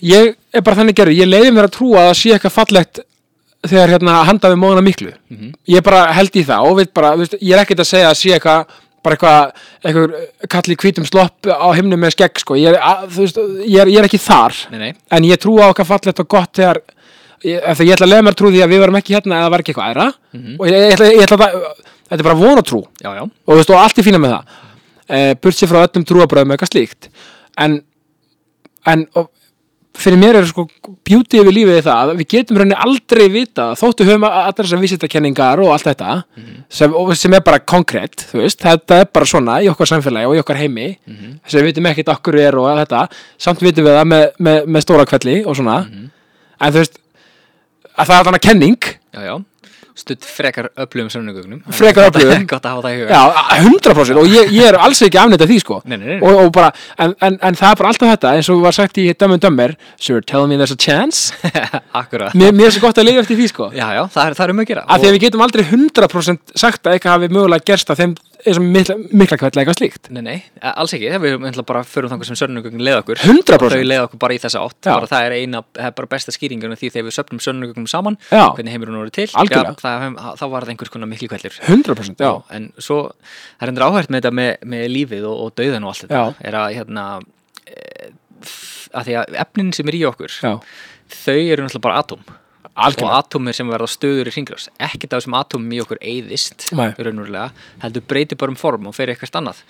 [SPEAKER 1] ég er bara þannig gerður, ég leiði mér að trúa að það sé eitthvað fallegt þegar hérna handaði móðuna miklu
[SPEAKER 2] Mhm.
[SPEAKER 1] ég bara held í það og veit bara, þú veist, ég er ekkert að segja að sé eitthvað bara eitthvað, eitthvað kalli hvítum slopp á himnum með skegg sko, ég er, að, þú veist, ég er, ég er ekki þar
[SPEAKER 2] Nei, nei.
[SPEAKER 1] en ég trúa á okkar fallegt og gott þegar ég, af því ég ætla að leiða mér að trú því að við varum ekki hérna eða var ekki eitthvað æra og ég, ég, ætla, ég ætla að, þetta er bara vonatrú
[SPEAKER 2] Já, já,
[SPEAKER 1] og, þú veist, og allt er fína með það e, burt sér frá öllum trúabröðum eitthvað slíkt en, en og, fyrir mér er sko beauty yfir lífið í það að við getum rauninni aldrei vita þóttu höfum að- allar þessar vísitakenningar og allt þetta sem, og, sem er bara konkrétt þú veist, þetta er bara svona í okkar samfélagi og í okkar heimi sem við vitum ekkert okkur er og þetta samt vitum við það með, með, með stóra kvelli og svona en þú veist að það er þannig að kenning
[SPEAKER 2] já, já stutt frekar öflugum sömnugögnum
[SPEAKER 1] Frekar öflugum.
[SPEAKER 2] Gott að hafa það í huga
[SPEAKER 1] Já, 100% og ég, ég er alls ekki afnætt af því sko
[SPEAKER 2] Nei, nei, nei, nei.
[SPEAKER 1] Og, og bara, en, en, en það er bara alltaf þetta eins og var sagt í Dömmen Dömmer Sir, tell me there's a chance
[SPEAKER 2] Akkurat
[SPEAKER 1] Mér, mér er svo gott að lifa eftir því sko
[SPEAKER 2] Já, já, það er, það er um að gera
[SPEAKER 1] Af því að við getum aldrei 100% sagt að eitthvað hafi mögulega gerst að þeim eins og mikla, mikla kvæll eitthvað slíkt
[SPEAKER 2] Nei, nei, eh, alls ekki, þegar við ætla bara förum þangar sem sönnugögn leiða okkur
[SPEAKER 1] 100%.
[SPEAKER 2] Þau leiða okkur bara í þessa átt
[SPEAKER 1] Já.
[SPEAKER 2] bara, Það er eina, það er bara besta skýringunum því þegar við söfnum sönnugögnum saman
[SPEAKER 1] Já.
[SPEAKER 2] Hvernig heimurinn voru til
[SPEAKER 1] Algjörlega.
[SPEAKER 2] ja, það, það, Þá var það einhvers konar miklu kveldur
[SPEAKER 1] 100% já,
[SPEAKER 2] En svo, það er endur áhært með þetta með, með lífið og, og dauðan og allt þetta
[SPEAKER 1] Já.
[SPEAKER 2] Er að, hérna, að því að efnin sem er í okkur
[SPEAKER 1] já.
[SPEAKER 2] Þau eru náttúrulega bara atóm
[SPEAKER 1] Algjörlega.
[SPEAKER 2] Og atómir sem verða stöður í hringrás Ekkert af þessum atómum í okkur eyðist
[SPEAKER 1] Nei.
[SPEAKER 2] Raunverulega Heldur breytir bara um form og fer í eitthvað annað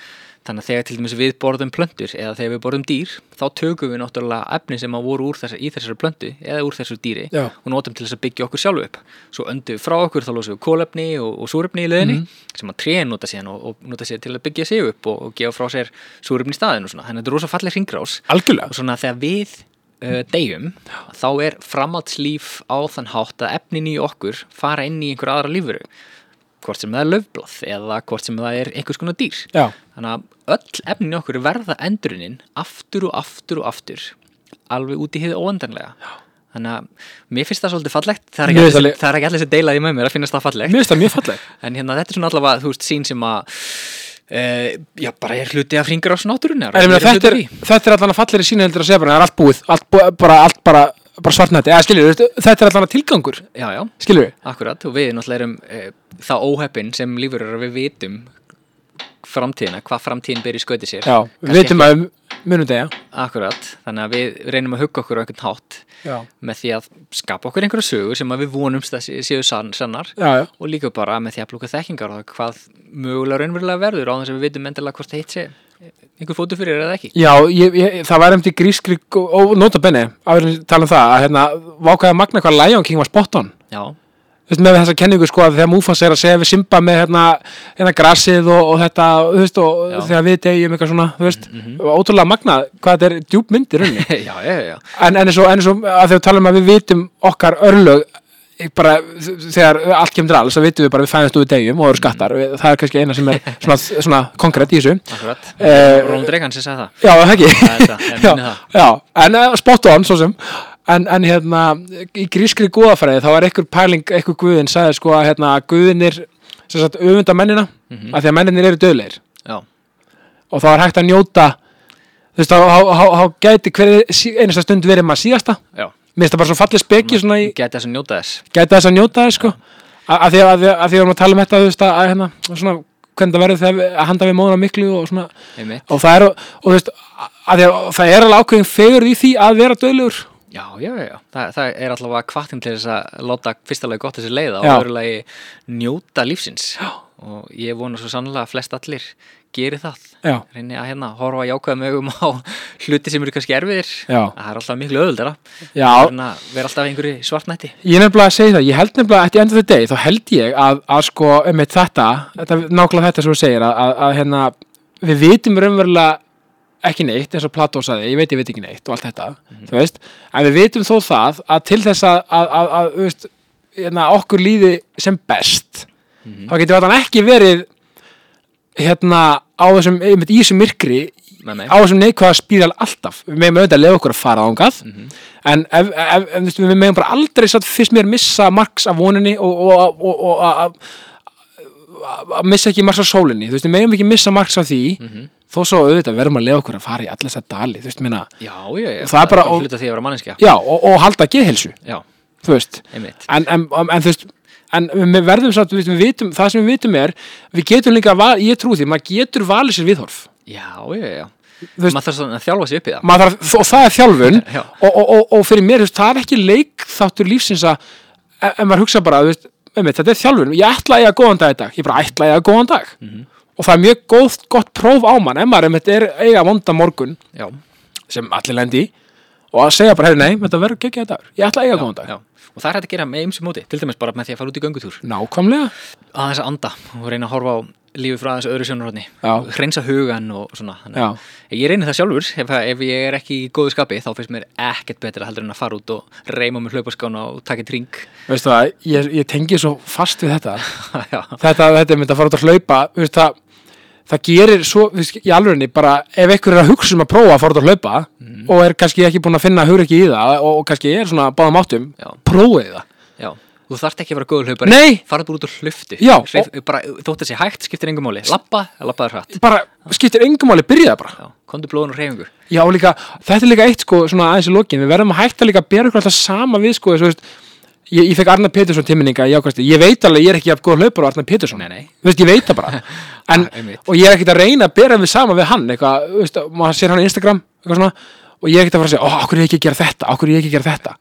[SPEAKER 2] Þannig að þegar til dæmis við borðum plöntur eða þegar við borðum dýr, þá tökum við náttúrulega efni sem að voru úr þessa, í þessari plöntu eða úr þessu dýri
[SPEAKER 1] Já.
[SPEAKER 2] og notum til þess að byggja okkur sjálfu upp. Svo öndum við frá okkur, þá losum við kólefni og, og súrefni í leðinni sem að trén nota síðan og, og nota sér til að byggja sig upp og, og gefa frá sér súrefni í staðinu. Þannig að þetta er rosa falleg hringrás og
[SPEAKER 1] algjörlega
[SPEAKER 2] svona þegar við uh, deyjum þá er framhaldslíf á þann hátt að efnin í okkur fara inn í einhverja aðra lífuru hvort sem það er löfblað eða hvort sem það er einhvers konar dýr
[SPEAKER 1] Já.
[SPEAKER 2] þannig að öll efnin í okkur verða endurinnin aftur og aftur og aftur alveg út í hið óendanlega Já. Þannig að mér finnst það svolítið fallegt, það er ekki
[SPEAKER 1] Mér
[SPEAKER 2] allir
[SPEAKER 1] finnst
[SPEAKER 2] sem-
[SPEAKER 1] það-
[SPEAKER 2] það er ekki allir sem deila því með mér að finnast það fallegt
[SPEAKER 1] Mér finnst það mjög falleg
[SPEAKER 2] en hérna þetta er svona allavega, þú veist, sín sem að e, já, bara er hluti af hringur á snáturinnar
[SPEAKER 1] En ég meina, þetta, er, þetta er allan að fallegri sína heldur að segja bara það er allt búið, allt, búið, bara, allt bara, bara svartnætti, eða skilur þetta er allan að tilgangur,
[SPEAKER 2] Já, já,
[SPEAKER 1] skilur
[SPEAKER 2] Akkurat, og við náttúrulega erum e, það óheppin sem lífur er að við vitum framtíðina, hvað framtíðin ber í skauti sér.
[SPEAKER 1] Já, við
[SPEAKER 2] Kannski
[SPEAKER 1] veitum að um munum degja
[SPEAKER 2] ekki- Akkurat, þannig að við reynum að hugga okkur á einhvern hátt
[SPEAKER 1] Já,
[SPEAKER 2] með því að skapa okkur einhverja sögur sem að við vonumst að sé- séu sann, sannar
[SPEAKER 1] já, já,
[SPEAKER 2] og líka bara með því að blúka þekkingar og hvað mögulega raunverulega verður á þess að við vitum endilega hvort það hitt sé einhver fótu fyrir eða ekki.
[SPEAKER 1] já ég, ég, það var eftir grískri og, og nota benni, að við tala um það að hérna, vákaði magna hvað Lion King var spot on
[SPEAKER 2] Já,
[SPEAKER 1] Þú veist, með þessa kenningu sko að þegar Mufasa er að segja við Simba með hérna, hérna grasið og, og þetta, þú veist, og
[SPEAKER 2] Já.
[SPEAKER 1] þegar við degjum eitthvað svona, þú veist, ótrúlega magna hvað þetta er djúp mynd í rauninni
[SPEAKER 2] já, já, já, já.
[SPEAKER 1] en, en eins og, en eins og að þegar við tala um að við vitum okkar örlög ég bara, þegar allt kemur til alls, þá vitum við bara að við fæðast úr degjum og eru skattar, mm. það er kannski eina sem er svona, svona konkrétt í þessu
[SPEAKER 2] akkurat.
[SPEAKER 1] Eh,
[SPEAKER 2] Ronald Reagan sem sagði það.
[SPEAKER 1] Já, það ekki
[SPEAKER 2] Það er það, ég
[SPEAKER 1] já,
[SPEAKER 2] minni það.
[SPEAKER 1] já, en uh, spot on svo sem En, en hérna, í grískri góðafræði þá var einhver pæling, einhver guðin sagði sko að hérna, guðinir sem sagt öfunda mennina, mm
[SPEAKER 2] Mhm.
[SPEAKER 1] að því að menninir eru döðlegir
[SPEAKER 2] Já,
[SPEAKER 1] og þá er hægt að njóta þú veist, þá, þá, þá, þá gæti hver sí- einasta stund verið maður síðasta
[SPEAKER 2] já.
[SPEAKER 1] Mér finnst það bara svo fallið
[SPEAKER 2] Mm.
[SPEAKER 1] speki svona í
[SPEAKER 2] Gæti þess að njóta þess.
[SPEAKER 1] gæti þess að njóta þess sko A- að því að, að, því að, að því að við erum að tala um þetta þú veist að, að hérna, svona, hvernig það verður þegar við- að handa við móðuna miklu og svona
[SPEAKER 2] Einmitt.
[SPEAKER 1] og það er, og þú veist að því að það er alveg ákveðin fegur í því að vera döðlegur
[SPEAKER 2] Já, já, já, já. Þa, það er allavega kvartin til þess að láta fyrsta lagi gott þessi leiða og
[SPEAKER 1] Já.
[SPEAKER 2] öðrulegi njóta lífsins já. og ég vona svo sannlega að flest allir geri það
[SPEAKER 1] já,
[SPEAKER 2] reyni að hérna horfa jákvæðum augum á hluti sem eru kannski erfiðir
[SPEAKER 1] Já.
[SPEAKER 2] það er alltaf miklu öðuldara
[SPEAKER 1] já,
[SPEAKER 2] en að vera alltaf í einhverju svartnætti
[SPEAKER 1] ég nefnilega að segja það ég held nefnilega að enda þetta deg þá held ég að, að sko um eitt þetta, þetta nákvæmlega þetta sem þú segir að, að, að hérna, við vitum raunverulega ekki neitt eins og Plató saði, ég veit ég veit ekki neitt og allt þetta, þú veist en við vitum þó það að til þess að, að, að, að þú veist, hérna, okkur líði sem best þá getur þetta ekki verið hérna á þessum, einmitt í þessum myrkri
[SPEAKER 2] með mig
[SPEAKER 1] á þessum neikvæða spíral alltaf við megum auðvitað að lefa okkur að fara ángað en ef, ef, ef, ef, við megum bara aldrei satt fyrst mér missa marks af voninni og, og, og, og að- að- að missa ekki marks af sólinni þú veist, við megum ekki missa marks af því þó svo auðvitað verðum að lefa okkur að fara í allir þess að dali þú veist, minna,
[SPEAKER 2] Já, já, já,
[SPEAKER 1] Það er bara- og-
[SPEAKER 2] hluta því að vera manneskja
[SPEAKER 1] já, og, og halda geðhelsu
[SPEAKER 2] Já,
[SPEAKER 1] þú veist,
[SPEAKER 2] einmitt
[SPEAKER 1] en, en, en, en þú veist en við verðum satt, við við vitum það sem við vitum er, við getum líka val, ég trú því, maður getur valið sér viðhorf
[SPEAKER 2] Já, já, já,
[SPEAKER 1] Þú veist-
[SPEAKER 2] maður þarf svona að þjálfa sig upp í það
[SPEAKER 1] maður þarf, og það er þjálfun
[SPEAKER 2] Já.
[SPEAKER 1] og, og, og, og fyrir mér, þú veist, það er ekki leikþáttur lífsins að, ef ef maður hugsa bara, þú veist, einmitt, þetta er þjálfun ég ætla að ég að góðan dag í dag, ég bara ætla að ég að góðan dag
[SPEAKER 2] Mhm.
[SPEAKER 1] og það er mjög góð, gott próf á mann, ef maður einmitt er eiga vonda morgun,
[SPEAKER 2] Já,
[SPEAKER 1] sem allir lendi í, og að segja bara, hefur, nei, þetta verður ekki að dag ég ætla að ég að góðan dag,
[SPEAKER 2] já, og það er hægt að gera með ymsum móti til dæmis bara með því að fara út í göngutúr
[SPEAKER 1] nákvæmlega
[SPEAKER 2] aðeins að anda og reyna að horfa á lífið frá aðeins öðru sjónurhóttni
[SPEAKER 1] Já.
[SPEAKER 2] hreinsa hugan og svona þannig
[SPEAKER 1] Já.
[SPEAKER 2] að ég reyni það sjálfur, ef, ef ég er ekki í góðu skapi þá finnst mér ekkert betra heldur en að fara út og reyma með hlaupaskána og taka tring
[SPEAKER 1] Veistu það, ég, ég tengi svo fast við þetta
[SPEAKER 2] Já,
[SPEAKER 1] Þetta, þetta er mynd að fara út að hlaupa þú veist, það, það gerir svo, þú veist, í alvegni bara ef einhver er að hugsa um að prófa að fara út að hlaupa
[SPEAKER 2] Mhm.
[SPEAKER 1] og er kannski ekki búin að finna hugur ekki í það og, og kannski er svona báðum áttum
[SPEAKER 2] Já.
[SPEAKER 1] prófið það
[SPEAKER 2] já Þú þarft ekki að vera góður hlaupari
[SPEAKER 1] Nei!
[SPEAKER 2] Farðu bara út og hlufti
[SPEAKER 1] Já,
[SPEAKER 2] Hreyf, bara, Þótt að sé hægt, skiptir engum máli Lappa, lappaður hratt
[SPEAKER 1] bara skiptir engum máli byrjaða bara
[SPEAKER 2] já. Komdu blóðun og reyfingur
[SPEAKER 1] Já, og líka, þetta er líka eitt sko, svona aðeins í lokin, við verðum að hætta líka að bera ykkur alltaf sama við sko, þessu, veist, ég, ég fekk Arnar Pétursson tíminninga í ákvæmstu, ég veit alveg, ég er ekki jafn góð hlaupur á Arnar Pétursson,
[SPEAKER 2] Nei, nei.
[SPEAKER 1] Þú veist, ég veit það bara, en,
[SPEAKER 2] Ah, einmitt.
[SPEAKER 1] og ég er ekkert að reyna að bera við sama við hann, eitthvað, þú veist, maður sér hann á Instagram, eitthvað svona, og ég er ekkert að fara að segja, ó, okkur er ég ekki að gera þetta, okkur er ég ekki að gera þetta,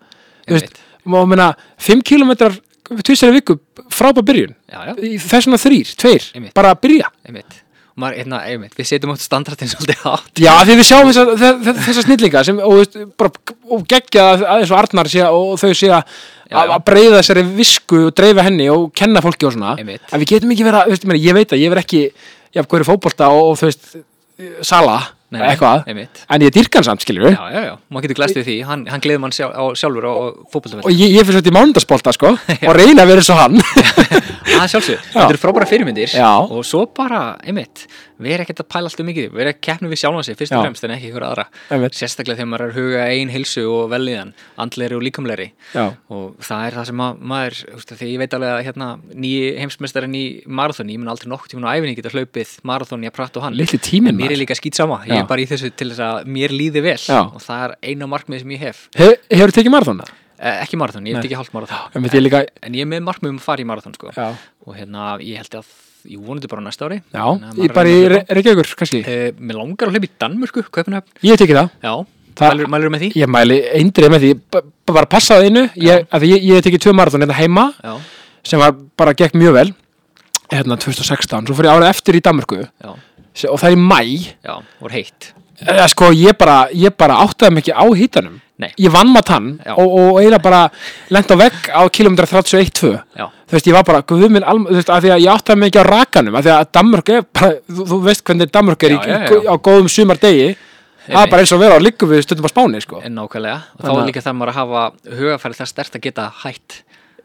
[SPEAKER 1] þú veist, og meina, 5 kilometrar, tvisari viku, frábæð byrjun,
[SPEAKER 2] Já, já,
[SPEAKER 1] þess vegna þrýr, tveir,
[SPEAKER 2] Einmitt.
[SPEAKER 1] bara að byrja.
[SPEAKER 2] einmitt Og maður, hérna, einmitt, við setjum átt standartin svolítið hátt
[SPEAKER 1] Já, af því við sjáum þessa, þe- þe- þessa snillinga sem, og, veist, bara, og geggja að að eins og Arnar sé að- og þau sé að
[SPEAKER 2] Já, já.
[SPEAKER 1] að breyða þessari visku og dreifa henni og kenna fólki og svona
[SPEAKER 2] Einmitt.
[SPEAKER 1] en við getum ekki vera, þú veist, ég meina, ég veit að ég verð ekki já, hverju fótbolta og, og þú veist sala,
[SPEAKER 2] Nei, nei,
[SPEAKER 1] eitthvað
[SPEAKER 2] einmitt.
[SPEAKER 1] en ég dyrkan samt, skiljum
[SPEAKER 2] Já, já, já, maður getur glæst við því Hann, hann gleður mann sjálf, á, sjálfur á, á fótboltavelli
[SPEAKER 1] og ég, ég fyrir svolítið í mánundasbolta, sko og reyna að vera svo hann
[SPEAKER 2] að sjálfsög, þetta eru frábæra fyrirmyndir
[SPEAKER 1] Já.
[SPEAKER 2] og svo bara, einmitt vera ekkert að pæla alltaf mikið, í því, vera að keppna við sjálfan sig fyrst
[SPEAKER 1] Já.
[SPEAKER 2] og fremst en ekki ykkur aðra
[SPEAKER 1] Einmitt.
[SPEAKER 2] sérstaklega þegar maður er að huga ein heilsu og velliðan, andleri og líkamleri
[SPEAKER 1] Já.
[SPEAKER 2] og það er það sem ma- maður þú veist, því ég veit alveg að hérna nýji heimsmeistarinn í marathoni, ég mun aldrei nokkuð tíma á æfinni geta hlaupið marathoni að prata og hann
[SPEAKER 1] Litli tíminn,
[SPEAKER 2] En mér
[SPEAKER 1] maður.
[SPEAKER 2] er líka skýt sama, ég
[SPEAKER 1] Já.
[SPEAKER 2] er bara í þessu til þess að mér líði vel
[SPEAKER 1] Já.
[SPEAKER 2] og það er eina markmið sem ég hef,
[SPEAKER 1] Hef, hefur tekið marathona?
[SPEAKER 2] eh, ekki marathon, ég hef ekki hálft marathon
[SPEAKER 1] En veit ég líka,
[SPEAKER 2] en ég er með markmið um að fara í marathon sko.
[SPEAKER 1] Já.
[SPEAKER 2] og hérna ég held að ég vonandi bara á næsta ári
[SPEAKER 1] já, ég bara í Re- Reykjavíkur, kannski
[SPEAKER 2] uh, mér langar að hlaupa í Danmörku Kaupinöfn,
[SPEAKER 1] Ég hef tekið það
[SPEAKER 2] já,
[SPEAKER 1] Það-
[SPEAKER 2] mælur, mælur með því
[SPEAKER 1] Ég mæli eindrið með því, b- b- bara passa það innu, ég, af því ég, ég hef tekið tvö marathon hérna heima
[SPEAKER 2] já,
[SPEAKER 1] sem var bara gekk mjög vel hérna 2016, svo fór ég árið eftir í Danmörku
[SPEAKER 2] já,
[SPEAKER 1] se- og það er í mæ
[SPEAKER 2] já, voru heitt
[SPEAKER 1] eða sko ég bara, ég bara áttaði mikið á hýtanum,
[SPEAKER 2] Nei.
[SPEAKER 1] ég vann maður tann
[SPEAKER 2] Já.
[SPEAKER 1] og, og eiginlega bara lent á vegg á kilometra 31-2
[SPEAKER 2] já,
[SPEAKER 1] þú veist, ég var bara, guð minn alm, þú veist, af því að ég áttaði mikið á rakanum, af því að Danmörk er bara, þú, þú veist hvernig Danmörk er
[SPEAKER 2] Já,
[SPEAKER 1] í,
[SPEAKER 2] já, já.
[SPEAKER 1] á góðum sumardegi það
[SPEAKER 2] Einmitt.
[SPEAKER 1] er bara eins og vera á liggum við stundum á Spáni, sko
[SPEAKER 2] en nákvæmlega og þá
[SPEAKER 1] Þannig
[SPEAKER 2] er
[SPEAKER 1] að-
[SPEAKER 2] líka það maður að hafa hugafæri það stert að geta hætt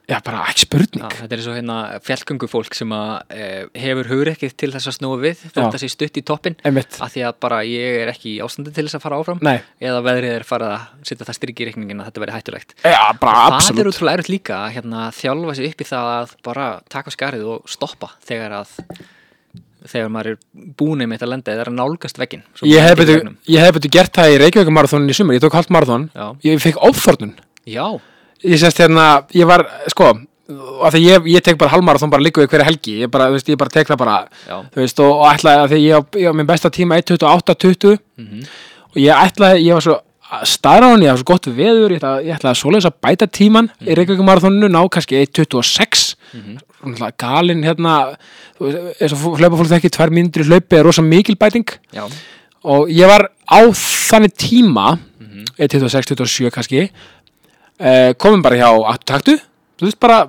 [SPEAKER 1] já, bara ekki spurning
[SPEAKER 2] já, þetta er eins og hérna fjallgöngufólk sem að e, hefur hugrekkið til þess að snúa við
[SPEAKER 1] Já.
[SPEAKER 2] þótt að sé stutt í toppin
[SPEAKER 1] Einmitt.
[SPEAKER 2] að því að bara ég er ekki í ástandi til þess að fara áfram
[SPEAKER 1] Nei.
[SPEAKER 2] eða veðrið er farið að setja það styrki í reikningin að þetta verði hættulegt
[SPEAKER 1] Já, Eh, bara
[SPEAKER 2] Það er
[SPEAKER 1] absolutt
[SPEAKER 2] útrúlega erut líka að hérna, þjálfa sig upp í það að bara taka á skarið og stoppa þegar að þegar maður er búin einmitt að lenda eða er að nálgast veggin svo
[SPEAKER 1] Ég
[SPEAKER 2] maður
[SPEAKER 1] hef
[SPEAKER 2] gengur
[SPEAKER 1] betur,
[SPEAKER 2] gegnum.
[SPEAKER 1] ég hef betur gert það í Reykjavík marathónin í sumar, ég tók halvt marathón
[SPEAKER 2] Já.
[SPEAKER 1] Ég fekk ofþornun
[SPEAKER 2] Já,
[SPEAKER 1] Ég sést hérna, ég var, sko af því ég, ég tek bara halvmarathón bara líka við hverja helgi ég bara, þú veist, ég bara tek það bara
[SPEAKER 2] Já.
[SPEAKER 1] þú veist, og, og ætlaði að því ég, á- ég á minn besta tíma 1.28.20
[SPEAKER 2] Mhm.
[SPEAKER 1] og ég ætlaði, ég var svo staðráðan, ég var svo gott veður ég ætlaði, ég ætlaði svoleiðis að bæta tíman í Reykjavík marathóninu, ná kannski 1.26 mm -hmm. galin hérna þú veist, eins og hlaupa fólk þekki tvær mínútur í hlaupi er rosa mikil bæting
[SPEAKER 2] já,
[SPEAKER 1] og ég var á þannig tíma eh, 26, 27 kannski uh, komum bara hjá afturtaktu, þú veist bara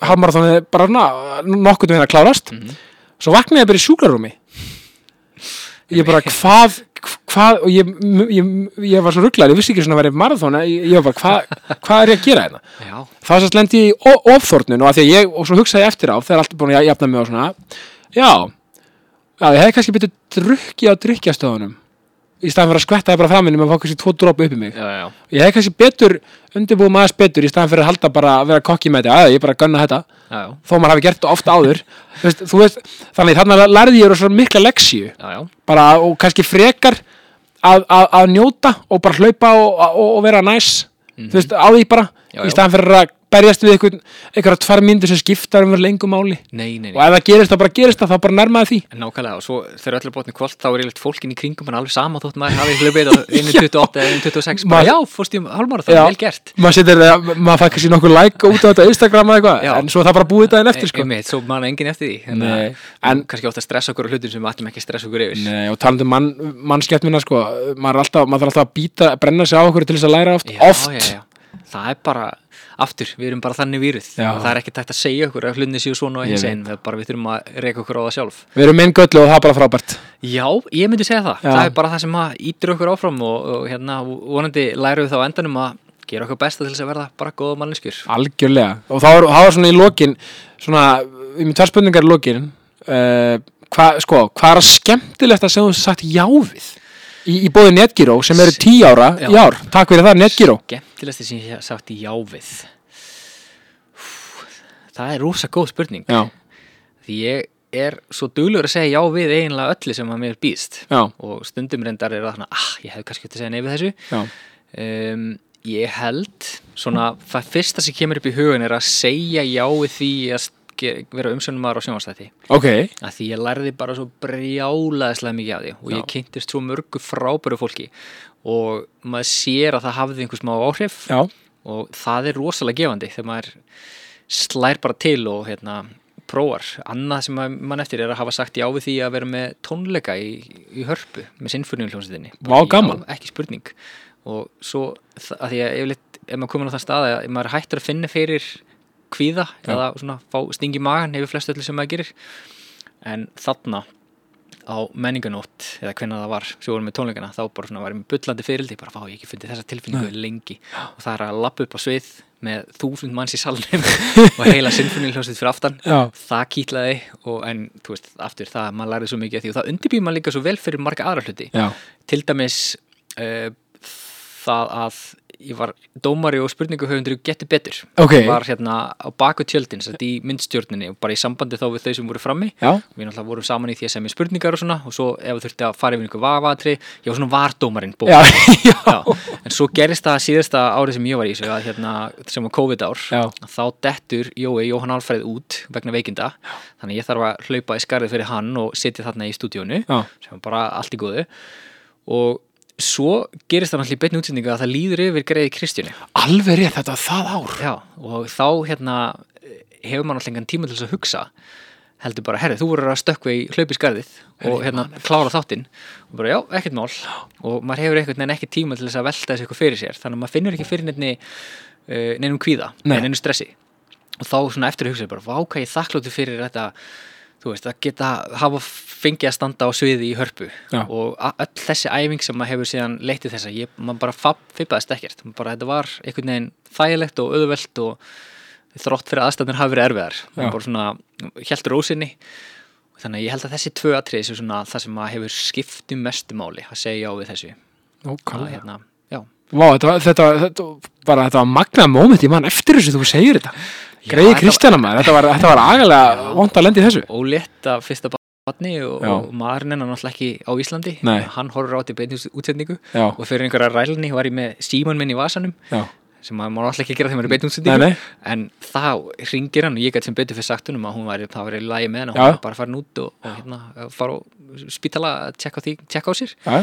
[SPEAKER 1] halmarathonið bara na, nokkuð með að klárast, svo vaknaði ég bara í sjúklarúmi ég bara hvað, hvað og ég, ég, ég var svo rugglar, ég vissi ekki svona að vera marathona, ég, ég var bara hvað hvað er ég að gera hérna
[SPEAKER 2] já,
[SPEAKER 1] þá sérst lendi ég í ofþórnun og, af því að ég- og svo hugsaði ég eftir á þegar allt er búin að jafna mig og svona já, já ég hefði kannski byrjuð drukki á drykkjastöðunum í staðan fyrir að skvetta það bara framinni með að fá kannski tvo dropa upp í mig
[SPEAKER 2] já, já,
[SPEAKER 1] ég hefði kannski betur undirbúið maður betur í staðan fyrir að halda bara að vera kokki með þetta já, ég bara gunna þetta
[SPEAKER 2] já, já,
[SPEAKER 1] þó maður hafi gert þetta ofta áður Þú veist, þú veist, þannig þannig lærði ég svo mikla leksíu
[SPEAKER 2] já, já.
[SPEAKER 1] bara og kannski frekar að, að, að njóta og bara hlaupa og, og, og vera næs þú veist, á því bara
[SPEAKER 2] Mhm. Já,
[SPEAKER 1] í
[SPEAKER 2] já.
[SPEAKER 1] staðan fyrir að berjast við einhvern, einhverja tvær myndir sem skiptar um lengu máli
[SPEAKER 2] Nei, nei,
[SPEAKER 1] og
[SPEAKER 2] nei
[SPEAKER 1] ef það gerist þá bara gerist það, þá bara nærmaði því
[SPEAKER 2] En Nákvæmlega, og svo þegar öllu bótni kvöld þá er ég fólkin í kringum hann alveg sama þótt maður hafi hlupið á 1.28 eða 1.26 bara
[SPEAKER 1] Maður-
[SPEAKER 2] já, fórst í halvmára það, vel gert
[SPEAKER 1] maður setur það, maður fær kannski nokkuð like út á þetta á Instagram eða
[SPEAKER 2] Já.
[SPEAKER 1] eitthvað, en svo er það bara búið daginn eftir
[SPEAKER 2] E-
[SPEAKER 1] sko.
[SPEAKER 2] einmitt, Svo manna enginn eftir því Þannig að-
[SPEAKER 1] Nei, en-
[SPEAKER 2] Kannski ótt að stressa okkur á hlutum sem við ættum ekki að stressa okkur yfir
[SPEAKER 1] Nei, og talandi um mann, mannskjættmina sko, maður, er alltaf, maður þarf alltaf að býta, brenna sig á okkur til þess að læra oft,
[SPEAKER 2] já,
[SPEAKER 1] oft
[SPEAKER 2] já, já. það er bara aftur, við erum bara þannig víruð
[SPEAKER 1] Já.
[SPEAKER 2] það er ekki tækt að segja okkur að hlunni séu svona og
[SPEAKER 1] Ég
[SPEAKER 2] hins
[SPEAKER 1] veit.
[SPEAKER 2] einn, það er bara við þurfum að reyka okkur á það sjálf
[SPEAKER 1] Við erum minn göllu og það er bara frábært
[SPEAKER 2] Já, ég myndi segja það,
[SPEAKER 1] Já.
[SPEAKER 2] það er bara það sem að ítir okkur áfram og, og hérna vonandi lærum við þá á endanum að gera okkur besta til þess að verða bara góða manneskjur
[SPEAKER 1] Algjörlega Og þá er, þá er svona í lokin Svona, við mér tvær spurningar í lokin uh, hva, Sko, hvað er að skemmtilegt að segja þú sagt já við? Í, í bóði Netgyro sem eru tí ára
[SPEAKER 2] Já.
[SPEAKER 1] í ár Takk fyrir það, Netgyro
[SPEAKER 2] Gemtilegst sem ég hef sagt já við Það er rosa góð spurning
[SPEAKER 1] Já,
[SPEAKER 2] því ég er svo duglur að segja já við eiginlega öllu sem að mér býðst
[SPEAKER 1] já,
[SPEAKER 2] og stundum reyndar er það svona ah, ég hefði kannski hægt að segja neyfið þessu
[SPEAKER 1] já
[SPEAKER 2] um, ég held svona, það fyrsta sem kemur upp í hugun er að segja já við því að ske- vera umsönumar á sjónvastætti
[SPEAKER 1] Ok,
[SPEAKER 2] að því ég lærði bara svo brjálaðislega mikið af því og ég kynntist svo mörgu frábæru fólki og maður sér að það hafði einhver smá áhrif
[SPEAKER 1] já,
[SPEAKER 2] og það er rosalega gefandi þegar maður slær bara til og hérna prófar. Annað sem maður- mann eftir er að hafa sagt já við því að vera með tónleika í, í hörpu með sinfoniuljónsinni.
[SPEAKER 1] Vá, gaman.
[SPEAKER 2] Ekki spurning. Og svo þa- að því að yfirleitt ef maður komin á þann stað að ef maður er hættur að finna fyrir kvíða eða svona fá stingi í magan hefur flest öllu sem maður gerir. En þarna á menninganótt eða hvenna það var sem vorum með tónleikana þá bara svona varum við bullandi fyrildi bara fá ég hef ekki fundið þessa tilfinningu lengi og það er að lappa upp á svið með þúsund manns í salnum og heila sinfoniljósið fyrir aftan
[SPEAKER 1] já
[SPEAKER 2] það kýtlaði og en þú veist aftur það maður lærði svo mikið af því og það undirbýr maður líka svo vel fyrir marga aðra hluti
[SPEAKER 1] Já,
[SPEAKER 2] til dæmis uh, það að ég var dómari og spurninguhöfundur í Gettu Betur
[SPEAKER 1] Ok.
[SPEAKER 2] var hérna á baku tjöldin satt, í myndstjórninni og bara í sambandi þá við þau sem voru frammi
[SPEAKER 1] já,
[SPEAKER 2] við náttúrulega vorum saman í því að semja spurningar og svona og svo ef þú þurfti að fara yfir einhver vafatri ég var svona vardómarinn bók
[SPEAKER 1] já, já,
[SPEAKER 2] en svo gerist það síðasta árið sem ég var í þessu að, hérna, sem var COVID-ár
[SPEAKER 1] Já.
[SPEAKER 2] þá dettur Jói Jóhann Alfreð út vegna veikinda þannig að ég þarf að hlaupa í skarðið fyrir hann og sitja þarna í stúdíónu
[SPEAKER 1] já,
[SPEAKER 2] sem var bara allt í góðu og svo gerist það náttúrulega í beinni útsendingu að það líður yfir greiði Kristjáni
[SPEAKER 1] Alveg rétt þetta var það ár
[SPEAKER 2] Já, og þá hérna hefur maður alltaf engan tíma til þess að hugsa heldur bara, herri, þú voru að stökkva í hlaupi í skarðið og hérna klára þáttinn og bara, já, ekkert mál og maður hefur einhvern veginn ekki tíma til þess að velta þessu eitthvað fyrir sér þannig að maður finnur ekki fyrir nefni uh, nefnum kvíða,
[SPEAKER 1] Nei.
[SPEAKER 2] nefnum stressi og þá svona eftir að hugsa bara, vá, hvað ég þakkláttu fyrir þetta þú veist, að geta hafa fengið að standa á sviði í hörpu
[SPEAKER 1] Já.
[SPEAKER 2] og a- öll þessi æfing sem maður hefur síðan leitt í þessa, ég, maður bara fab- fibbaðist ekkert, Maður bara þetta var einhvern veginn þægilegt og auðvelt og þrótt fyrir að aðstæðnir hafi verið erfiðar
[SPEAKER 1] Já.
[SPEAKER 2] maður bara svona, hjæltur rósinni þannig að ég held að þessi tvö atrið sem svona það sem maður hefur skiptum mestu máli að segja já við þessu að,
[SPEAKER 1] Ókvæmlega
[SPEAKER 2] hérna, já,
[SPEAKER 1] Vá, þetta var, þetta, var- þetta, var- bara, þetta var magnað moment í mann eftir þessu þú segir þetta.
[SPEAKER 2] Já,
[SPEAKER 1] Greiði
[SPEAKER 2] þetta
[SPEAKER 1] Kristjana maður, þetta var, þetta var agalega vond að lendi þessu.
[SPEAKER 2] ólétt af fyrsta batni og,
[SPEAKER 1] Já.
[SPEAKER 2] og maðurinn er náttúrulega ekki á Íslandi
[SPEAKER 1] Nei.
[SPEAKER 2] hann horfur á til beinni útsendingu
[SPEAKER 1] Já,
[SPEAKER 2] og fyrir einhverja rælni var ég með síman minn í vasanum
[SPEAKER 1] já,
[SPEAKER 2] sem maður má alltaf ekki gera þegar maður er beitt
[SPEAKER 1] Nei,
[SPEAKER 2] útsendingu
[SPEAKER 1] nei.
[SPEAKER 2] en þá ringir hann og ég gæti sem betur fyrir sagtunum að hún væri, það væri lægi með hann og
[SPEAKER 1] Já.
[SPEAKER 2] hún var bara farin út og, og hérna, fara á spítala að tjekka á, því, tjekka á sér
[SPEAKER 1] já.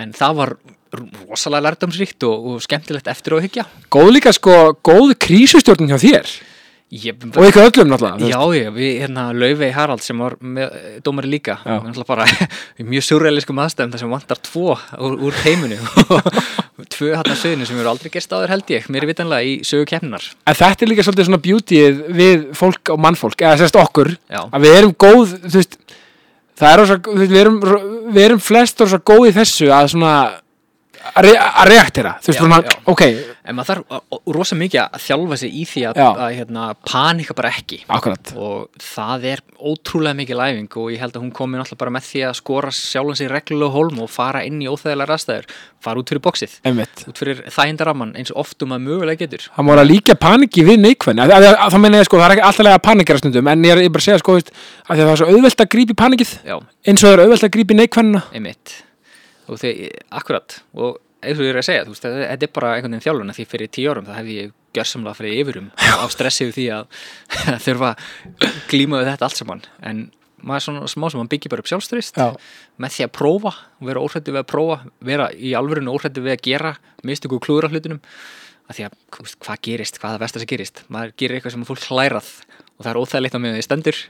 [SPEAKER 2] en það var rosalega lærdomsríkt og, og skemmtilegt eftir að hyggja
[SPEAKER 1] Góð líka sko, góð krísustjórn hjá þér
[SPEAKER 2] ég,
[SPEAKER 1] og ykkur öllum náttúrulega. þú
[SPEAKER 2] Já,
[SPEAKER 1] veist.
[SPEAKER 2] já, við, hérna, Laufey Harald sem var með, eh, dómari líka,
[SPEAKER 1] Já.
[SPEAKER 2] við náttúrulega bara í mjög surrealiskum aðstæðum þar sem vantar tvo úr, úr heiminu og tvö hann að söðinu sem eru aldrei gerst áður held ég, mér er vitanlega í sögu keppnar
[SPEAKER 1] En þetta er líka svolítið svona beautyið við fólk og mannfólk, eða sérst okkur,
[SPEAKER 2] Já.
[SPEAKER 1] að við erum góð, þú veist, það er ósa, þú veist, við erum, við erum flest ósa góð í þessu að svona, að re- að reaktera, þú veist,
[SPEAKER 2] Já,
[SPEAKER 1] svona,
[SPEAKER 2] já.
[SPEAKER 1] ok,
[SPEAKER 2] En maður þarf að- að- rosa mikið að þjálfa sig í því að,
[SPEAKER 1] Já.
[SPEAKER 2] að hérna, panika bara ekki
[SPEAKER 1] akkurat,
[SPEAKER 2] og það er ótrúlega mikið læfing og ég held að hún komi náttúrulega bara með því að skora sjálfan sig reglulega hólm og fara inn í óþægilega rastæður, fara út fyrir boxið
[SPEAKER 1] einmitt.
[SPEAKER 2] út fyrir þægindaramman eins og oft um að mögulega getur
[SPEAKER 1] Það má vera að líka paniki við neikvæðin þá meina ég sko, það er ekki alltaf að panikera stundum en ég er ég er bara að segja sko, veist, af því að það er svo auðvelt að grípi panikið
[SPEAKER 2] Já,
[SPEAKER 1] eins og það er auðvelt að grípi neikvæðina
[SPEAKER 2] einmitt og þeir, akkurat og eins og ég er að segja, þú veist, þetta þetta er bara einhvern veginn þjálfuna því fyrir tíu árum, það hefði ég gjörsamlega fyrir yfirum á stressi við því að, að þurfa að glíma við þetta allt saman en maður er svona smá sem maður byggir bara upp sjálfstrist
[SPEAKER 1] Já.
[SPEAKER 2] með því að prófa, vera óhrættu við að prófa vera í alvörinu óhrættu við að gera mistöku og klúðra hlutunum að því að þú veist, hvað gerist, hvað það versta sem gerist maður gerir eitthvað sem fólk hlærað og það er óþægilegt á meðan því stendur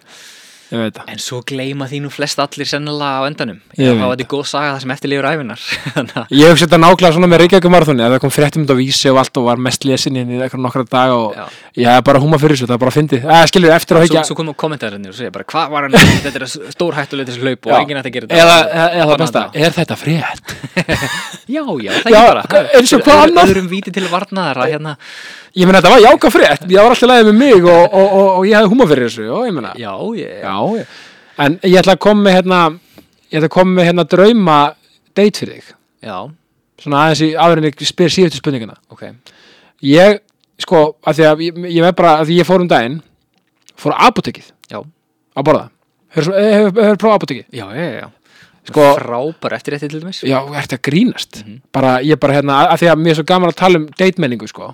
[SPEAKER 1] ég veit það
[SPEAKER 2] En svo gleyma þínum flest allir sennilega á endanum.
[SPEAKER 1] Ég
[SPEAKER 2] Já,
[SPEAKER 1] veit
[SPEAKER 2] þá var þetta góð saga það sem eftir lifur æfinar. Þannig að
[SPEAKER 1] Ég hef setja nákvæmlega svona með Reykjavík marathoni að það kom fréttum þetta á vísi og allt og var mest lesin inn í eitthvað nokkra daga og
[SPEAKER 2] Já.
[SPEAKER 1] ég hef bara húma fyrir þessu, það er bara að fyndi eh, skilur, eftir á
[SPEAKER 2] svo,
[SPEAKER 1] Reykjavík
[SPEAKER 2] svo komum kommentarinn og segja bara hvað var hann að gera? þetta er stórhættulegt þessu hlaup og
[SPEAKER 1] Já.
[SPEAKER 2] enginn ætti að gera þetta
[SPEAKER 1] eða, eða, eða
[SPEAKER 2] Banna
[SPEAKER 1] besta,
[SPEAKER 2] þetta.
[SPEAKER 1] er þetta frétt?
[SPEAKER 2] já, já, það
[SPEAKER 1] Já, e-
[SPEAKER 2] er bara
[SPEAKER 1] eins og hvað
[SPEAKER 2] Öðru-
[SPEAKER 1] annað?
[SPEAKER 2] öðrum víti til varnaðara hérna
[SPEAKER 1] Ég meina þetta var jáka frétt, ég var alltaf læðið með mig og, og, og, og ég hefði húma fyrir þessu og ég meina,
[SPEAKER 2] já, ég,
[SPEAKER 1] já, ég. en ég ætla að koma með hérna, ég ætla að koma með hérna drauma date fyrir þig
[SPEAKER 2] já,
[SPEAKER 1] svona aðeins í áður en ég spyr síðustu spurninguna
[SPEAKER 2] ok
[SPEAKER 1] ég, sko, af því að ég, ég veit bara af því ég fór um daginn fór á apotekið
[SPEAKER 2] já,
[SPEAKER 1] að borða hefur, eh, hefur, hefur prófað apotekið
[SPEAKER 2] já, já, já, já
[SPEAKER 1] Sko-
[SPEAKER 2] frábær eftir þetta til dæmis
[SPEAKER 1] já, ertu að grínast bara, ég bara hérna, að því að mér er svo gaman að tala um date-menningu, sko,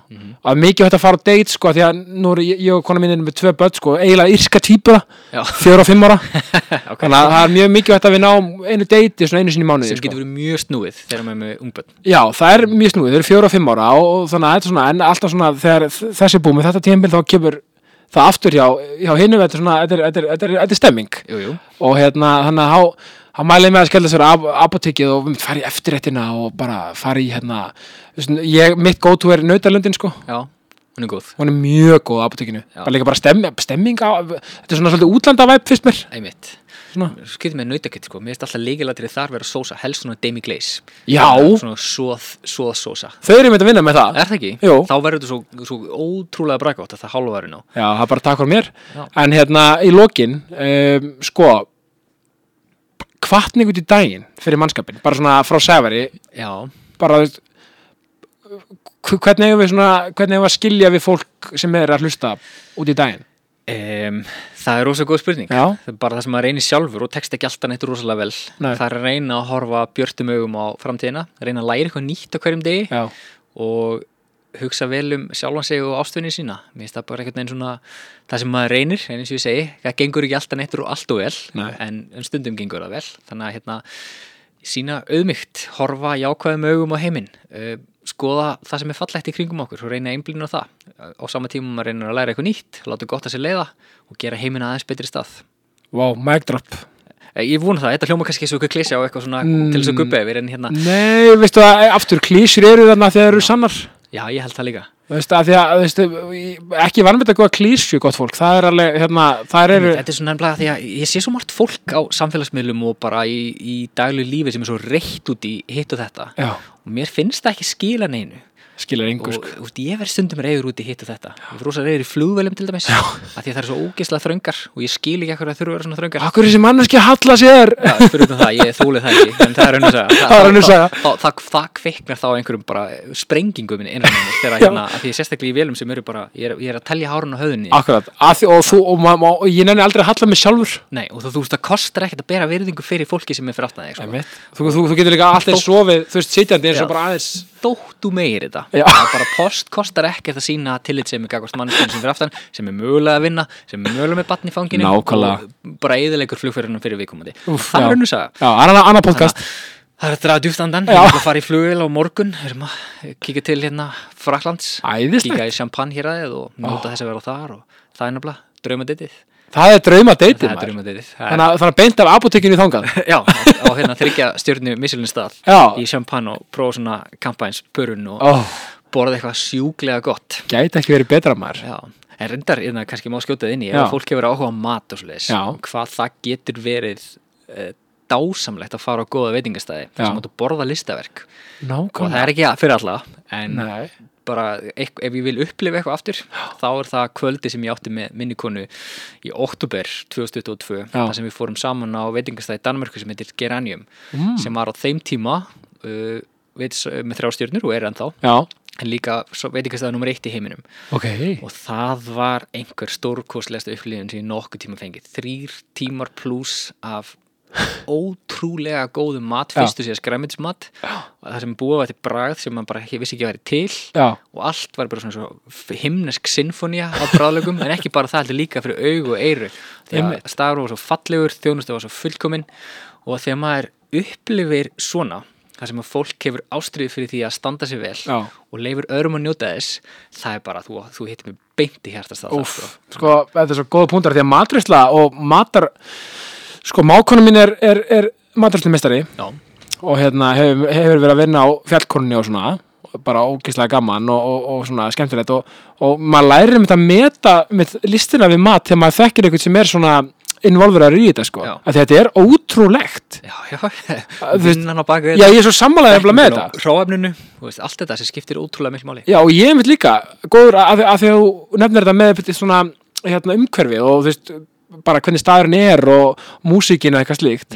[SPEAKER 1] að mikið hægt að fara á date, sko, af því að nú er ég, ég og kona mín erum með tvö börn, sko, eiginlega írska týpura
[SPEAKER 2] Já.
[SPEAKER 1] fjóra og fimm ára,
[SPEAKER 2] ok.
[SPEAKER 1] þannig að það er mjög mikið hægt að við náum einu date svona einu sinni í mánuði,
[SPEAKER 2] sem
[SPEAKER 1] sko.
[SPEAKER 2] getur verið mjög snúið þegar maður er með ungbönn
[SPEAKER 1] Já, það er mjög snúið, þau eru fjóra og fimm ára og, og þannig að þetta er svona, en alltaf svona þegar þ- þessi búmi, þetta tímabil þá kemur það aftur hjá, hjá hinum, þetta er svona þetta er, þetta er, þetta er, þetta er stemming
[SPEAKER 2] jú, jú,
[SPEAKER 1] og hérna, þannig að há, há mælið með að skella sér á apotekið og við fara í eftirréttina og bara fara í hérna, þú veist, ég, mitt go-to er nautalöndin sko,
[SPEAKER 2] já, hún er góð
[SPEAKER 1] hún er mjög góð á apotekinu,
[SPEAKER 2] Já.
[SPEAKER 1] bara líka bara stemming, stemming á, þetta er svona svolítið útlandavæp fyrst mér,
[SPEAKER 2] einmitt
[SPEAKER 1] svona,
[SPEAKER 2] skrítið með nautakett sko, mér finnst alltaf líkilatrið þar vera sósa, helst svona demi-glaze
[SPEAKER 1] Já.
[SPEAKER 2] svona svoð, svoð sósa
[SPEAKER 1] þau eru með að vinna með það
[SPEAKER 2] Er það ekki?
[SPEAKER 1] Jú.
[SPEAKER 2] Þá verður þetta svo, svo ótrúlega braggótt að það hálfa verður nú.
[SPEAKER 1] Já, það er bara takk fyrir mér
[SPEAKER 2] Já.
[SPEAKER 1] En hérna, í lokin um, Sko Hvatning út í daginn fyrir mannskapin Bara svona frá Severi
[SPEAKER 2] Já,
[SPEAKER 1] Bara, þú veist hv- Hvernig eigum við svona Hvernig eigum við að skilja við fólk sem er að hlusta út í daginn
[SPEAKER 2] um, það er rosa góð spurning.
[SPEAKER 1] Já.
[SPEAKER 2] Það er bara það sem maður reynir sjálfur og tekst ekki alltaf neitt rosalega vel.
[SPEAKER 1] Nei.
[SPEAKER 2] Það er að reyna að horfa björtum augum á framtíðina, reyna að læra eitthvað nýtt á hverjum degi
[SPEAKER 1] Já,
[SPEAKER 2] og hugsa vel um sjálfan sig og ástvinni sína. Mér finnst það bara einhvern veginn svona það sem maður reynir, en eins og ég segi, það gengur ekki alltaf neitt og allt og vel,
[SPEAKER 1] Nei.
[SPEAKER 2] en, en stundum gengur það vel. Þannig að hérna, sína auðmygt, horfa jákvæðum augum á heiminn, uh, skoða það sem er fallegt í kringum okkur og reyna að einblýna á það. Uh, Á sama tíma og maður reynir að læra eitthvað nýtt, láta gott að sér leiða og gera heiminn aðeins betri stað.
[SPEAKER 1] wow, mic drop
[SPEAKER 2] Eh, Ég vona það, þetta hljóma kannski eins og eitthvað klísja og eitthvað svona til þess að gubba yfir en hérna,
[SPEAKER 1] Nei, veistu það, eh, aftur klísur eru þarna þegar eru sannar
[SPEAKER 2] já ég held það líka.
[SPEAKER 1] Veistu að því að, veistu, ekki vannmynda góða klísju, gott fólk, það er alveg, hérna, það eru,
[SPEAKER 2] Þetta er svona nefnilega því að ég sé svo margt fólk á samfélagsmiðlum og bara í, í daglu lífi sem er svo reitt út í hitt og þetta
[SPEAKER 1] já,
[SPEAKER 2] og mér finnst það ekki skila neinu
[SPEAKER 1] skilur engu,
[SPEAKER 2] og
[SPEAKER 1] sko.
[SPEAKER 2] úst, ég verð stundum reyður út í hitt og þetta ég verð rosa reyður í flugvelum til dæmis að því að það er svo ógeðslega þröngar og ég skil ekki ekkur að þurfa að vera svona þröngar
[SPEAKER 1] Akkur er þessi manneski að halla sér?
[SPEAKER 2] Já, fyrir utan það, ég þóli það ekki en það er önnur saga
[SPEAKER 1] Það er önnur saga.
[SPEAKER 2] það, það, það, það kviknar þá á einhverjum bara um sprengingum minni innan minni þegar að hérna, að því ég sérstaklega í velum sem eru bara ég er, ég er að telja hárun á höfðunni
[SPEAKER 1] Akkurat, að, því- og, þú, og, ma, ma, og ég nenni aldrei að halla mig sjálfur
[SPEAKER 2] Nei, og þú, þú veist, það kostar ekkert að bera virðingu fyrir fólki sem er fyrir aftan þig sko.
[SPEAKER 1] þú, þú, þú getur líka alltaf sofið, þú veist, sitjandi eins og
[SPEAKER 2] Já.
[SPEAKER 1] bara aðeins
[SPEAKER 2] þótt þú meir þetta
[SPEAKER 1] Já.
[SPEAKER 2] það er bara post kostar ekkert að sína tillit sem er gagvart mannskjum sem fyrir aftan sem er mögulega að vinna, sem er mögulega með batn í fanginu
[SPEAKER 1] Nákvæmlega.
[SPEAKER 2] og bara eðilegur flugferðunum fyrir viðkomandi
[SPEAKER 1] Úff,
[SPEAKER 2] það
[SPEAKER 1] já.
[SPEAKER 2] er raun og saga
[SPEAKER 1] Já, annan, annan podcast
[SPEAKER 2] það er að draga djúft andan,
[SPEAKER 1] Já.
[SPEAKER 2] við erum að fara í flugil á morgun við erum að kíka til hérna Fraklands,
[SPEAKER 1] Æðislegt.
[SPEAKER 2] kíka í champagne hér aðeð og nota þess að vera þar og það er nefnilega draumaditið,
[SPEAKER 1] Það er drauma deytið
[SPEAKER 2] það er
[SPEAKER 1] maður
[SPEAKER 2] draumaditið Það er-
[SPEAKER 1] Þannig að- þannig að beint af apotekinu í þangað
[SPEAKER 2] Já, á hérna þryggja stjörnu misilunstað
[SPEAKER 1] Já.
[SPEAKER 2] í champagne og prófa svona kampæns pörun og
[SPEAKER 1] Ó,
[SPEAKER 2] borða eitthvað sjúklega gott
[SPEAKER 1] Gæti ekki verið betra maður
[SPEAKER 2] Já, en reyndar, hérna, kannski má skjóta það inn í
[SPEAKER 1] Já.
[SPEAKER 2] ef að fólk hefur áhuga á mat og svoleiðis
[SPEAKER 1] Já.
[SPEAKER 2] hvað það getur verið e, dásamlegt að fara á góða veitingastæði
[SPEAKER 1] Já.
[SPEAKER 2] þar sem áttu að borða listaverk og það
[SPEAKER 1] Nákvæmlega
[SPEAKER 2] er ekki að- fyrir alla en
[SPEAKER 1] Nei.
[SPEAKER 2] bara eitth- ef ég vil upplifa eitthvað aftur þá er það kvöldi sem ég átti með minni konu í oktober 2022
[SPEAKER 1] Já.
[SPEAKER 2] þar sem við fórum saman á veitingastæði í Danmörku sem heitir Geranium
[SPEAKER 1] Mm.
[SPEAKER 2] sem var á þeim tíma uh, veit, með þrjá stjörnur og er ennþá
[SPEAKER 1] Já,
[SPEAKER 2] en líka veitingastæði nummer eitt í heiminum
[SPEAKER 1] ok
[SPEAKER 2] og það var einhver stórkostlegasta upplýðin sem ég nokkuð tíma fengið þrýr tímar pluss af ótrúlega góðum mat
[SPEAKER 1] Já.
[SPEAKER 2] fyrstu sér skræmitsmat það sem búið var til bragð sem maður bara ekki vissi ekki að væri til
[SPEAKER 1] Já,
[SPEAKER 2] og allt var bara svona svo himnesk sinfonía á bráðlegum en ekki bara það heldur líka fyrir augu og eyru því að
[SPEAKER 1] Einmitt.
[SPEAKER 2] staður var svo fallegur, þjónustu var svo fullkomin og þegar maður upplifir svona þar sem að fólk hefur ástriði fyrir því að standa sér vel
[SPEAKER 1] Já.
[SPEAKER 2] og leifur öðrum að njóta þess það er bara að þú, þú hittir mig beint í hjartast það
[SPEAKER 1] Úf, sko, þetta er svo góða punktar því að matrisla og matar sko, mákonu mín er, er, er matrislimistari
[SPEAKER 2] Já,
[SPEAKER 1] og hérna hefur, hefur verið að vinna á fjallkorninni og svona bara ógeðslega gaman og, og, og svona skemmtilegt og, og maður lærir mitt að meta mitt listina við mat þegar maður þekkir einhvern sem er svona involverar í þetta sko,
[SPEAKER 2] Já.
[SPEAKER 1] að þetta er ótrúlegt
[SPEAKER 2] já, já,
[SPEAKER 1] þú veist-
[SPEAKER 2] vinnan á baka
[SPEAKER 1] Já, ég er svo sammálaðið nefnilega með þetta
[SPEAKER 2] Hráefninu, þú veist, allt þetta sem skiptir ótrúlega miklu máli
[SPEAKER 1] Já, og ég einmitt líka, góður að, að því að þú nefnir þetta með svona hérna, umhverfið og þú veist bara hvernig staðurinn er og músíkin og eitthvað slíkt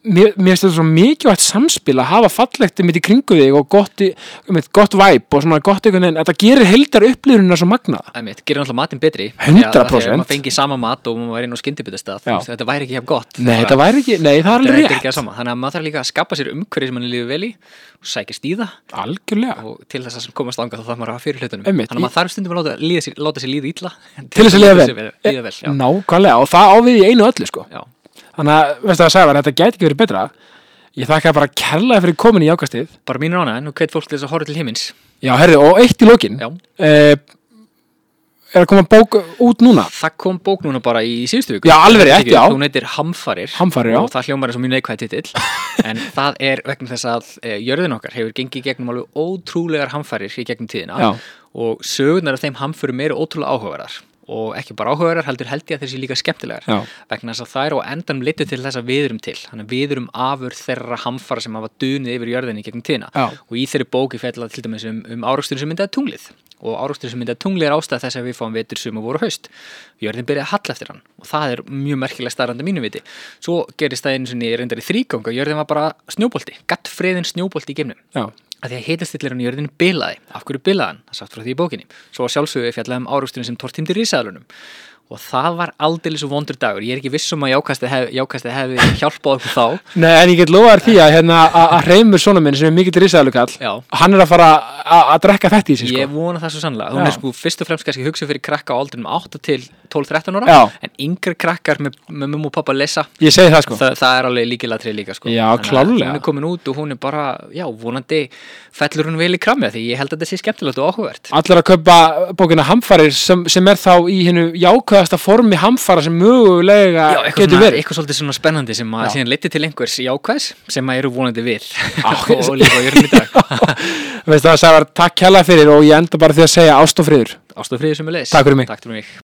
[SPEAKER 1] mér, mér finnst þetta svo mikilvægt samspil að hafa fallegt mitt í kringu þig og gott, í- einmitt, gott væp og svona gott einhvern veginn þetta gerir heldar upplýðunina svo magnaða
[SPEAKER 2] Það mitt, gerir alltaf matinn betri
[SPEAKER 1] 100%.
[SPEAKER 2] Þegar- þegar maður fengi sama mat og maður væri inn á skyndibitastað
[SPEAKER 1] Já.
[SPEAKER 2] Þetta væri ekki jafn gott
[SPEAKER 1] Nei,
[SPEAKER 2] Bara-
[SPEAKER 1] þetta væri ekki, nei, það er
[SPEAKER 2] Þetta
[SPEAKER 1] alveg
[SPEAKER 2] er ekki
[SPEAKER 1] rétt
[SPEAKER 2] að sama Þannig að maður þarf líka að skapa sér umhverju sem mann líður vel í og sækist í það
[SPEAKER 1] Algjörlega
[SPEAKER 2] og til þess að sem komast langa þá þarf maður að hafa fyrir hlutunum
[SPEAKER 1] Einmitt.
[SPEAKER 2] Þannig að maður þarf stundum að láta, líða sér, láta sér líða ítla
[SPEAKER 1] Til þess að lifa vel.
[SPEAKER 2] Líða vel, já,
[SPEAKER 1] Nákvæmlega, og það ávið í einu öllu sko
[SPEAKER 2] já.
[SPEAKER 1] Þannig að, veistu það að sagði, þetta gæti ekki verið betra Ég þakka bara kærlega fyrir komin í ákastið
[SPEAKER 2] Bara mínur ána, en hvet fólk til þess að horfa til himins
[SPEAKER 1] Já, herði, og eitt í lokin
[SPEAKER 2] Já,
[SPEAKER 1] uh, er að koma bók út núna
[SPEAKER 2] það kom bók núna bara í síðustu viku
[SPEAKER 1] Já, alveg rétt,
[SPEAKER 2] Ekki,
[SPEAKER 1] já.
[SPEAKER 2] Hún heitir Hamfarir
[SPEAKER 1] Hamfarir, já.
[SPEAKER 2] Og það hljómar er svo mjög neikvæð titill En það er vegna þess að e, jörðin okkar hefur gengið í gegnum alveg ótrúlegar hamfarir í gegnum tíðina
[SPEAKER 1] Já.
[SPEAKER 2] Og sögurnar af þeim hamförum eru ótrúlega áhugaverðar Og ekki bara áhugaverðar, heldur held ég að þessi líka skemmtilegar
[SPEAKER 1] Já.
[SPEAKER 2] Vegna þess að það er á endan litu til þess að við erum til Þannig að við erum afur þeirra hamfara sem hafa dunið yfir jörðinni í gegnum tíðina
[SPEAKER 1] Já.
[SPEAKER 2] og í þeirri bóki fjallað til dæmis um, um áraksturinn sem myndaði tunglið og áraksturinn sem myndaði tunglið er ástæð þess að við fáum vetur sem að voru haust jörðin byrjaði að halla eftir hann og það er mjög merkilega starrandi mínu viti svo gerist það einu sinni reyndar í þrýganga jörðin var bara snjóbolti, gatt freðin snjóbolti í geimnum
[SPEAKER 1] Já,
[SPEAKER 2] að því að hitastillirinn í jörðinu bilaði. Af hverju bilaði hann? Það er sagt frá því í bókinni. Svo að sjálfsögðu er fjallað um áraugsturinn sem tortýmdi risaðalunum. Og það var aldeilis og vondur dagur. Ég er ekki viss um að jákastið hef, jákastið hefði hjálpað okkur þá.
[SPEAKER 1] Nei, en ég get lofaðar því að hérna að að Hreimur svona minn sem er mikill risaðalukall
[SPEAKER 2] Já.
[SPEAKER 1] hann er að fara að að drekka þetta í sig sko.
[SPEAKER 2] Ég vona það svo sannlega. Hún
[SPEAKER 1] Já.
[SPEAKER 2] er sko fyrst og fremst kannski hugsa fyrir krakka á aldrinum 8 til 12-13 ára.
[SPEAKER 1] Já.
[SPEAKER 2] En yngri krakkar með, með mum og pappa lesa.
[SPEAKER 1] ég, segi það sko
[SPEAKER 2] Þa, það er alveg líkilega trið líka sko.
[SPEAKER 1] Já,
[SPEAKER 2] Þannig að
[SPEAKER 1] klárlega.
[SPEAKER 2] Hún er komin út og hún er bara, já, vonandi fellur hún vel í kramja því ég held að þetta sé skemmtilegt og áhugavert
[SPEAKER 1] Allar að kaupa bókina Hamfarir sem, sem er þá í hennu jákvæðasta formi hamfara sem mögulega
[SPEAKER 2] Já, eitthvað,
[SPEAKER 1] Eh, getur
[SPEAKER 2] svona,
[SPEAKER 1] verið
[SPEAKER 2] eitthvað svolítið svona spennandi sem að
[SPEAKER 1] Já.
[SPEAKER 2] síðan leiti til einhvers jákvæðs sem að eru vonandi við
[SPEAKER 1] Á,
[SPEAKER 2] og líka á jörnum í dag
[SPEAKER 1] Veistu það, Sævar, takk kjalla fyrir og ég enda bara því að segja ást og friður
[SPEAKER 2] Ástofriður sem er leis
[SPEAKER 1] Takk fyrir mig.
[SPEAKER 2] Takk fyrir mig